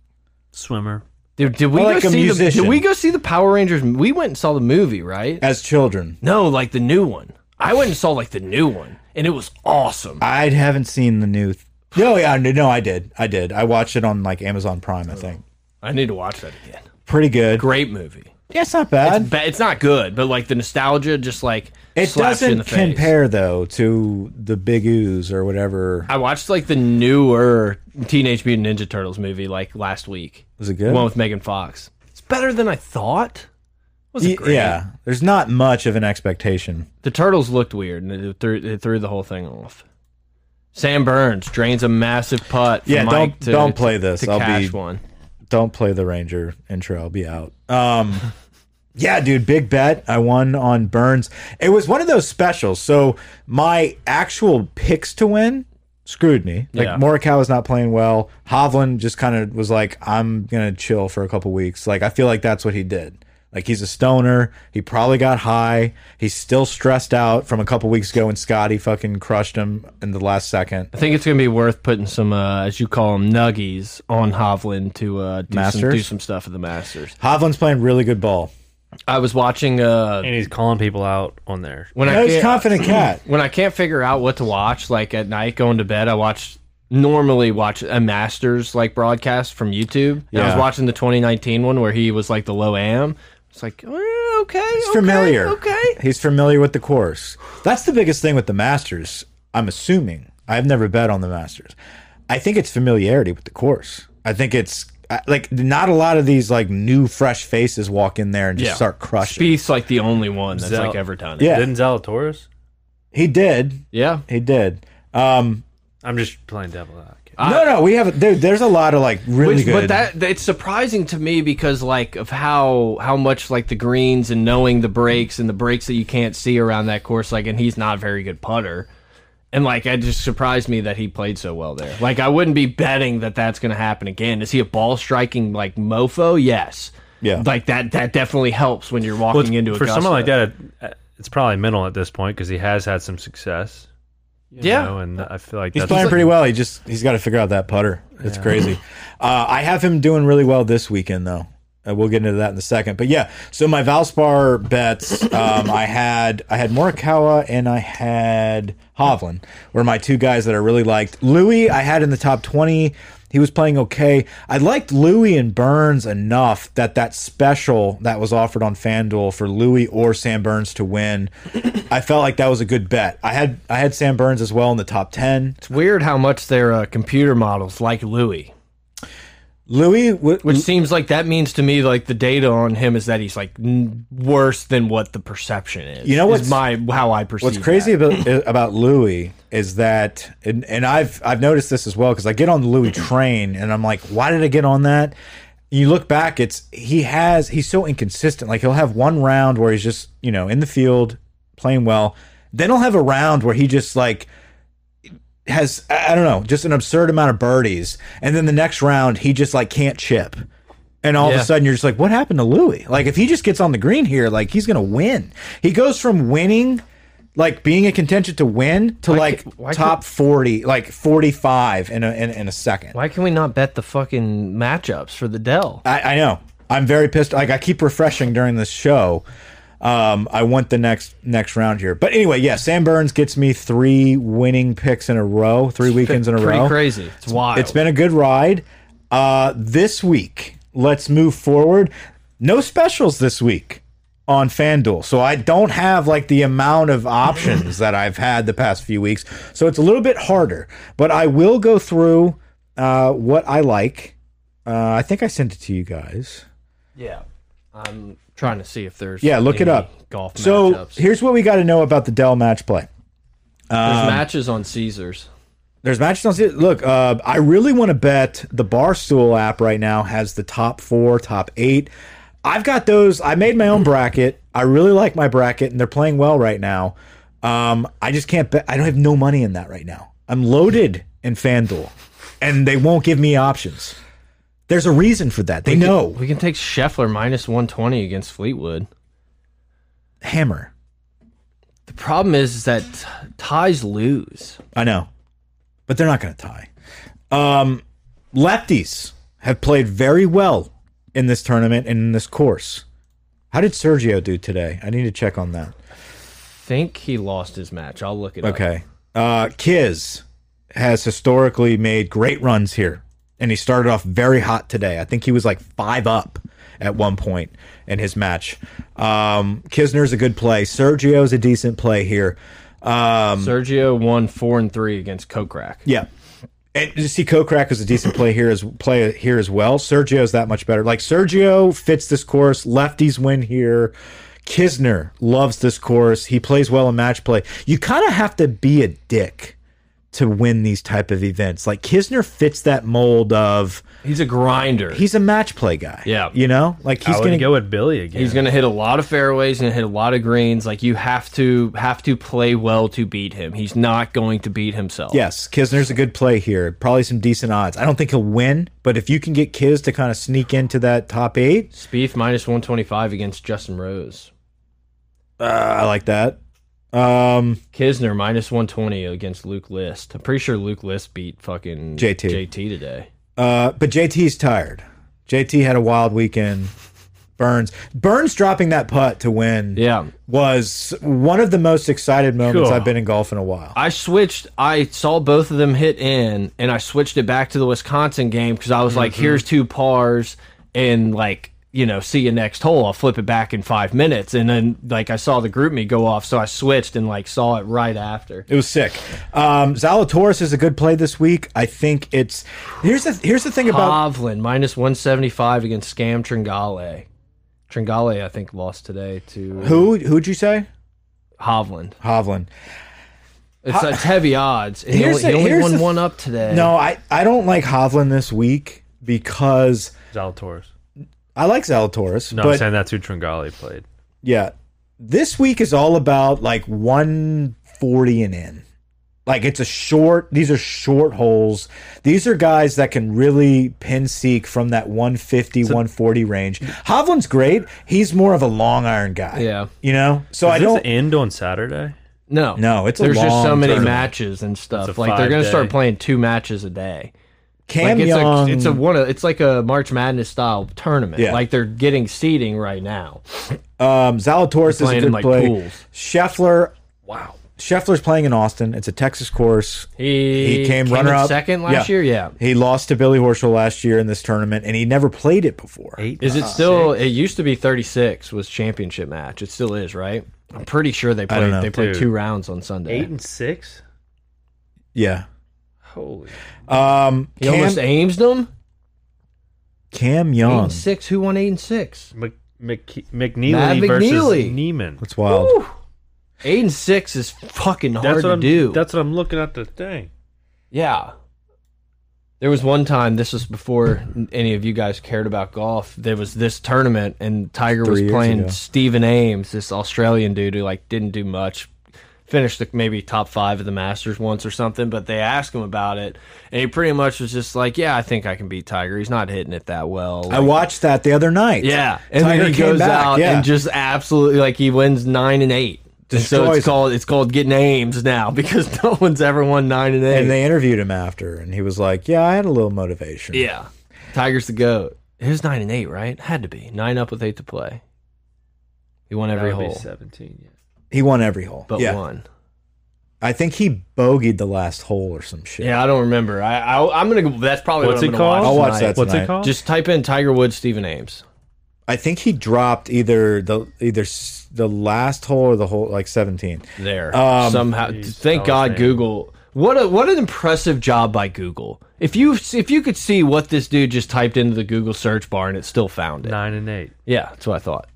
[SPEAKER 3] Swimmer.
[SPEAKER 2] Dude, did we
[SPEAKER 1] Or
[SPEAKER 2] go
[SPEAKER 1] like a
[SPEAKER 2] see the, Did
[SPEAKER 1] musician.
[SPEAKER 2] we go see the Power Rangers? We went and saw the movie, right?
[SPEAKER 1] As children,
[SPEAKER 2] No, like the new one. I went and saw like the new one, and it was awesome.
[SPEAKER 1] I haven't seen the new. Th no, yeah, no, no, I did, I did. I watched it on like Amazon Prime, I think.
[SPEAKER 2] I need to watch that again.
[SPEAKER 1] Pretty good.
[SPEAKER 2] Great movie.
[SPEAKER 1] Yeah, it's not bad.
[SPEAKER 2] It's, ba- it's not good, but like the nostalgia just like
[SPEAKER 1] It
[SPEAKER 2] slaps you in the
[SPEAKER 1] doesn't
[SPEAKER 2] face.
[SPEAKER 1] compare though to the Big Ooze or whatever.
[SPEAKER 2] I watched like the newer Teenage Mutant Ninja Turtles movie like last week.
[SPEAKER 1] Was it
[SPEAKER 2] The
[SPEAKER 1] good?
[SPEAKER 2] one with Megan Fox. It's better than I thought. Was
[SPEAKER 1] Y-
[SPEAKER 2] it great?
[SPEAKER 1] yeah, there's not much of an expectation.
[SPEAKER 2] The turtles looked weird, and it threw it threw the whole thing off. Sam Burns drains a massive putt. From
[SPEAKER 1] Yeah,
[SPEAKER 2] Mike
[SPEAKER 1] don't-
[SPEAKER 2] to,
[SPEAKER 1] don't play this.
[SPEAKER 2] To
[SPEAKER 1] I'll
[SPEAKER 2] cash
[SPEAKER 1] be-
[SPEAKER 2] one.
[SPEAKER 1] Don't play the Ranger intro. I'll be out. Um, yeah, dude, big bet. I won on Burns. It was one of those specials. So my actual picks to win screwed me. Like
[SPEAKER 2] Yeah.
[SPEAKER 1] Morikawa was not playing well. Hovland just kind of was like, I'm gonna chill for a couple weeks. Like I feel like that's what he did. Like he's a stoner. He probably got high. He's still stressed out from a couple weeks ago when Scotty fucking crushed him in the last second.
[SPEAKER 2] I think it's gonna be worth putting some, uh, as you call them, nuggies on Hovland to uh, do some
[SPEAKER 1] Masters?
[SPEAKER 2] do some stuff at the Masters.
[SPEAKER 1] Hovland's playing really good ball.
[SPEAKER 2] I was watching uh,
[SPEAKER 3] and he's calling people out on there.
[SPEAKER 2] when
[SPEAKER 1] No,
[SPEAKER 2] I
[SPEAKER 1] he's a
[SPEAKER 2] can't-
[SPEAKER 1] confident cat.
[SPEAKER 2] when I can't figure out what to watch, like at night going to bed, I watch normally watch a Masters like broadcast from YouTube. And I was
[SPEAKER 1] Yeah.
[SPEAKER 2] watching the 2019 one where he was like the low am. It's like "Oh, okay,
[SPEAKER 1] He's familiar.
[SPEAKER 2] Okay,
[SPEAKER 1] He's familiar with the course. That's the biggest thing with the Masters, I'm assuming. I've never bet on the Masters. I think it's familiarity with the course. I think it's I- like not a lot of these like new fresh faces walk in there and just
[SPEAKER 2] Yeah.
[SPEAKER 1] start crushing.
[SPEAKER 2] Spieth's like the only one that's
[SPEAKER 3] Zell-
[SPEAKER 2] like ever done it.
[SPEAKER 1] Yeah.
[SPEAKER 3] Didn't Zalatoris?
[SPEAKER 1] He did.
[SPEAKER 2] yeah.
[SPEAKER 1] He did. Um
[SPEAKER 3] I'm just playing devil advocate.
[SPEAKER 1] no, no, we have dude, there's a lot of like really
[SPEAKER 2] Uh, Which,
[SPEAKER 1] good.
[SPEAKER 2] but that that- it's surprising to me because like of how how much like the greens and knowing the breaks and the breaks that you can't see around that course like and he's not a very good putter and like it just surprised me that he played so well there like I wouldn't be betting that that's going to happen again is he a ball striking like mofo yes
[SPEAKER 1] Yeah.
[SPEAKER 2] like that that definitely helps when you're walking
[SPEAKER 3] Well, it's-
[SPEAKER 2] into
[SPEAKER 3] for
[SPEAKER 2] Augusta.
[SPEAKER 3] someone like that, it- it's probably mental at this point because he has had some success. you
[SPEAKER 2] Yeah.
[SPEAKER 3] know, and I feel like
[SPEAKER 1] He's
[SPEAKER 3] that's
[SPEAKER 1] playing pretty well. He just he's got to figure out that putter. It's crazy. Uh, I have him doing really well this weekend though. Uh, we'll get into that in a second. But yeah, so my Valspar bets, um, I had I had Morikawa and I had Hovland were my two guys that I really liked. Louis I had in the top twenty. He was playing okay. I liked Louis and Burns enough that that special that was offered on FanDuel for Louis or Sam Burns to win, I felt like that was a good bet. I had I had Sam Burns as well in the top ten.
[SPEAKER 2] it's weird how much their uh, computer models like Louis
[SPEAKER 1] Louis, w-
[SPEAKER 2] Which seems like that means to me like the data on him is that he's like n worse than what the perception is.
[SPEAKER 1] You know
[SPEAKER 2] is
[SPEAKER 1] what's-
[SPEAKER 2] my how I perceive.
[SPEAKER 1] what's crazy about about Louis is that, and, and I've I've noticed this as well because I get on the Louis train and I'm like, why did I get on that? You look back, it's he has he's so inconsistent. Like he'll have one round where he's just you know in the field playing well, then he'll have a round where he just like has I I don't know just an absurd amount of birdies, and then the next round he just like can't chip. And all of
[SPEAKER 2] Yeah.
[SPEAKER 1] a sudden, you're just like, what happened to Louis? Like, if he just gets on the green here, like, he's going to win. He goes from winning, like, being in contention to win to, like,
[SPEAKER 2] why
[SPEAKER 1] top 40, like, 45 in a, in, in a second.
[SPEAKER 2] Why can we not bet the fucking matchups for the Dell?
[SPEAKER 1] I, I know. I'm very pissed. Like, I keep refreshing during this show. Um, I want the next next round here. But anyway, yeah, Sam Burns gets me three winning picks in a row, three weekends in a
[SPEAKER 2] Pretty
[SPEAKER 1] row.
[SPEAKER 2] crazy. It's wild.
[SPEAKER 1] It's been a good ride. Uh, this week, let's move forward. No specials this week on FanDuel. So I don't have like the amount of options that I've had the past few weeks. So it's a little bit harder, but I will go through uh, what I like. Uh, I think I sent it to you guys.
[SPEAKER 2] yeah. I'm trying to see if there's
[SPEAKER 1] Yeah, look it
[SPEAKER 2] any
[SPEAKER 1] up.
[SPEAKER 2] Golf
[SPEAKER 1] So
[SPEAKER 2] matchups.
[SPEAKER 1] here's what we got to know about the Dell match play.
[SPEAKER 2] there's
[SPEAKER 1] Um,
[SPEAKER 2] matches on Caesars.
[SPEAKER 1] There's matches on. se- Look, uh, I really want to bet the Barstool app right now has the top four, top eight. I've got those. I made my own bracket. I really like my bracket, and they're playing well right now. Um, I just can't bet. I don't have no money in that right now. I'm loaded in FanDuel, and they won't give me options. There's a reason for that. They know.
[SPEAKER 2] We can take Scheffler minus 120 against Fleetwood.
[SPEAKER 1] Hammer.
[SPEAKER 2] The problem is, is that ties lose.
[SPEAKER 1] I know, but they're not going to tie. Um, lefties have played very well in this tournament and in this course. How did Sergio do today? I need to check on that.
[SPEAKER 2] Think he lost his match. I'll look it up.
[SPEAKER 1] Okay. Uh, Kiz has historically made great runs here, and he started off very hot today. I think he was like five up at one point in his match. Um, Kisner's a good play. Sergio's a decent play here. Um,
[SPEAKER 2] Sergio won four and three against Kokrak.
[SPEAKER 1] Yeah. And you see, Kokrak is a decent play here as play here as well. Sergio's that much better. Like Sergio fits this course. Lefties win here. Kisner loves this course. He plays well in match play. You kind of have to be a dick to win these type of events. Like Kisner fits that mold of
[SPEAKER 2] He's a grinder.
[SPEAKER 1] he's a match play guy.
[SPEAKER 2] Yeah.
[SPEAKER 1] you know, like he's
[SPEAKER 3] He's
[SPEAKER 1] going to
[SPEAKER 3] gonna go with Billy again.
[SPEAKER 2] He's going to hit a lot of fairways and hit a lot of greens. Like you have to have to play well to beat him. He's not going to beat himself.
[SPEAKER 1] Yes, Kisner's a good play here. Probably some decent odds. I don't think he'll win, but if you can get Kis to kind of sneak into that top eight,
[SPEAKER 2] Spieth minus one twenty five against Justin Rose.
[SPEAKER 1] uh, I like that. Um,
[SPEAKER 2] Kisner minus one twenty against Luke List. I'm pretty sure Luke List beat fucking
[SPEAKER 1] JT.
[SPEAKER 2] JT today.
[SPEAKER 1] uh, but JT's tired. JT had a wild weekend. Burns, Burns dropping that putt to win
[SPEAKER 2] Yeah.
[SPEAKER 1] was one of the most excited moments
[SPEAKER 3] Cool.
[SPEAKER 1] I've been in golf in a while.
[SPEAKER 2] I switched. I saw both of them hit in, and I switched it back to the Wisconsin game because I was
[SPEAKER 1] Mm-hmm.
[SPEAKER 2] like, "Here's two pars, and like you know, see you next hole. I'll flip it back in five minutes." And then like I saw the group me go off, so I switched and like saw it right after.
[SPEAKER 1] It was sick. Um, Zalatoris is a good play this week. I think it's here's the here's the thing about
[SPEAKER 2] Hovland minus one seventy five against Scam Tringale. Tringale, I think, lost today to
[SPEAKER 1] who who'd you say
[SPEAKER 2] Hovland.
[SPEAKER 1] Hovland.
[SPEAKER 2] It's, it's heavy odds. And he
[SPEAKER 1] Here's
[SPEAKER 2] only, he
[SPEAKER 1] the-
[SPEAKER 2] only
[SPEAKER 1] here's
[SPEAKER 2] won
[SPEAKER 1] the-
[SPEAKER 2] one up today.
[SPEAKER 1] No, I, I don't like Hovland this week because
[SPEAKER 3] Zalatoris.
[SPEAKER 1] I like Zalatoris,
[SPEAKER 3] No, I'm
[SPEAKER 1] but
[SPEAKER 3] saying that's who Tringali played.
[SPEAKER 1] yeah, this week is all about like 140 and in. Like it's a short. These are short holes. These are guys that can really pin seek from that 150, 140 range. Hovland's great. He's more of a long iron guy.
[SPEAKER 2] Yeah.
[SPEAKER 1] you know. So I
[SPEAKER 3] Does this
[SPEAKER 1] don't.
[SPEAKER 3] end on Saturday?
[SPEAKER 2] No,
[SPEAKER 1] No, it's a
[SPEAKER 2] there's just so
[SPEAKER 1] long
[SPEAKER 2] many
[SPEAKER 1] tournament.
[SPEAKER 2] matches and stuff.
[SPEAKER 3] It's a
[SPEAKER 2] Like they're
[SPEAKER 3] five
[SPEAKER 2] gonna start
[SPEAKER 3] day.
[SPEAKER 2] playing two matches a day.
[SPEAKER 1] Cam
[SPEAKER 2] like it's
[SPEAKER 1] Young.
[SPEAKER 2] a it's a one of, it's like a March Madness style tournament.
[SPEAKER 1] Yeah.
[SPEAKER 2] Like they're getting seeding right now.
[SPEAKER 1] Um, Zalatoris is a
[SPEAKER 2] playing
[SPEAKER 1] good
[SPEAKER 2] in, like,
[SPEAKER 1] play.
[SPEAKER 2] pools.
[SPEAKER 1] Scheffler. Wow. Scheffler's playing in Austin. It's a Texas course.
[SPEAKER 2] He,
[SPEAKER 1] He came,
[SPEAKER 2] in
[SPEAKER 1] runner up
[SPEAKER 2] second last year. Yeah,
[SPEAKER 1] He lost to Billy Horschel last year in this tournament, and he never played it before.
[SPEAKER 2] is it still? It used to be 36 was championship match. It still is, right? I'm pretty sure they
[SPEAKER 1] don't
[SPEAKER 2] played
[SPEAKER 1] know.
[SPEAKER 2] they played
[SPEAKER 3] Dude.
[SPEAKER 2] two rounds on Sunday.
[SPEAKER 3] Eight and six?
[SPEAKER 1] Yeah.
[SPEAKER 3] Holy.
[SPEAKER 1] Um,
[SPEAKER 2] he
[SPEAKER 1] Cam,
[SPEAKER 2] almost aims them.
[SPEAKER 1] Cam
[SPEAKER 2] Eight
[SPEAKER 1] Young.
[SPEAKER 2] and six. Who won eight and six?
[SPEAKER 3] Mc, Mc, McNeely
[SPEAKER 2] Matt
[SPEAKER 3] versus
[SPEAKER 2] McNeely.
[SPEAKER 3] Neiman.
[SPEAKER 1] That's wild.
[SPEAKER 2] Eight and six is fucking hard
[SPEAKER 3] That's what
[SPEAKER 2] to
[SPEAKER 3] I'm
[SPEAKER 2] do.
[SPEAKER 3] That's what I'm looking at the thing.
[SPEAKER 2] Yeah. There was one time, this was before any of you guys cared about golf, there was this tournament and Tiger
[SPEAKER 1] Three
[SPEAKER 2] was
[SPEAKER 1] years
[SPEAKER 2] playing
[SPEAKER 1] ago.
[SPEAKER 2] Stephen Ames, this Australian dude who like didn't do much. Finished the, maybe top five of the Masters once or something, but they asked him about it, and he pretty much was just like, "Yeah, I think I can beat Tiger. He's not hitting it that well."
[SPEAKER 1] I watched that the other night.
[SPEAKER 2] yeah, and
[SPEAKER 1] Tiger
[SPEAKER 2] then he
[SPEAKER 1] came
[SPEAKER 2] goes
[SPEAKER 1] back,
[SPEAKER 2] out
[SPEAKER 1] yeah.
[SPEAKER 2] and just absolutely like he wins nine and eight. And so
[SPEAKER 1] Destroys
[SPEAKER 2] it's
[SPEAKER 1] him.
[SPEAKER 2] called it's called getting Ames now because no one's ever won nine and eight.
[SPEAKER 1] And they interviewed him after, and he was like, "Yeah, I had a little motivation."
[SPEAKER 2] Yeah. Tiger's the GOAT. It was nine and eight, right? Had to be. Nine up with eight to play. He won every
[SPEAKER 3] That would be
[SPEAKER 2] hole.
[SPEAKER 3] 17, yeah.
[SPEAKER 1] He won every hole.
[SPEAKER 2] But
[SPEAKER 1] yeah.
[SPEAKER 2] one.
[SPEAKER 1] I think he bogeyed the last hole or some shit.
[SPEAKER 2] Yeah, I don't remember. I, I I'm gonna go that's probably
[SPEAKER 3] What's
[SPEAKER 2] what
[SPEAKER 3] it
[SPEAKER 2] I'm gonna watch
[SPEAKER 3] called?
[SPEAKER 1] I'll watch
[SPEAKER 2] tonight.
[SPEAKER 1] that
[SPEAKER 3] What's
[SPEAKER 1] tonight.
[SPEAKER 3] it called?
[SPEAKER 2] Just type in Tiger Woods, Stephen Ames.
[SPEAKER 1] I think he dropped either the either s- the last hole or the hole like 17.
[SPEAKER 2] There.
[SPEAKER 1] Um,
[SPEAKER 2] Somehow
[SPEAKER 3] Jeez,
[SPEAKER 2] thank
[SPEAKER 3] that was
[SPEAKER 2] God
[SPEAKER 3] me.
[SPEAKER 2] Google. What a what an impressive job by Google. If you if you could see what this dude just typed into the Google search bar and it still found it.
[SPEAKER 3] Nine and eight.
[SPEAKER 2] Yeah, that's what I thought.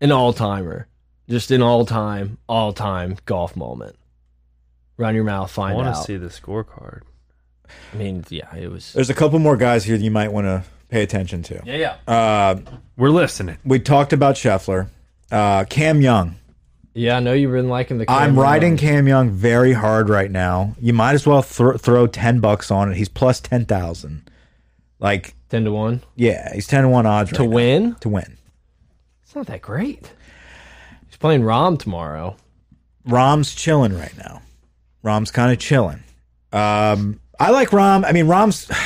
[SPEAKER 2] An all timer. Just an all time, all time golf moment. Run your mouth,
[SPEAKER 3] I
[SPEAKER 2] find
[SPEAKER 3] want to
[SPEAKER 2] out.
[SPEAKER 3] see the scorecard.
[SPEAKER 2] I mean, yeah, it was.
[SPEAKER 1] There's a couple more guys here that you might want to pay attention to.
[SPEAKER 2] Uh, Yeah, yeah.
[SPEAKER 1] Uh,
[SPEAKER 3] We're listening.
[SPEAKER 1] we talked about Scheffler. Uh, Cam Young.
[SPEAKER 2] Yeah, I know you've been liking the.
[SPEAKER 1] I'm
[SPEAKER 2] Cameron
[SPEAKER 1] riding
[SPEAKER 2] Young.
[SPEAKER 1] Cam Young very hard right now. You might as well thro throw 10 bucks on it. He's plus 10,000. Like,
[SPEAKER 2] 10 to 1
[SPEAKER 1] yeah, he's 10 to 1 odds
[SPEAKER 2] to
[SPEAKER 1] right now
[SPEAKER 2] win.
[SPEAKER 1] to win.
[SPEAKER 2] It's not that great. He's playing Rom tomorrow.
[SPEAKER 1] Rom's chilling right now. Rom's kind of chilling. Um, I like Rom. I mean, Rom's.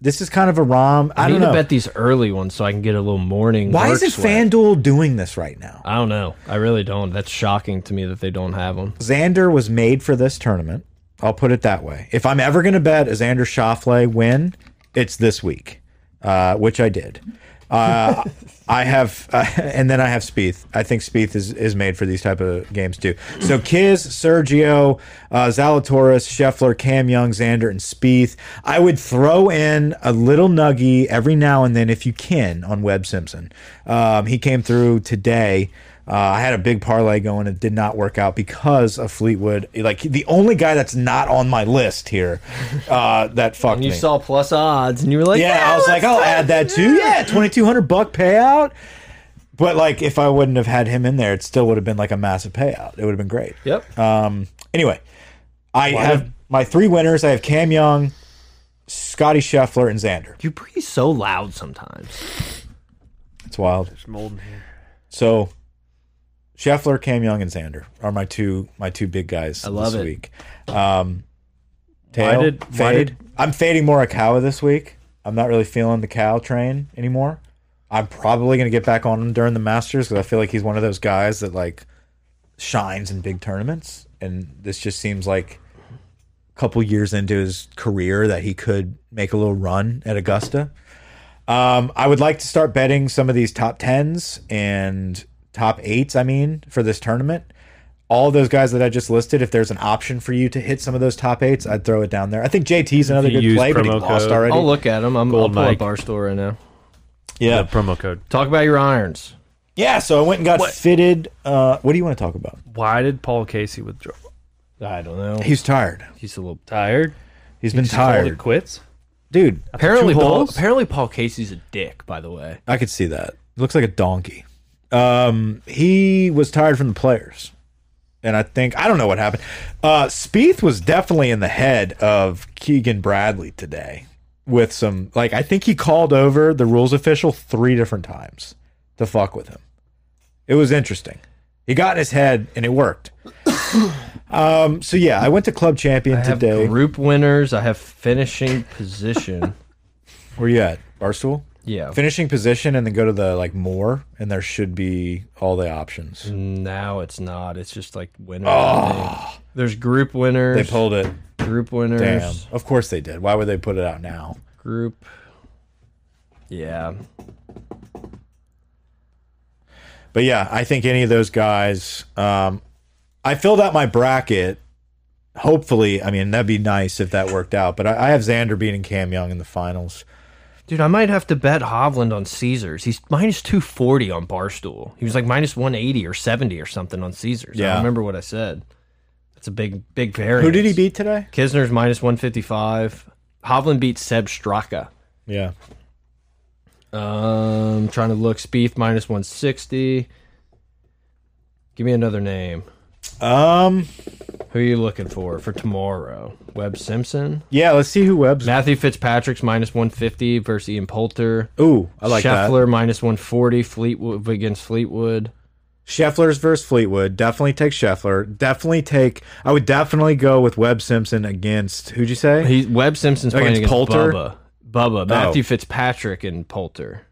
[SPEAKER 1] This is kind of a Rom.
[SPEAKER 2] I,
[SPEAKER 1] I, don't
[SPEAKER 2] need
[SPEAKER 1] know.
[SPEAKER 2] to bet these early ones so I can get a little morning.
[SPEAKER 1] Why
[SPEAKER 2] work
[SPEAKER 1] isn't
[SPEAKER 2] sweat.
[SPEAKER 1] FanDuel doing this right now?
[SPEAKER 2] I don't know. I really don't. That's shocking to me that they don't have them.
[SPEAKER 1] Xander was made for this tournament. I'll put it that way. If I'm ever going to bet a Xander Schauffele win, it's this week, uh, which I did. Uh, I have, uh, and then I have Spieth. I think Spieth is, is made for these type of games too. So Kiz, Sergio, uh, Zalatoris, Scheffler, Cam Young, Xander, and Spieth. I would throw in a little nuggy every now and then if you can on Webb Simpson. Um, he came through today. Uh, I had a big parlay going. It did not work out because of Fleetwood. Like the only guy that's not on my list here uh, that fucked
[SPEAKER 2] You
[SPEAKER 1] me.
[SPEAKER 2] saw plus odds, and you were like,
[SPEAKER 1] yeah, I was like, I'll add that too. Yeah, twenty two hundred buck payout. But like, if I wouldn't have had him in there, it still would have been like a massive payout. It would have been great.
[SPEAKER 2] Yep.
[SPEAKER 1] Um. Anyway, I have my three winners. I have Cam Young, Scotty Scheffler, and Xander.
[SPEAKER 2] You breathe so loud sometimes.
[SPEAKER 1] It's wild. So, Scheffler, Cam Young, and Xander are my two my two big guys I
[SPEAKER 2] love
[SPEAKER 1] this
[SPEAKER 2] it.
[SPEAKER 1] week. Um, tail,
[SPEAKER 3] did-
[SPEAKER 1] fade.
[SPEAKER 3] why did-
[SPEAKER 1] I'm fading Morikawa this week. I'm not really feeling the cow train anymore. I'm probably going to get back on him during the Masters because I feel like he's one of those guys that like shines in big tournaments, and this just seems like a couple years into his career that he could make a little run at Augusta. Um, I would like to start betting some of these top tens and top eights. I mean, for this tournament, all those guys that I just listed. If there's an option for you to hit some of those top eights, I'd throw it down there. I think JT's another
[SPEAKER 3] You
[SPEAKER 1] good
[SPEAKER 3] use
[SPEAKER 1] play, but he
[SPEAKER 3] promo
[SPEAKER 1] lost
[SPEAKER 3] code.
[SPEAKER 1] already.
[SPEAKER 2] I'll look at them. I'm, I'll
[SPEAKER 3] Gold
[SPEAKER 2] pull
[SPEAKER 3] mic.
[SPEAKER 2] up our store right now.
[SPEAKER 1] yeah,
[SPEAKER 3] promo code.
[SPEAKER 2] Talk about your irons.
[SPEAKER 1] yeah. So I went and got fitted. Uh, what do you want to talk about?
[SPEAKER 3] Why did Paul Casey withdraw?
[SPEAKER 2] I don't know.
[SPEAKER 1] He's tired.
[SPEAKER 2] He's a little.
[SPEAKER 3] Tired.
[SPEAKER 1] He's been
[SPEAKER 3] Called it
[SPEAKER 1] tired,
[SPEAKER 3] quits.
[SPEAKER 1] dude.
[SPEAKER 5] Apparently,
[SPEAKER 3] two
[SPEAKER 5] Paul,
[SPEAKER 3] holes?
[SPEAKER 5] apparently Paul Casey's a dick. By the way,
[SPEAKER 1] I could see that. Looks like a donkey. Um, he was tired from the players, and I think I don't know what happened. Uh, Spieth was definitely in the head of Keegan Bradley today with some like I think he called over the rules official three different times to fuck with him. It was interesting. He got in his head and it worked. um, so yeah, I went to club champion
[SPEAKER 2] I have
[SPEAKER 1] today.
[SPEAKER 2] group winners. I have finishing position.
[SPEAKER 1] Where you at? Barstool.
[SPEAKER 2] Yeah.
[SPEAKER 1] Finishing position and then go to the like more and there should be all the options.
[SPEAKER 2] now it's not. It's just like winners. I think. There's group winners.
[SPEAKER 1] They pulled it.
[SPEAKER 2] group
[SPEAKER 1] Damn.
[SPEAKER 2] winners.
[SPEAKER 1] Of course they did. Why would they put it out now?
[SPEAKER 2] Group. Yeah.
[SPEAKER 1] But yeah, I think any of those guys. Um, I filled out my bracket. Hopefully, I mean that'd be nice if that worked out. But I, I have Xander beating Cam Young in the finals.
[SPEAKER 2] Dude, I might have to bet Hovland on Caesars. He's minus 240 on Barstool. He was like minus 180 or 70 or something on Caesars. I
[SPEAKER 1] Yeah.
[SPEAKER 2] don't remember what I said. That's a big, big variance.
[SPEAKER 1] Who did he beat today?
[SPEAKER 2] Kisner's minus 155. Hovland beat Seb Straka.
[SPEAKER 1] Yeah,
[SPEAKER 2] Um, trying to look. Spieth minus 160. Give me another name.
[SPEAKER 1] um,
[SPEAKER 2] Who are you looking for for tomorrow? Webb Simpson?
[SPEAKER 1] yeah. Let's see who Webb's.
[SPEAKER 2] Matthew Fitzpatrick's minus 150 versus Ian Poulter.
[SPEAKER 1] Ooh, I like
[SPEAKER 2] Scheffler minus 140 Fleetwood against Fleetwood.
[SPEAKER 1] that. Scheffler's versus Fleetwood. Definitely take Scheffler. Definitely take. I would definitely go with Webb Simpson against who'd you say?
[SPEAKER 2] He's Webb Simpson's playing
[SPEAKER 1] Against
[SPEAKER 2] against
[SPEAKER 1] Poulter? Oh.
[SPEAKER 2] Bubba. Bubba, Matthew Fitzpatrick and Poulter.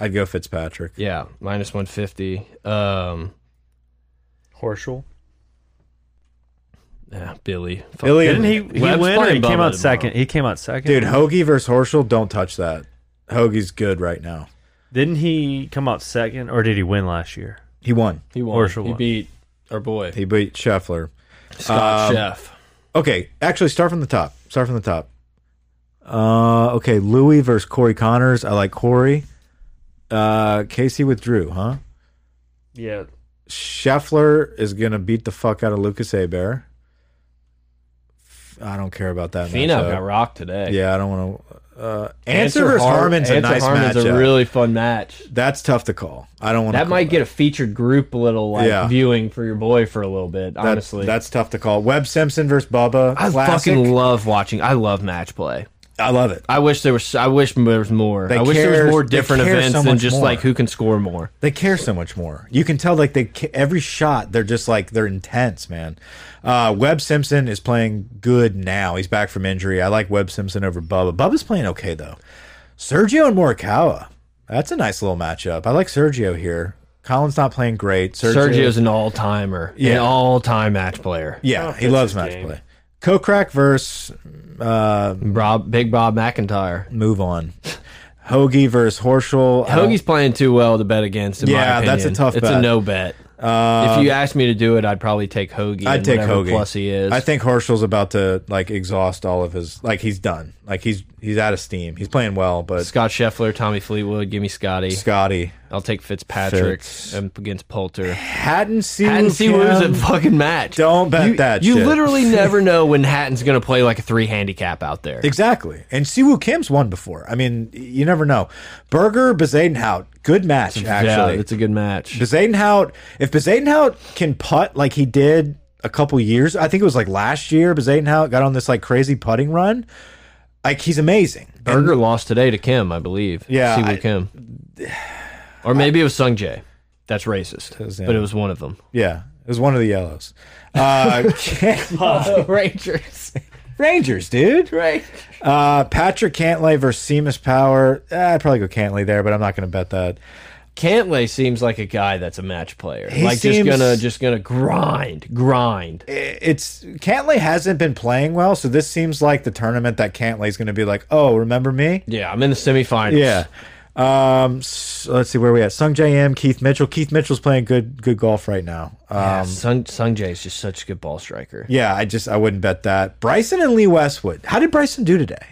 [SPEAKER 1] I'd go Fitzpatrick.
[SPEAKER 2] Yeah, minus 150. Um,
[SPEAKER 3] Horschel.
[SPEAKER 2] yeah, Billy. Fuck.
[SPEAKER 1] Billy
[SPEAKER 3] Didn't he?
[SPEAKER 1] and-
[SPEAKER 3] He
[SPEAKER 2] Webb's
[SPEAKER 3] win. Or he
[SPEAKER 2] playing
[SPEAKER 3] came
[SPEAKER 2] Bubba tomorrow.
[SPEAKER 3] out second. He came out second.
[SPEAKER 1] Dude, Hoagie versus Horschel. Don't touch that. Hoagie's good right now.
[SPEAKER 3] Didn't he come out second, or did he win last year?
[SPEAKER 1] He won.
[SPEAKER 2] He won.
[SPEAKER 3] Horschel
[SPEAKER 2] he
[SPEAKER 3] won.
[SPEAKER 2] beat our boy,
[SPEAKER 1] He Um, beat Scheffler.
[SPEAKER 2] Scott Chef.
[SPEAKER 1] Okay, actually, start from the top. Start from the top. Uh, okay, Louis versus Corey Connors. I like Corey. Uh, Casey withdrew, huh?
[SPEAKER 3] Yeah.
[SPEAKER 1] Scheffler is gonna beat the fuck out of Lucas Abear. I don't care about that.
[SPEAKER 2] Fino
[SPEAKER 1] matchup.
[SPEAKER 2] got rocked today.
[SPEAKER 1] Yeah, I don't want to. Uh, Answer versus Harmon's a
[SPEAKER 2] Answer
[SPEAKER 1] nice
[SPEAKER 2] Harmon's
[SPEAKER 1] matchup.
[SPEAKER 2] a really fun match.
[SPEAKER 1] That's tough to call. I don't want
[SPEAKER 2] That might get a featured group little like
[SPEAKER 1] Yeah.
[SPEAKER 2] viewing for your boy for a little bit, honestly.
[SPEAKER 1] that's tough to call. Webb Simpson versus Bubba.
[SPEAKER 2] I
[SPEAKER 1] classic.
[SPEAKER 2] fucking love watching. I love match play.
[SPEAKER 1] I love it.
[SPEAKER 2] I wish there was. I wish there was more.
[SPEAKER 1] They
[SPEAKER 2] I wish there
[SPEAKER 1] care-
[SPEAKER 2] was more
[SPEAKER 1] they
[SPEAKER 2] different
[SPEAKER 1] care
[SPEAKER 2] events
[SPEAKER 1] so
[SPEAKER 2] than
[SPEAKER 1] much
[SPEAKER 2] just
[SPEAKER 1] more.
[SPEAKER 2] like who can score more.
[SPEAKER 1] They care so much more. You can tell, like they ca- every shot, they're just like they're intense, man. Uh, Webb Simpson is playing good now. He's back from injury. I like Webb Simpson over Bubba. Bubba's playing okay though. Sergio and Morikawa. That's a nice little matchup. I like Sergio here. Colin's not playing great.
[SPEAKER 2] Sergio's an all timer.
[SPEAKER 1] Yeah.
[SPEAKER 2] An all time match player.
[SPEAKER 1] yeah, he loves match play. Kokrak versus uh,
[SPEAKER 2] Rob, Big Bob McIntyre.
[SPEAKER 1] move on. Hoagie versus Horschel. I don't-
[SPEAKER 2] Hoagie's playing too well to bet against. In
[SPEAKER 1] Yeah,
[SPEAKER 2] my
[SPEAKER 1] that's a
[SPEAKER 2] opinion.
[SPEAKER 1] tough
[SPEAKER 2] It's
[SPEAKER 1] bet. Uh,
[SPEAKER 2] a no bet. if you asked me to do it, I'd probably take Hoagie.
[SPEAKER 1] I'd
[SPEAKER 2] and
[SPEAKER 1] take
[SPEAKER 2] whatever
[SPEAKER 1] Hoagie.
[SPEAKER 2] Plus he is.
[SPEAKER 1] I think Horschel's about to like exhaust all of his like he's done. Like he's he's out of steam. He's playing well, but
[SPEAKER 2] Scott Scheffler, Tommy Fleetwood. Give me Scotty.
[SPEAKER 1] Scotty.
[SPEAKER 2] I'll take Fitzpatrick
[SPEAKER 1] Fitz.
[SPEAKER 2] um, against Poulter.
[SPEAKER 1] Hatton Siwu.
[SPEAKER 2] Hatton see who's a
[SPEAKER 1] Kim.
[SPEAKER 2] fucking match.
[SPEAKER 1] Don't bet
[SPEAKER 2] you,
[SPEAKER 1] that
[SPEAKER 2] You
[SPEAKER 1] shit.
[SPEAKER 2] literally never know when Hatton's going to play like a three handicap out there.
[SPEAKER 1] Exactly. And Siwoo Kim's won before. I mean, you never know. Berger, Bezadenhout, good match,
[SPEAKER 2] Yeah,
[SPEAKER 1] actually.
[SPEAKER 2] it's a good match.
[SPEAKER 1] Bezadenhout, if Bezadenhout can putt like he did a couple years, I think it was like last year, Bezadenhout got on this like crazy putting run. Like he's amazing.
[SPEAKER 2] Berger lost today to Kim, I believe.
[SPEAKER 1] Yeah,
[SPEAKER 2] Siwoo
[SPEAKER 1] I-
[SPEAKER 2] Kim, or maybe it was Sung Jae. That's racist,
[SPEAKER 1] was,
[SPEAKER 2] but
[SPEAKER 1] yeah.
[SPEAKER 2] it was one of them.
[SPEAKER 1] Yeah. It was one of the yellows. Uh,
[SPEAKER 2] Rangers,
[SPEAKER 1] Rangers, dude.
[SPEAKER 2] right?
[SPEAKER 1] Uh, Patrick Cantlay versus Seamus Power. Eh, I'd probably go Cantlay there, but I'm not going to bet that.
[SPEAKER 2] Cantlay seems like a guy that's a match player. like
[SPEAKER 1] seems-
[SPEAKER 2] just gonna just gonna grind, grind.
[SPEAKER 1] Eh, it's Cantley hasn't been playing well, so this seems like the tournament that Cantley's going to be like, oh, remember me?
[SPEAKER 2] Yeah, I'm in the semifinals.
[SPEAKER 1] Yeah. Um, so let's see where we at. Sung J M, Keith Mitchell. Keith Mitchell's playing good good golf right now. Um, yeah.
[SPEAKER 2] Sung Sung Jae is just such a good ball striker.
[SPEAKER 1] I just I wouldn't bet that. Bryson and Lee Westwood. How did Bryson do today?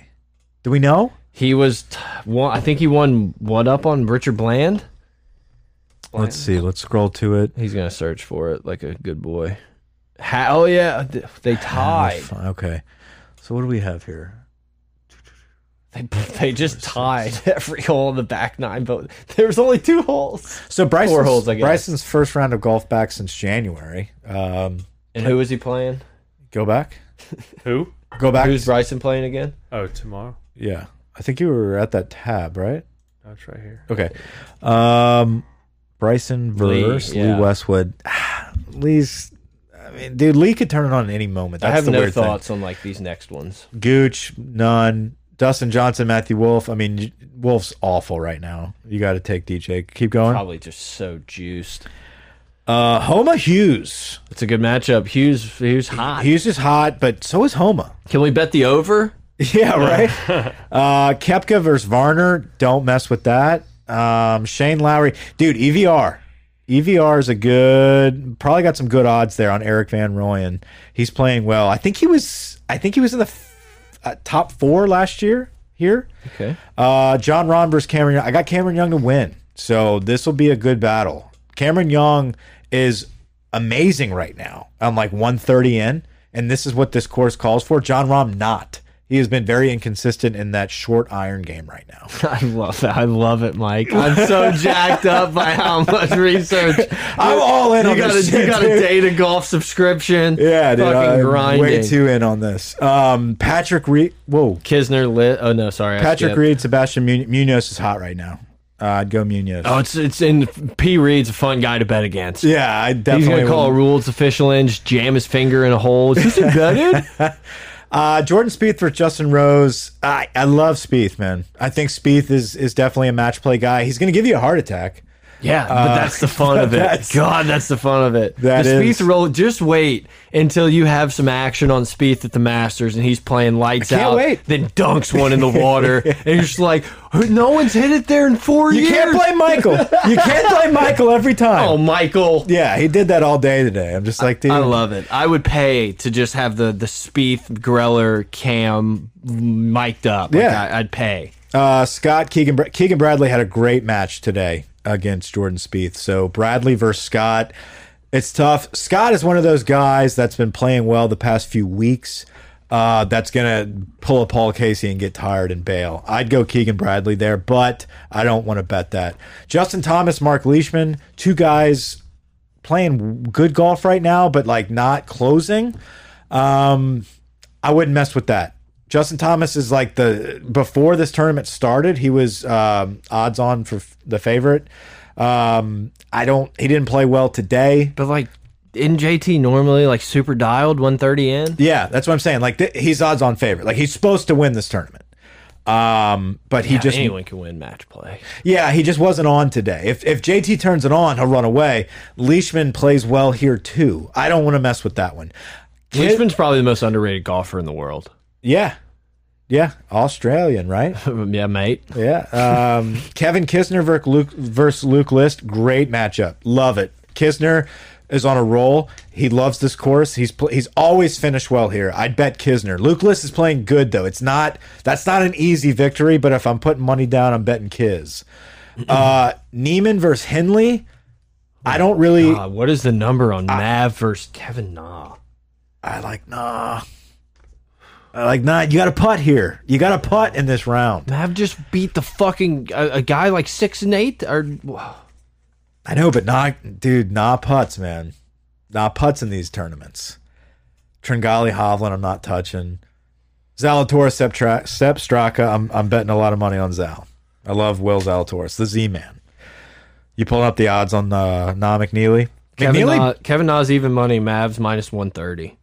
[SPEAKER 1] Do we know?
[SPEAKER 2] He was, t one, I think he won one up on Richard Bland.
[SPEAKER 1] Let's see. Let's scroll to it.
[SPEAKER 2] He's gonna search for it like a good boy. Ha oh yeah, th- they tied.
[SPEAKER 1] Okay. So what do we have here?
[SPEAKER 2] They, they just tied every hole in the back nine, but there was only two holes.
[SPEAKER 1] So Bryson's,
[SPEAKER 2] holes, I guess.
[SPEAKER 1] Bryson's first round of golf back since January. Um,
[SPEAKER 2] And who is he playing?
[SPEAKER 1] go back.
[SPEAKER 3] Who?
[SPEAKER 1] Go back.
[SPEAKER 2] Who's Bryson playing again?
[SPEAKER 3] Oh, tomorrow.
[SPEAKER 1] yeah. I think you were at that tab, right?
[SPEAKER 3] That's right here.
[SPEAKER 1] Okay. Um, Bryson versus Lee,
[SPEAKER 2] yeah.
[SPEAKER 1] Westwood. Lee's. I mean, dude, Lee could turn it on at any moment. That's
[SPEAKER 2] I have
[SPEAKER 1] the
[SPEAKER 2] no
[SPEAKER 1] weird Mm.
[SPEAKER 2] thoughts on like these next ones.
[SPEAKER 1] Thing. Gooch, none. Dustin Johnson, Matthew Wolf. I mean, y- Wolf's awful right now. You got to take DJ. Keep going.
[SPEAKER 2] Probably just so juiced.
[SPEAKER 1] Uh, Homa Hughes.
[SPEAKER 2] It's a good matchup. Hughes Hughes hot.
[SPEAKER 1] Hughes is hot, but so is Homa.
[SPEAKER 2] Can we bet the over?
[SPEAKER 1] Yeah, right. uh, Kepka versus Varner. Don't mess with that. Um, Shane Lowry, dude. E EVR, EVR E is a good. Probably got some good odds there on Eric Van Rooyen. He's playing well. I think he was. I think he was in the f uh, top four last year. Here,
[SPEAKER 2] Okay.
[SPEAKER 1] uh, John Ron versus Cameron. Young. I got Cameron Young to win, so this will be a good battle. Cameron Young is amazing right now. I'm like 130 in, and this is what this course calls for. John Rom not. He has been very inconsistent in that short iron game right now.
[SPEAKER 2] I love that. I love it, Mike. I'm so jacked up by how much research.
[SPEAKER 1] I'm all in
[SPEAKER 2] You
[SPEAKER 1] on
[SPEAKER 2] got a
[SPEAKER 1] this shit,
[SPEAKER 2] you got a
[SPEAKER 1] dude.
[SPEAKER 2] data golf subscription.
[SPEAKER 1] Yeah, dude,
[SPEAKER 2] fucking
[SPEAKER 1] I'm
[SPEAKER 2] grinding.
[SPEAKER 1] way too in on this. Um, Patrick Reed. Whoa,
[SPEAKER 2] Kisner lit. Oh no, sorry, I
[SPEAKER 1] Patrick
[SPEAKER 2] skipped.
[SPEAKER 1] Reed, Sebastian Mu Munoz is hot right now. Uh, I'd go Munoz.
[SPEAKER 2] Oh, it's it's in P. Reed's a fun guy to bet against.
[SPEAKER 1] yeah, I definitely.
[SPEAKER 2] He's gonna call
[SPEAKER 1] wouldn't-
[SPEAKER 2] a rules official in, just jam his finger in a hole. Is this a gutted?
[SPEAKER 1] Uh, Jordan Spieth versus Justin Rose. I, I love Spieth, man. I think Spieth is is definitely a match play guy. He's going to give you a heart attack.
[SPEAKER 2] Yeah, but that's the fun of it.
[SPEAKER 1] that's-
[SPEAKER 2] God, Uh, that's the fun of it.
[SPEAKER 1] That
[SPEAKER 2] the
[SPEAKER 1] is-
[SPEAKER 2] Spieth roll. Just wait until you have some action on Spieth at the Masters, and he's playing lights
[SPEAKER 1] can't
[SPEAKER 2] out.
[SPEAKER 1] wait.
[SPEAKER 2] Then dunks one in the water, and you're just like, no one's hit it there in four
[SPEAKER 1] You
[SPEAKER 2] years.
[SPEAKER 1] can't play Michael. You can't play Michael every time.
[SPEAKER 2] Oh, Michael.
[SPEAKER 1] Yeah, he did that all day today. I'm just like, dude.
[SPEAKER 2] I love it. I would pay to just have the the Spieth, Greller, Cam mic'd up. Like,
[SPEAKER 1] Yeah.
[SPEAKER 2] I, I'd pay.
[SPEAKER 1] Uh, Scott Keegan Bra- Keegan Bradley had a great match today against Jordan Spieth. So Bradley versus Scott, it's tough. Scott is one of those guys that's been playing well the past few weeks. Uh, that's gonna pull a Paul Casey and get tired and bail. I'd go Keegan Bradley there, but I don't want to bet that. Justin Thomas, Mark Leishman, two guys playing good golf right now, but like not closing. I wouldn't mess with that. Justin Thomas is like the before this tournament started, he was um, odds on for f- the favorite. Um, I don't. He didn't play well today.
[SPEAKER 2] But like in JT normally like super dialed 130 in.
[SPEAKER 1] Yeah, that's what I'm saying. Like th he's odds on favorite. Like he's supposed to win this tournament. Um, but he just
[SPEAKER 2] anyone can win match play.
[SPEAKER 1] yeah he just wasn't on today. If if JT turns it on, he'll run away. Leishman plays well here too. I don't want to mess with that one. Kid-
[SPEAKER 2] Leishman's probably the most underrated golfer in the world.
[SPEAKER 1] yeah, yeah, Australian, right?
[SPEAKER 2] yeah, mate.
[SPEAKER 1] Yeah. Um, Kevin Kisner ver- Luke, versus Luke List. Great matchup. Love it. Kisner is on a roll. He loves this course. He's pl he's always finished well here. I'd bet Kisner. Luke List is playing good though. It's not that's not an easy victory, but if I'm putting money down, I'm betting Kiz. Uh, Neiman versus Henley. I don't really.
[SPEAKER 2] Uh, what is the number on Nav versus Kevin Na?
[SPEAKER 1] I like nah. I like nah. You got a putt here. You got a putt in this round.
[SPEAKER 2] Nav just beat the fucking a, a guy like six and eight or
[SPEAKER 1] I know, but not, dude, nah putts, man. Nah putts in these tournaments. Tringali Hovland, I'm not touching. Zalatoris, Sep, Tra- Sep Straka, I'm, I'm betting a lot of money on Zal. I love Will Zalatoris, the Z man. You pulling up the odds on uh, Nah McNeely?
[SPEAKER 2] Kevin uh,
[SPEAKER 1] McNeely,
[SPEAKER 2] Na, Kevin Na's even money. Mavs minus one thirty.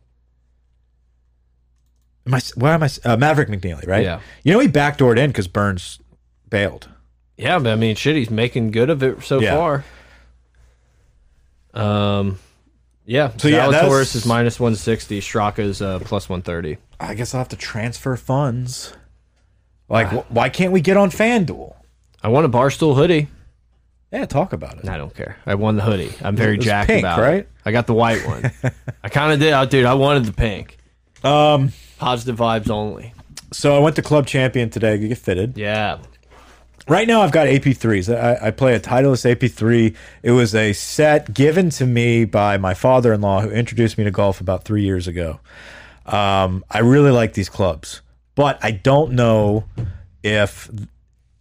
[SPEAKER 1] am I, where am I? Uh, Maverick McNeely, right?
[SPEAKER 2] Yeah.
[SPEAKER 1] You know, he backdoored in because Burns bailed.
[SPEAKER 2] Yeah, but I mean, shit, he's making good of it so
[SPEAKER 1] Yeah.
[SPEAKER 2] far. Um, yeah.
[SPEAKER 1] So, yeah, that's-
[SPEAKER 2] Zalatoris is minus one sixty. Straka's uh, plus one thirty.
[SPEAKER 1] I guess I'll have to transfer funds. Ah. Like, wh why can't we get on FanDuel?
[SPEAKER 2] I want a barstool hoodie.
[SPEAKER 1] Yeah, talk about it.
[SPEAKER 2] I don't care. I won the hoodie. I'm very
[SPEAKER 1] It was
[SPEAKER 2] jacked
[SPEAKER 1] pink,
[SPEAKER 2] about it.
[SPEAKER 1] right?
[SPEAKER 2] I got the white one. I kind of did. Oh, dude, I wanted the pink.
[SPEAKER 1] Um,
[SPEAKER 2] Positive vibes only.
[SPEAKER 1] So I went to Club Champion today to get fitted.
[SPEAKER 2] Yeah.
[SPEAKER 1] Right now, I've got AP3s. I, I play a Titleist AP3. It was a set given to me by my father in law who introduced me to golf about three years ago. Um, I really like these clubs, but I don't know if.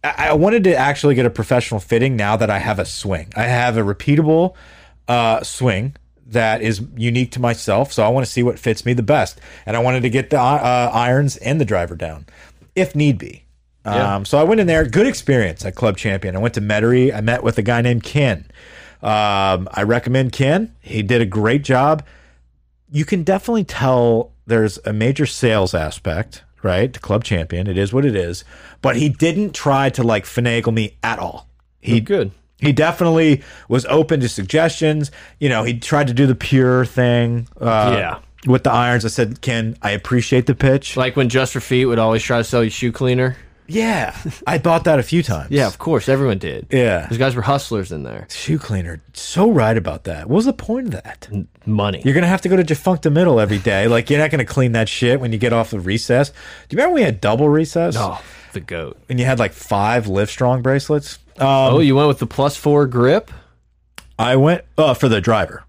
[SPEAKER 1] I I wanted to actually get a professional fitting now that I have a swing. I have a repeatable uh, swing that is unique to myself. So I want to see what fits me the best. And I wanted to get the uh, irons and the driver down if need be. Um, so I went in there. Good experience at Club Champion. I went to Metairie. I met with a guy named Ken. Um, I recommend Ken. He did a great job. You can definitely tell there's a major sales aspect, right? To Club Champion, it is what it is. But he didn't try to like finagle me at all. He
[SPEAKER 2] Oh, Good.
[SPEAKER 1] he definitely was open to suggestions. You know, he tried to do the pure thing. Uh,
[SPEAKER 2] Yeah.
[SPEAKER 1] With the irons, I said, Ken, I appreciate the pitch.
[SPEAKER 2] Like when Just for Feet would always try to sell you shoe cleaner.
[SPEAKER 1] yeah. I bought that a few times.
[SPEAKER 2] Yeah, of course. Everyone did.
[SPEAKER 1] Yeah.
[SPEAKER 2] Those guys were hustlers in there.
[SPEAKER 1] Shoe cleaner. So right about that. What was the point of that?
[SPEAKER 2] Money.
[SPEAKER 1] You're gonna have to go to defunct middle every day. Like you're not gonna clean that shit when you get off of recess. Do you remember when we had double recess?
[SPEAKER 2] Oh, the goat.
[SPEAKER 1] And you had like five lift strong bracelets. Um,
[SPEAKER 2] Oh, you went with the plus four grip
[SPEAKER 1] I went uh, for the driver.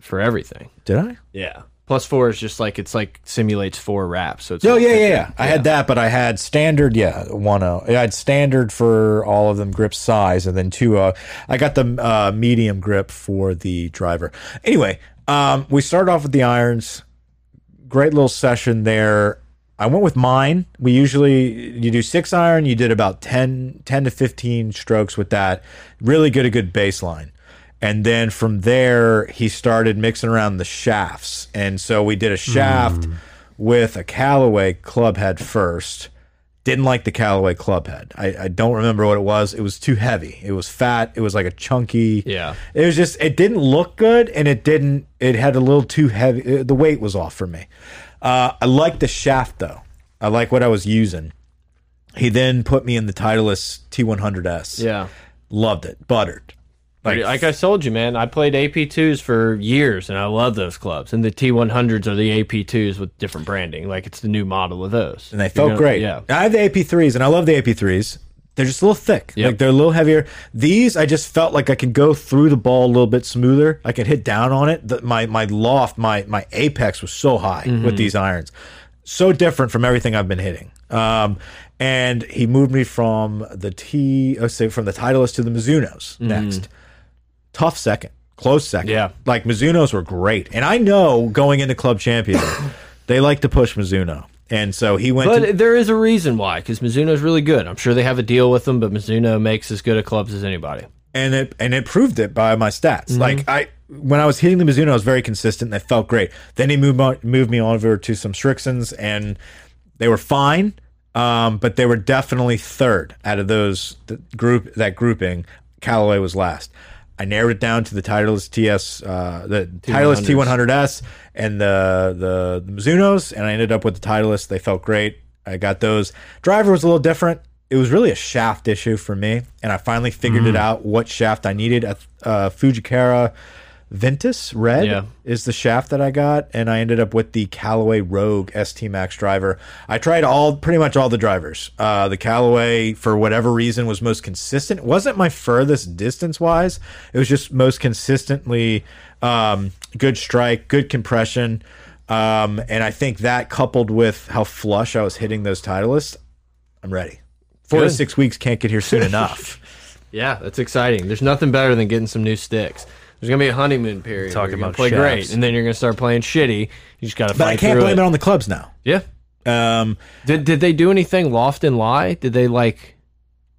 [SPEAKER 2] for everything.
[SPEAKER 1] Did I?
[SPEAKER 2] Yeah. Plus four is just like it's like simulates four wraps. So it's
[SPEAKER 1] Oh
[SPEAKER 2] like
[SPEAKER 1] yeah, yeah, yeah. I had that, but I had standard. Yeah, one oh. I had standard for all of them grip size, and then two oh. I got the uh, medium grip for the driver. Anyway, um, we started off with the irons. Great little session there. I went with mine. We usually you do six iron. You did about 10, 10 to fifteen strokes with that. Really good, a good baseline. And then from there, he started mixing around the shafts. And so we did a shaft with a Callaway clubhead first. Didn't like the Callaway clubhead. I, I don't remember what it was. It was too heavy. It was fat. It was like a chunky.
[SPEAKER 2] Yeah.
[SPEAKER 1] It was just, it didn't look good and it didn't, it had a little too heavy. uh, The weight was off for me. Uh, I like the shaft though. I like what I was using. He then put me in the Titleist T100S.
[SPEAKER 2] Yeah.
[SPEAKER 1] Loved it. Buttered.
[SPEAKER 2] Like, I told you, man, I played AP2s for years and I love those clubs. And the T100s are the AP2s with different branding. Like it's the new model of those.
[SPEAKER 1] and they felt great.
[SPEAKER 2] Yeah.
[SPEAKER 1] I have the AP3s, and I love the AP3s. They're just a little thick.
[SPEAKER 2] Yep.
[SPEAKER 1] Like they're a little heavier. These, I just felt like I could go through the ball a little bit smoother. I could hit down on it. The, my my loft, my my apex was so high
[SPEAKER 2] Mm-hmm.
[SPEAKER 1] with these irons. So different from everything I've been hitting. Um, and he moved me from the T, oh, say from the Titleist to the Mizunos next tough second, close second.
[SPEAKER 2] Mm-hmm. Yeah.
[SPEAKER 1] Like Mizuno's were great. And I know going into Club Champion, they like to push Mizuno. And so he went to,
[SPEAKER 2] But there is a reason why, because Mizuno's really good. I'm sure they have a deal with them, but Mizuno makes as good a clubs as anybody.
[SPEAKER 1] and it and it proved it by my stats. Like I when I was hitting the Mizuno, I was very consistent. That felt great. Then he moved on, moved me over to some Strixons, and they were fine. Um, but they were definitely third out of those th group that grouping. Callaway was last. I narrowed it down to the Titleist TS, uh, the Titleist T100S, and the, the the Mizunos, and I ended up with the Titleist. They felt great. I got those. Driver was a little different. It was really a shaft issue for me, and I finally figured it out what shaft I needed. A uh, Fujikara Ventus Red
[SPEAKER 2] Yeah.
[SPEAKER 1] is the shaft that I got, and I ended up with the Callaway Rogue ST Max driver. I tried all pretty much all the drivers. Uh, the Callaway, for whatever reason, was most consistent. It wasn't my furthest distance wise. It was just most consistently um, good strike, good compression, um, and I think that coupled with how flush I was hitting those Titleist, I'm ready. Four to
[SPEAKER 2] Good.
[SPEAKER 1] six weeks can't get here soon enough.
[SPEAKER 2] Yeah, that's exciting. There's nothing better than getting some new sticks. There's gonna be a honeymoon period.
[SPEAKER 3] Talking
[SPEAKER 2] where you're gonna
[SPEAKER 3] about
[SPEAKER 2] play
[SPEAKER 3] shafts.
[SPEAKER 2] great, and then you're gonna start playing shitty. You just gotta.
[SPEAKER 1] But
[SPEAKER 2] fight
[SPEAKER 1] I can't
[SPEAKER 2] through
[SPEAKER 1] blame
[SPEAKER 2] it.
[SPEAKER 1] it on the clubs now.
[SPEAKER 2] Yeah.
[SPEAKER 1] Um,
[SPEAKER 2] Did did they do anything loft and lie? Did they like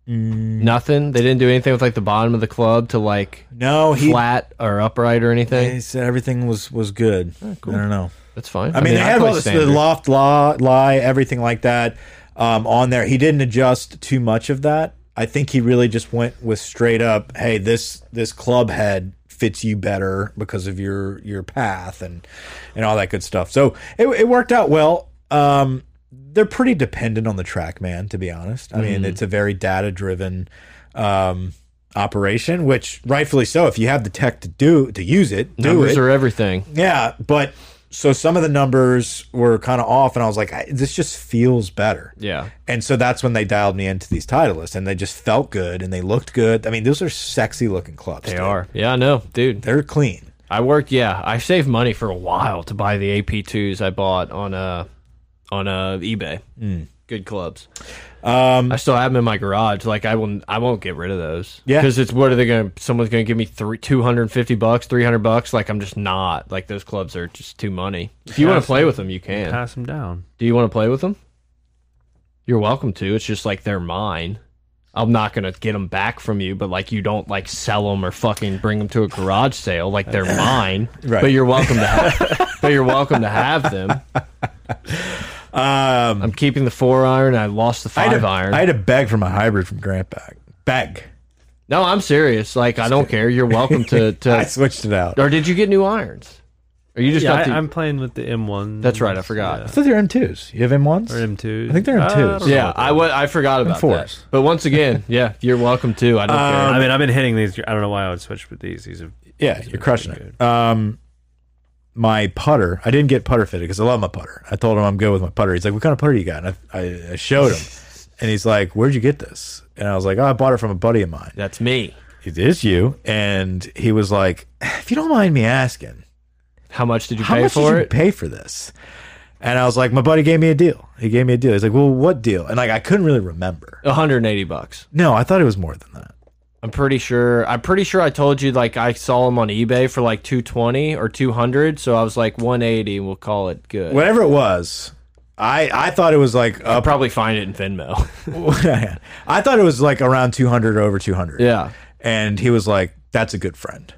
[SPEAKER 1] Mm.
[SPEAKER 2] nothing? They didn't do anything with like the bottom of the club to like
[SPEAKER 1] no, he
[SPEAKER 2] flat or upright or anything.
[SPEAKER 1] He said everything was was good. I don't know.
[SPEAKER 2] That's fine.
[SPEAKER 1] I, mean, they had
[SPEAKER 2] play
[SPEAKER 1] all this, the
[SPEAKER 2] standard.
[SPEAKER 1] loft law, lie, everything like that um, on there. He didn't adjust too much of that. I think he really just went with straight up, hey, this this club head fits you better because of your your path and and all that good stuff. So it, it worked out well. Um, they're pretty dependent on the track, man. To be honest, I mean, it's a very data driven. Um, operation which rightfully so if you have the tech to do to use it do
[SPEAKER 2] numbers
[SPEAKER 1] it
[SPEAKER 2] are everything.
[SPEAKER 1] yeah, but so some of the numbers were kind of off, and I was like, I, this just feels better.
[SPEAKER 2] Yeah.
[SPEAKER 1] And so that's when they dialed me into these Titleist, and they just felt good and they looked good. I mean, those are sexy looking clubs.
[SPEAKER 2] They
[SPEAKER 1] dude.
[SPEAKER 2] are. Yeah, I know, dude.
[SPEAKER 1] They're clean.
[SPEAKER 2] I worked. Yeah, I saved money for a while to buy the AP twos I bought on uh on uh eBay. Good clubs. Um, I still have them in my garage. Like I will, I won't get rid of those.
[SPEAKER 1] Yeah.
[SPEAKER 2] because it's what are they going? to Someone's going to give me three, two hundred and fifty bucks, three hundred bucks. Like I'm just not. Like those clubs are just too money. If you want to play with them, you can.
[SPEAKER 3] Pass them down.
[SPEAKER 2] Do you want to play with them? You're welcome to. It's just like they're mine. I'm not gonna get them back from you, but like you don't like sell them or fucking bring them to a garage sale. Like they're mine,
[SPEAKER 1] Right.
[SPEAKER 2] but you're welcome to. Have, but you're welcome to have them.
[SPEAKER 1] Um,
[SPEAKER 2] I'm keeping the four iron. I lost the
[SPEAKER 1] I,
[SPEAKER 2] five
[SPEAKER 1] had a,
[SPEAKER 2] iron.
[SPEAKER 1] I had a beg for my hybrid from Grant back. Beg.
[SPEAKER 2] no, I'm serious. Like I don't care. You're welcome to.
[SPEAKER 1] I
[SPEAKER 2] to
[SPEAKER 1] switched it out. I
[SPEAKER 2] or did you get new irons? Or you just
[SPEAKER 3] Yeah,
[SPEAKER 2] got the?
[SPEAKER 3] I, am playing with the M1.
[SPEAKER 2] that's right. I forgot.
[SPEAKER 1] thought they're M2s. You have M1s?
[SPEAKER 3] Or M2.
[SPEAKER 1] I think they're M2s.
[SPEAKER 2] Yeah, I wa- I forgot about that.
[SPEAKER 1] fours.
[SPEAKER 2] But once again, yeah, you're welcome to. I don't
[SPEAKER 1] Um,
[SPEAKER 2] care.
[SPEAKER 3] I mean, I've been hitting these. I don't know why I would switch with these. These are
[SPEAKER 1] Yeah, you're crushing it. Um, my putter, I didn't get putter fitted because I love my putter. I told him I'm good with my putter. He's like, "What kind of putter you got?" And I, I, I showed him, and he's like, "Where'd you get this?" And I was like, "Oh, I bought it from a buddy of mine."
[SPEAKER 2] That's me.
[SPEAKER 1] It is you, and he was like, "If you don't mind me asking,
[SPEAKER 2] How much did you
[SPEAKER 1] how
[SPEAKER 2] pay
[SPEAKER 1] much
[SPEAKER 2] for
[SPEAKER 1] did you
[SPEAKER 2] it?
[SPEAKER 1] pay for this?" And I was like, "My buddy gave me a deal. He gave me a deal." He's like, "Well, what deal?" And like, I couldn't really remember.
[SPEAKER 2] 180 bucks.
[SPEAKER 1] No, I thought it was more than that.
[SPEAKER 2] I'm pretty sure. I'm pretty sure I told you like I saw him on eBay for like 220 or 200, so I was like 180. We'll call it good.
[SPEAKER 1] Whatever it was, I I thought it was like
[SPEAKER 2] I'll
[SPEAKER 1] up
[SPEAKER 2] probably find it in Venmo.
[SPEAKER 1] I thought it was like around 200 or over 200.
[SPEAKER 2] yeah,
[SPEAKER 1] And he was like, that's a good friend.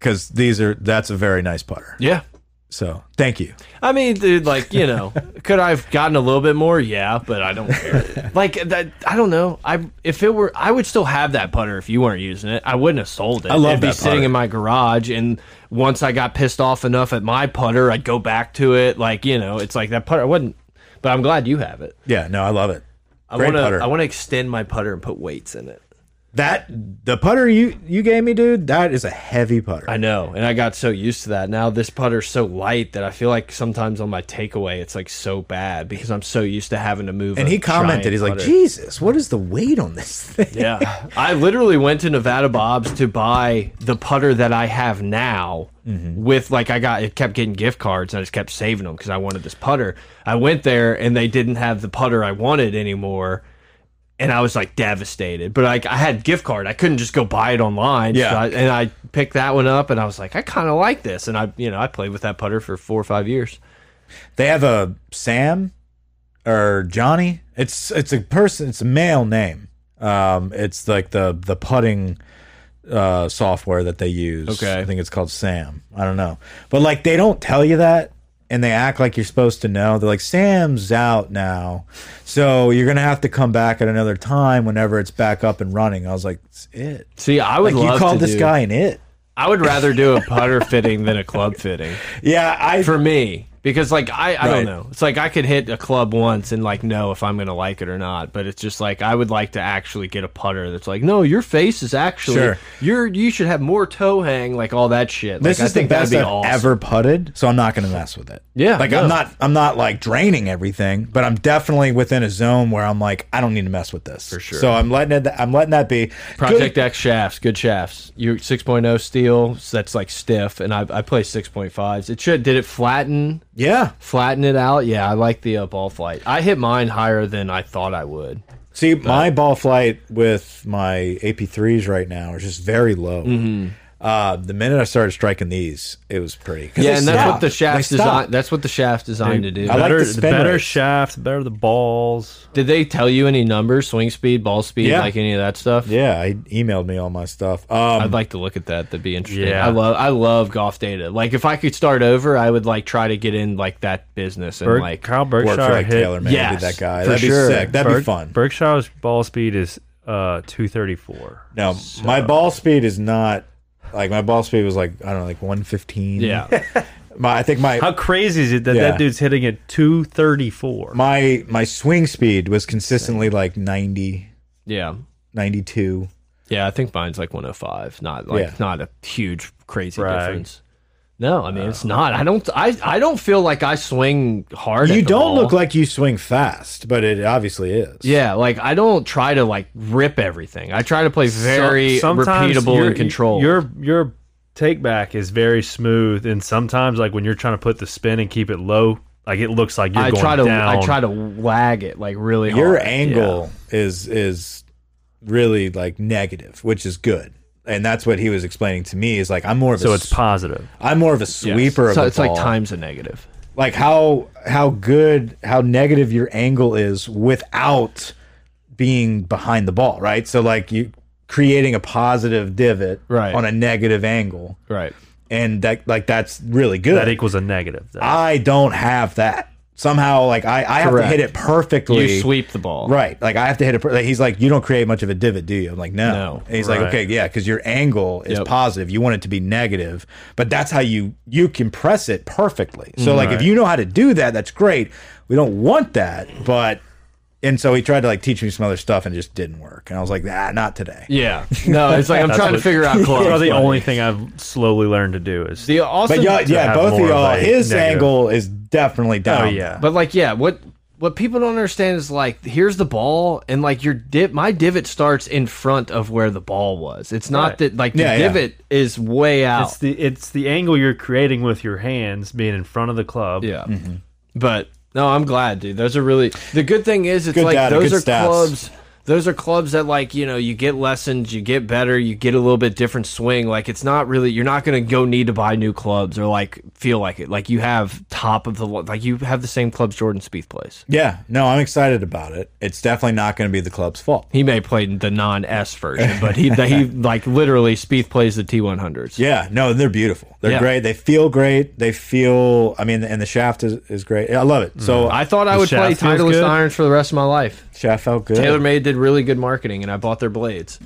[SPEAKER 1] Cause these are, that's a very nice putter.
[SPEAKER 2] yeah.
[SPEAKER 1] So thank you.
[SPEAKER 2] I mean, dude, like you know, could I have gotten a little bit more? Yeah, but I don't care. like that, I don't know. I if it were, I would still have that putter if you weren't using it. I wouldn't have sold it.
[SPEAKER 1] I love
[SPEAKER 2] It'd be
[SPEAKER 1] that
[SPEAKER 2] sitting
[SPEAKER 1] putter.
[SPEAKER 2] in my garage, and once I got pissed off enough at my putter, I'd go back to it. Like you know, it's like that putter. I wouldn't. But I'm glad you have it.
[SPEAKER 1] Yeah. No, I love it.
[SPEAKER 2] I
[SPEAKER 1] Great
[SPEAKER 2] want to.
[SPEAKER 1] putter.
[SPEAKER 2] I want to extend my putter and put weights in it.
[SPEAKER 1] that, the putter you, you gave me, dude, that is a heavy putter.
[SPEAKER 2] I know, and I got so used to that. Now this putter's so light that I feel like sometimes on my takeaway it's like so bad because I'm so used to having to move.
[SPEAKER 1] and
[SPEAKER 2] a
[SPEAKER 1] he commented,
[SPEAKER 2] giant
[SPEAKER 1] he's like,
[SPEAKER 2] putter.
[SPEAKER 1] Jesus, what is the weight on this thing?
[SPEAKER 2] Yeah, I literally went to Nevada Bob's to buy the putter that I have now.
[SPEAKER 1] Mm-hmm.
[SPEAKER 2] With like, I got it kept getting gift cards, and I just kept saving them because I wanted this putter. I went there, and they didn't have the putter I wanted anymore, and I was like devastated. But like, I had gift card, I couldn't just go buy it online. so
[SPEAKER 1] Yeah.
[SPEAKER 2] I- and I picked that one up, and I was like, I kind of like this, and I you know I played with that putter for four or five years.
[SPEAKER 1] They have a Sam or Johnny. It's, it's a person, it's a male name. Um, it's like the, the putting, uh, software that they use.
[SPEAKER 2] Okay.
[SPEAKER 1] I think it's called Sam. I don't know. But like they don't tell you that and they act like you're supposed to know. They're like, Sam's out now. So you're gonna have to come back at another time whenever it's back up and running. I was like, It's it.
[SPEAKER 2] See, I would
[SPEAKER 1] Like you
[SPEAKER 2] love
[SPEAKER 1] called
[SPEAKER 2] to
[SPEAKER 1] this
[SPEAKER 2] do-
[SPEAKER 1] guy an it.
[SPEAKER 2] I would rather do a putter fitting than a club fitting.
[SPEAKER 1] Yeah, I
[SPEAKER 2] for me because like I, I
[SPEAKER 1] Right.
[SPEAKER 2] don't know. It's like I could hit a club once and like know if I'm gonna like it or not. But it's just like I would like to actually get a putter that's like, no, your face is actually
[SPEAKER 1] Sure.
[SPEAKER 2] you're you should have more toe hang, like all that shit.
[SPEAKER 1] This
[SPEAKER 2] like,
[SPEAKER 1] is
[SPEAKER 2] I
[SPEAKER 1] the
[SPEAKER 2] think that'd
[SPEAKER 1] best
[SPEAKER 2] be
[SPEAKER 1] I've
[SPEAKER 2] awesome.
[SPEAKER 1] ever putted, so I'm not going to mess with it.
[SPEAKER 2] Yeah,
[SPEAKER 1] like
[SPEAKER 2] no.
[SPEAKER 1] I'm not, I'm not like draining everything, but I'm definitely within a zone where I'm like, I don't need to mess with this for
[SPEAKER 2] sure.
[SPEAKER 1] So I'm letting it, I'm letting that be.
[SPEAKER 2] Project
[SPEAKER 1] Good-
[SPEAKER 2] X shafts, good shafts. You 6.0 steel, so that's like stiff, and I, I play 6.5s. It should did it flatten
[SPEAKER 1] yeah.
[SPEAKER 2] flatten it out? Yeah, I like the uh, ball flight. I hit mine higher than I thought I would.
[SPEAKER 1] See, my ball flight with my AP3s right now are just very low.
[SPEAKER 2] Mm-hmm.
[SPEAKER 1] Uh, the minute I started striking these, it was pretty. 'Cause
[SPEAKER 2] Yeah,
[SPEAKER 1] they
[SPEAKER 2] and that's
[SPEAKER 1] stop.
[SPEAKER 2] what the shaft's
[SPEAKER 1] They stop.
[SPEAKER 2] design. That's what the shaft's designed to do.
[SPEAKER 1] I like
[SPEAKER 3] better,
[SPEAKER 1] the spin
[SPEAKER 3] better
[SPEAKER 1] rate.
[SPEAKER 3] shaft, better the balls.
[SPEAKER 2] Did they tell you any numbers, swing speed, ball speed,
[SPEAKER 1] Yeah.
[SPEAKER 2] like any of that stuff?
[SPEAKER 1] Yeah, I emailed me all my stuff.
[SPEAKER 2] I'd
[SPEAKER 1] Um,
[SPEAKER 2] like to look at that. That'd be interesting.
[SPEAKER 3] Yeah.
[SPEAKER 2] I love I love golf data. Like if I could start over, I would like try to get in like that business and
[SPEAKER 3] Berg,
[SPEAKER 2] like
[SPEAKER 3] Kyle
[SPEAKER 1] work
[SPEAKER 3] Berkshire
[SPEAKER 1] for like
[SPEAKER 3] hit
[SPEAKER 1] Taylor, man.
[SPEAKER 2] Yes,
[SPEAKER 1] be that guy.
[SPEAKER 2] for
[SPEAKER 1] That'd be
[SPEAKER 2] sure.
[SPEAKER 1] sick. That'd be
[SPEAKER 3] Berg-
[SPEAKER 1] fun.
[SPEAKER 3] Berkshire's ball speed is uh, 234.
[SPEAKER 1] No, my ball speed is not like my ball speed was like I don't know, like one fifteen.
[SPEAKER 2] yeah.
[SPEAKER 1] my I think my
[SPEAKER 3] How crazy is it that
[SPEAKER 1] Yeah.
[SPEAKER 3] that dude's hitting at 234?
[SPEAKER 1] my my swing speed was consistently like 90,
[SPEAKER 2] Yeah.
[SPEAKER 1] 92.
[SPEAKER 2] Yeah, I think mine's like 105. Not like
[SPEAKER 1] Yeah.
[SPEAKER 2] not a huge crazy
[SPEAKER 3] Brag.
[SPEAKER 2] difference. No, I mean it's not. I don't. I I don't feel like I swing hard. at
[SPEAKER 1] You
[SPEAKER 2] the
[SPEAKER 1] don't
[SPEAKER 2] ball.
[SPEAKER 1] look like you swing fast, but it obviously is.
[SPEAKER 2] Yeah, like I don't try to like rip everything. I try to play very repeatable
[SPEAKER 3] your-
[SPEAKER 2] and controlled.
[SPEAKER 3] Your your take back is very smooth, and sometimes like when you're trying to put the spin and keep it low, like it looks like you're
[SPEAKER 2] I
[SPEAKER 3] going
[SPEAKER 2] try to
[SPEAKER 3] down.
[SPEAKER 2] I try to lag it like really hard.
[SPEAKER 3] Oh,
[SPEAKER 1] Your angle is is really like negative, which is good. And that's what he was explaining to me is like I'm more of
[SPEAKER 3] so
[SPEAKER 1] a
[SPEAKER 3] it's positive.
[SPEAKER 1] I'm more of a sweeper
[SPEAKER 2] So
[SPEAKER 1] of
[SPEAKER 2] it's
[SPEAKER 1] the ball.
[SPEAKER 2] like times a negative.
[SPEAKER 1] like how how good how negative your angle is without being behind the ball right so like you creating a positive divot
[SPEAKER 2] Right.
[SPEAKER 1] on a negative angle
[SPEAKER 2] Right.
[SPEAKER 1] and that like that's really good
[SPEAKER 3] That equals a negative. That-
[SPEAKER 1] i don't have that somehow like i i have to
[SPEAKER 2] Correct.
[SPEAKER 1] hit it perfectly
[SPEAKER 2] You sweep the ball.
[SPEAKER 1] Right, like I have to hit a. per- Like he's like, you don't create much of a divot, do you? I'm like, no.
[SPEAKER 2] No.
[SPEAKER 1] And he's
[SPEAKER 3] Right.
[SPEAKER 1] like, okay, yeah, because your angle is
[SPEAKER 2] Yep.
[SPEAKER 1] positive. You want it to be negative, but that's how you you can press it perfectly. So like, if you know how to do that, that's great. We don't want that, but and so he tried to like teach me some other stuff and it just didn't work. And I was like, nah, not today.
[SPEAKER 2] Yeah. No, it's like I'm
[SPEAKER 3] That's
[SPEAKER 2] trying to
[SPEAKER 3] what-
[SPEAKER 2] figure out clubs.
[SPEAKER 3] Probably the
[SPEAKER 2] but-
[SPEAKER 3] only thing I've slowly learned to do is
[SPEAKER 2] The awesome
[SPEAKER 1] But y'all, yeah,
[SPEAKER 3] have
[SPEAKER 1] both of
[SPEAKER 3] more of
[SPEAKER 1] y'all,
[SPEAKER 3] a
[SPEAKER 1] his
[SPEAKER 3] negative-
[SPEAKER 1] angle is definitely down.
[SPEAKER 3] Oh, yeah.
[SPEAKER 2] But like, yeah, what what people don't understand is like, here's the ball, and like your div, my divot starts in front of where the ball was. It's not
[SPEAKER 3] Right.
[SPEAKER 2] that like the
[SPEAKER 1] Yeah, yeah.
[SPEAKER 2] divot is way out.
[SPEAKER 3] It's the it's the angle you're creating with your hands being in front of the club.
[SPEAKER 2] yeah,
[SPEAKER 1] Mm-hmm.
[SPEAKER 2] but no, I'm glad, dude. Those are really the good thing is it's
[SPEAKER 1] Good
[SPEAKER 2] like
[SPEAKER 1] data,
[SPEAKER 2] those
[SPEAKER 1] good
[SPEAKER 2] are
[SPEAKER 1] stats.
[SPEAKER 2] clubs. Those are clubs that like you know you get lessons, you get better, you get a little bit different swing. Like it's not really you're not gonna go need to buy new clubs or like feel like it. Like you have top of the lo- like you have the same clubs Jordan Spieth plays.
[SPEAKER 1] Yeah, no, I'm excited about it. It's definitely not going to be the club's fault.
[SPEAKER 2] He may play the non S version, but he he like literally Spieth plays the T one hundreds.
[SPEAKER 1] Yeah, no, they're beautiful. They're
[SPEAKER 2] Yeah.
[SPEAKER 1] great. They feel great. They feel. I mean, and the shaft is, is great. I love it. So
[SPEAKER 2] I thought I
[SPEAKER 3] The
[SPEAKER 2] would play
[SPEAKER 3] shaft feels
[SPEAKER 2] Titleist
[SPEAKER 3] good.
[SPEAKER 2] irons for the rest of my life.
[SPEAKER 1] shaft felt good.
[SPEAKER 2] TaylorMade did really good marketing, and I bought their blades.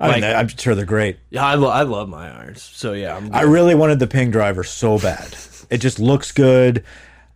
[SPEAKER 1] I mean,
[SPEAKER 2] like-
[SPEAKER 1] they- I'm sure they're great.
[SPEAKER 2] Yeah, I, lo I love my irons. So yeah, I'm
[SPEAKER 1] I really wanted the ping driver so bad. it just looks good.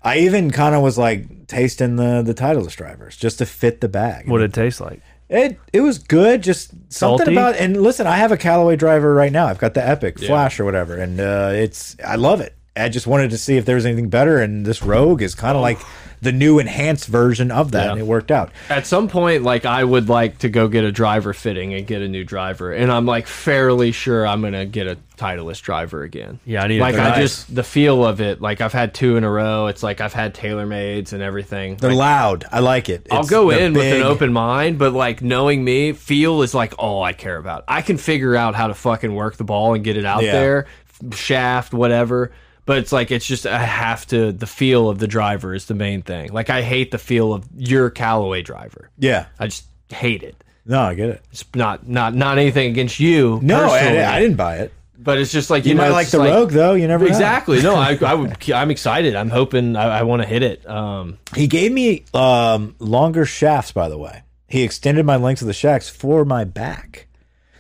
[SPEAKER 1] I even kind of was like tasting the the Titleist drivers just to fit the bag.
[SPEAKER 3] What it tastes like.
[SPEAKER 1] It it was good. Just something
[SPEAKER 3] Salty?
[SPEAKER 1] about and listen, I have a Callaway driver right now. I've got the Epic Flash or whatever, and uh, it's I love it. I just wanted to see if there was anything better, and this Rogue is
[SPEAKER 2] Oh.
[SPEAKER 1] kind of like the new enhanced version of that, and it worked out.
[SPEAKER 2] at some point like I would like to go get a driver fitting and get a new driver, and I'm like fairly sure I'm gonna get a Titleist driver again.
[SPEAKER 3] Yeah, I need
[SPEAKER 2] Like
[SPEAKER 3] to
[SPEAKER 2] I
[SPEAKER 1] Nice.
[SPEAKER 2] just the feel of it. Like I've had two in a row. It's like I've had TaylorMade's and everything.
[SPEAKER 1] They're loud. I like it.
[SPEAKER 2] I'll
[SPEAKER 1] It's-
[SPEAKER 2] go
[SPEAKER 1] they're
[SPEAKER 2] in with an
[SPEAKER 1] big.
[SPEAKER 2] open mind, but like knowing me, feel is like all I care about. I can figure out how to fucking work the ball and get it out
[SPEAKER 1] Yeah.
[SPEAKER 2] there, f- shaft, whatever. But it's like it's just I have to. The feel of the driver is the main thing. Like I hate the feel of your Callaway driver.
[SPEAKER 1] Yeah.
[SPEAKER 2] I just hate it.
[SPEAKER 1] No, I get it.
[SPEAKER 2] It's not not not anything against you.
[SPEAKER 1] No,
[SPEAKER 2] personally,
[SPEAKER 1] I, I didn't buy it.
[SPEAKER 2] But it's just like you,
[SPEAKER 1] You,
[SPEAKER 2] know,
[SPEAKER 1] might
[SPEAKER 2] it's
[SPEAKER 1] like
[SPEAKER 2] just
[SPEAKER 1] the Rogue though. You never know.
[SPEAKER 2] Exactly. No, I, I would. I'm excited. I'm hoping. I, I want to hit it. Um,
[SPEAKER 1] He gave me um, longer shafts, by the way. He extended my length of the shafts for my back.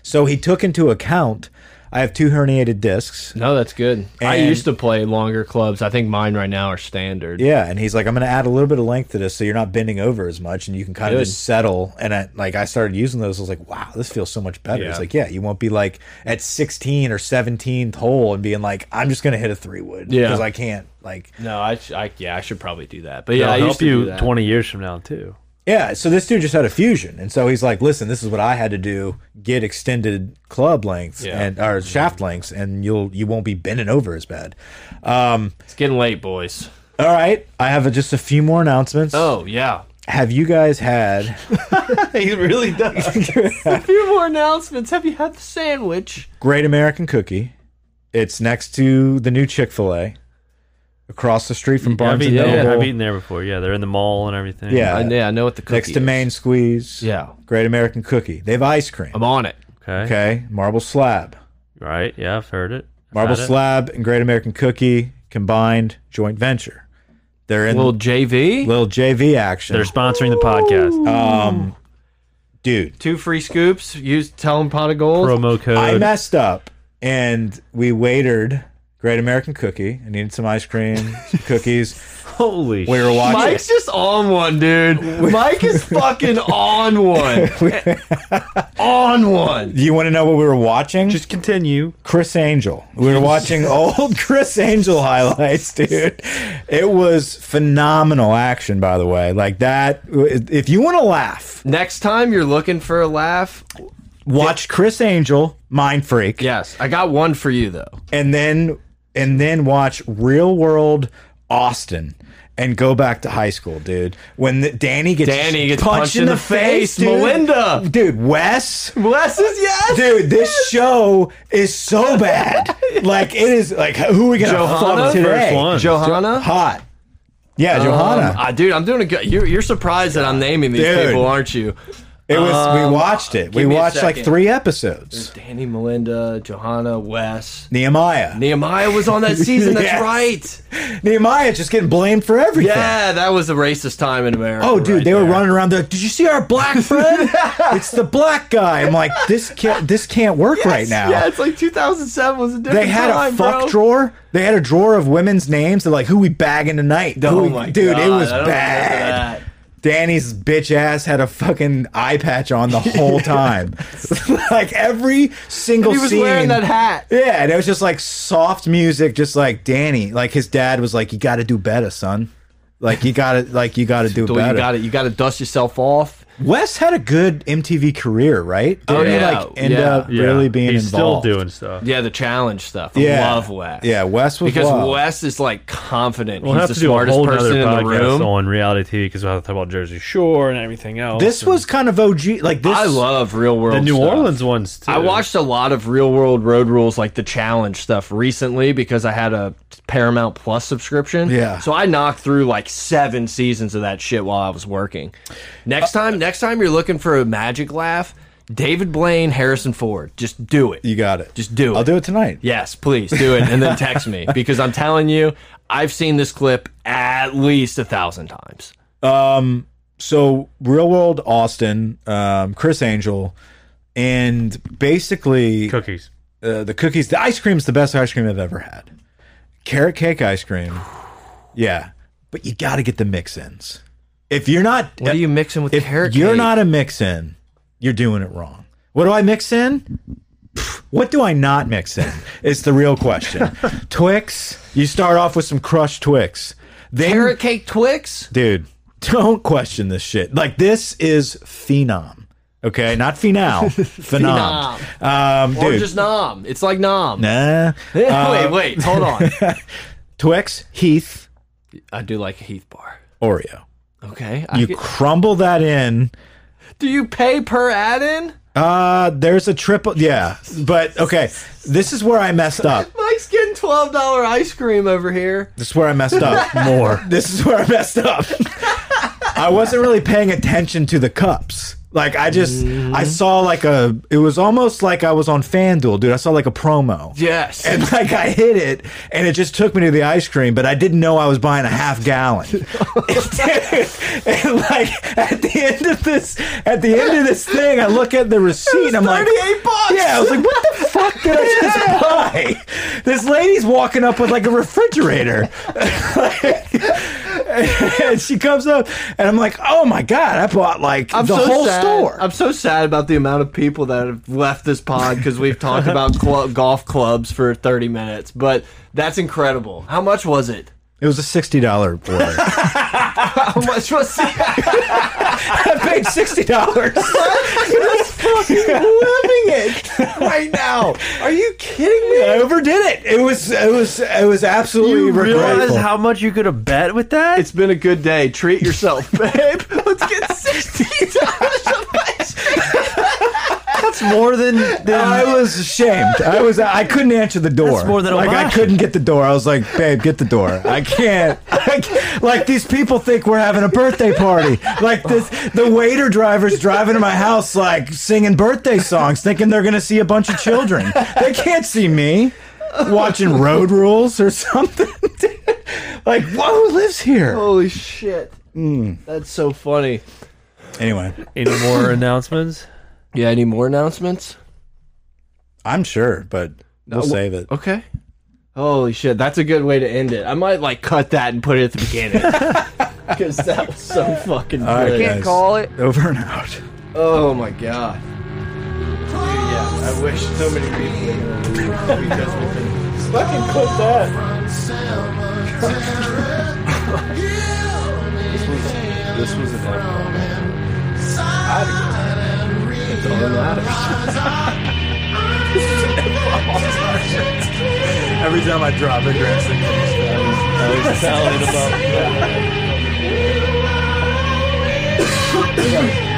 [SPEAKER 1] So he took into account I have two herniated discs.
[SPEAKER 2] No, that's good. I
[SPEAKER 1] And-
[SPEAKER 2] used to play longer clubs. I think mine right now are standard.
[SPEAKER 1] Yeah, and he's like, I'm going to add a little bit of length to this, so you're not bending over as much, and you can kind of
[SPEAKER 2] Good.
[SPEAKER 1] just settle. And I, like, I started using those. I was like, wow, this feels so much better. It's
[SPEAKER 3] Yeah.
[SPEAKER 1] like, yeah, you won't be like at 16 or 17th hole and being like, I'm just going to hit a three wood
[SPEAKER 2] Yeah.
[SPEAKER 1] because I can't. Like,
[SPEAKER 2] No, I, sh- I yeah, I should probably do that. But yeah, I
[SPEAKER 3] It'll
[SPEAKER 2] used
[SPEAKER 3] help
[SPEAKER 2] to do
[SPEAKER 3] you
[SPEAKER 2] that.
[SPEAKER 3] twenty years from now too.
[SPEAKER 1] yeah. So this dude just had a fusion, and so he's like, listen, this is what I had to do: get extended club lengths
[SPEAKER 2] Yeah.
[SPEAKER 1] and or shaft lengths, and you'll you won't be bending over as bad. Um,
[SPEAKER 2] It's getting late, boys.
[SPEAKER 1] all right, I have just a few more announcements.
[SPEAKER 2] Oh yeah,
[SPEAKER 1] Have you guys had?
[SPEAKER 7] he really does.
[SPEAKER 2] a few more announcements. Have you had the sandwich?
[SPEAKER 1] Great American Cookie. It's next to the new Chick Fil A, across the street from
[SPEAKER 3] I've
[SPEAKER 1] Barnes
[SPEAKER 3] eaten,
[SPEAKER 1] and
[SPEAKER 3] there- I've
[SPEAKER 1] Noble.
[SPEAKER 3] eaten there before. Yeah, they're in the mall and everything.
[SPEAKER 1] Yeah,
[SPEAKER 2] I, yeah, I know what the cookie
[SPEAKER 1] next to
[SPEAKER 2] is.
[SPEAKER 1] Main Squeeze.
[SPEAKER 2] Yeah, Um,
[SPEAKER 1] Great American Cookie. They have ice cream.
[SPEAKER 2] I'm on it.
[SPEAKER 3] Okay.
[SPEAKER 1] Okay, marble slab,
[SPEAKER 3] Right. Yeah, I've heard it. I've
[SPEAKER 1] marble
[SPEAKER 3] had it.
[SPEAKER 1] slab, and Great American Cookie combined joint venture. They're in
[SPEAKER 2] Little
[SPEAKER 1] little,
[SPEAKER 2] JV,
[SPEAKER 1] JV action.
[SPEAKER 3] They're sponsoring the podcast.
[SPEAKER 1] um, dude,
[SPEAKER 2] two free scoops. Use tell them pot of gold.
[SPEAKER 3] Promo code.
[SPEAKER 1] I messed up, and we waitered Great American Cookie. I needed some ice cream, some cookies.
[SPEAKER 3] Holy
[SPEAKER 1] We were watching.
[SPEAKER 2] Mike's just on one, dude. Mike is fucking on one. on one.
[SPEAKER 1] Do you want to know what we were watching?
[SPEAKER 3] Just continue.
[SPEAKER 1] Chris Angel. We were watching old Chris Angel highlights, dude. It was phenomenal action, by the way. Like that. If you want to laugh,
[SPEAKER 2] Next time you're looking for a laugh,
[SPEAKER 1] watch Chris Angel, Mind Freak,
[SPEAKER 2] yes, I got one for you though.
[SPEAKER 1] and then and then watch Real World Austin. And go back to high school, dude. When the, Danny gets
[SPEAKER 2] Danny gets punched in the face,
[SPEAKER 1] dude.
[SPEAKER 2] Melinda.
[SPEAKER 1] dude, Wes,
[SPEAKER 2] Bless is yes.
[SPEAKER 1] dude, this show is so bad. Like it is like who are we gonna
[SPEAKER 2] Johanna?
[SPEAKER 1] fuck today?
[SPEAKER 3] First one.
[SPEAKER 2] Johanna.
[SPEAKER 1] Hot. Yeah, Johanna.
[SPEAKER 2] Um, I- dude, I'm doing a good. You're, you're surprised that I'm naming these
[SPEAKER 1] Dude.
[SPEAKER 2] people, aren't you?
[SPEAKER 1] it was. we watched it. We
[SPEAKER 2] um, give me a
[SPEAKER 1] watched like
[SPEAKER 2] second.
[SPEAKER 1] three episodes.
[SPEAKER 2] Danny, Melinda, Johanna, Wes.
[SPEAKER 1] Nehemiah.
[SPEAKER 2] Nehemiah was on that season. That's
[SPEAKER 1] Yes.
[SPEAKER 2] right.
[SPEAKER 1] Nehemiah's just getting blamed for everything.
[SPEAKER 2] Yeah, that was a racist time in America.
[SPEAKER 1] Oh, dude,
[SPEAKER 2] right
[SPEAKER 1] they were
[SPEAKER 2] there.
[SPEAKER 1] running around. They're like, Did you see our black friend? it's the black guy. I'm like, this can't. This can't work right now.
[SPEAKER 2] Yeah, it's like 2007 was a different
[SPEAKER 1] They had
[SPEAKER 2] time,
[SPEAKER 1] a fuck
[SPEAKER 2] bro.
[SPEAKER 1] drawer. They had a drawer of women's names. They're like, who we bagging tonight? Who
[SPEAKER 2] Oh
[SPEAKER 1] we-
[SPEAKER 2] my
[SPEAKER 1] dude,
[SPEAKER 2] God,
[SPEAKER 1] it was
[SPEAKER 2] I don't remember
[SPEAKER 1] bad.
[SPEAKER 2] that.
[SPEAKER 1] Danny's bitch ass had a fucking eye patch on the whole time. like every single
[SPEAKER 2] He was
[SPEAKER 1] scene.
[SPEAKER 2] wearing that hat.
[SPEAKER 1] Yeah, and it was just like soft music, just like Danny. Like his dad was like, "You got to do better, son. Like you got to, like you got to do
[SPEAKER 2] Dude, you
[SPEAKER 1] better."
[SPEAKER 2] got it. You got to dust yourself off.
[SPEAKER 1] Wes had a good MTV career, right? Did
[SPEAKER 2] Oh,
[SPEAKER 1] he
[SPEAKER 2] yeah,
[SPEAKER 1] like end
[SPEAKER 2] yeah.
[SPEAKER 1] up
[SPEAKER 3] Yeah.
[SPEAKER 1] really being
[SPEAKER 3] He's
[SPEAKER 1] involved?
[SPEAKER 3] still doing stuff.
[SPEAKER 2] Yeah, the challenge stuff. I
[SPEAKER 1] Yeah,
[SPEAKER 2] love Wes.
[SPEAKER 1] Yeah, Wes was
[SPEAKER 2] because
[SPEAKER 1] wild.
[SPEAKER 2] Wes is like confident.
[SPEAKER 3] We'll
[SPEAKER 2] He's
[SPEAKER 3] have
[SPEAKER 2] the
[SPEAKER 3] to do a
[SPEAKER 2] smartest
[SPEAKER 3] whole nother
[SPEAKER 2] person in the
[SPEAKER 3] podcast
[SPEAKER 2] room.
[SPEAKER 3] on reality TV because we'll have to talk about Jersey Shore and everything else.
[SPEAKER 1] This
[SPEAKER 3] and
[SPEAKER 1] was kind of OG. Like this,
[SPEAKER 2] I love real world.
[SPEAKER 3] the New
[SPEAKER 2] stuff.
[SPEAKER 3] Orleans ones too.
[SPEAKER 2] I watched a lot of real world road rules, like the challenge stuff, recently because I had a Paramount Plus subscription.
[SPEAKER 1] Yeah.
[SPEAKER 2] So I knocked through like seven seasons of that shit while I was working. Next time, next time you're looking for a magic laugh, David Blaine, Harrison Ford, just do it.
[SPEAKER 1] You got it.
[SPEAKER 2] Just do it.
[SPEAKER 1] I'll do it tonight.
[SPEAKER 2] Yes, please do it, and then text me because I'm telling you, I've seen this clip at least a thousand times.
[SPEAKER 1] Um, so Real World Austin, um, Chris Angel, and basically
[SPEAKER 3] cookies.
[SPEAKER 1] uh, the cookies. The ice cream's the best ice cream I've ever had. Carrot cake ice cream. Yeah, but you got to get the mix-ins. If you're not,
[SPEAKER 2] What are you mixing with
[SPEAKER 1] if
[SPEAKER 2] carrot
[SPEAKER 1] you're
[SPEAKER 2] cake?
[SPEAKER 1] not a mix-in, you're doing it wrong. What do I mix in? Pfft, What do I not mix in? It's the real question. Twix. You start off with some crushed Twix. Then
[SPEAKER 2] carrot cake Twix.
[SPEAKER 1] dude don't question this shit like this is phenom okay not phenom phenom, um
[SPEAKER 2] Or
[SPEAKER 1] dude Uh,
[SPEAKER 2] just nom. It's like nom.
[SPEAKER 1] nah
[SPEAKER 2] wait, wait, hold on.
[SPEAKER 1] twix heath
[SPEAKER 2] I do like a Heath bar.
[SPEAKER 1] oreo
[SPEAKER 2] Okay. I
[SPEAKER 1] you
[SPEAKER 2] get-
[SPEAKER 1] crumble that in
[SPEAKER 2] do you pay per add in?
[SPEAKER 1] uh there's a triple yeah but okay this is where i messed up
[SPEAKER 2] Mike's getting twelve dollar ice cream over here.
[SPEAKER 1] This is where I messed up. More. This is where I messed up. I wasn't really paying attention to the cups. Like I just I saw like a it was almost like I was on FanDuel, dude. I saw like a promo.
[SPEAKER 2] Yes.
[SPEAKER 1] And like I hit it and it just took me to the ice cream, but I didn't know I was buying a half gallon. Dude, and like at the end of this at the end of this thing, I look at the receipt and I'm like
[SPEAKER 2] $38 bucks.
[SPEAKER 1] Yeah, I was like, what the fuck did I just buy? This lady's walking up with like a refrigerator. Like, and she comes up, and I'm like, oh my God, I bought like
[SPEAKER 2] I'm
[SPEAKER 1] the
[SPEAKER 2] so
[SPEAKER 1] whole
[SPEAKER 2] sad.
[SPEAKER 1] store.
[SPEAKER 2] I'm so sad about the amount of people that have left this pod because we've talked about club, golf clubs for 30 minutes. But that's incredible. How much was it?
[SPEAKER 1] it was a $60 order.
[SPEAKER 2] How much was it?
[SPEAKER 1] I paid $60.
[SPEAKER 2] fucking living it right now. Are you kidding me?
[SPEAKER 1] I overdid it. It was, it was, it was absolutely
[SPEAKER 3] You realize
[SPEAKER 1] regretful.
[SPEAKER 3] how much you could have bet with that?
[SPEAKER 2] It's been a good day. Treat yourself, babe. Let's get sixteen dollars of ice cream.
[SPEAKER 3] that's more than, than
[SPEAKER 1] I was ashamed. I was. I couldn't answer the door.
[SPEAKER 3] That's more than a
[SPEAKER 1] like I
[SPEAKER 3] lie.
[SPEAKER 1] couldn't get the door. I was like, babe, get the door. I can't. I can't. Like these people think we're having a birthday party. Like this, the waiter driver's driving to my house, like singing birthday songs, thinking they're gonna see a bunch of children. They can't see me watching Road Rules or something. like, whoa, who lives here?
[SPEAKER 2] Holy shit. That's so funny.
[SPEAKER 1] Anyway,
[SPEAKER 3] any more announcements?
[SPEAKER 2] Yeah. Any more announcements?
[SPEAKER 1] I'm sure, but we'll save it.
[SPEAKER 2] Okay. Holy shit, that's a good way to end it. I might like cut that and put it at the beginning. Because that was so fucking
[SPEAKER 1] All right,
[SPEAKER 2] good.
[SPEAKER 6] Can't
[SPEAKER 1] guys.
[SPEAKER 6] call it.
[SPEAKER 1] Over and out.
[SPEAKER 2] Oh my god. Dude, yeah, I wish so many people would be just with me. Fucking clip that. this was this was an epic moment. It's all that matters.
[SPEAKER 1] Every time I drop it, Grant sings these
[SPEAKER 3] about
[SPEAKER 1] I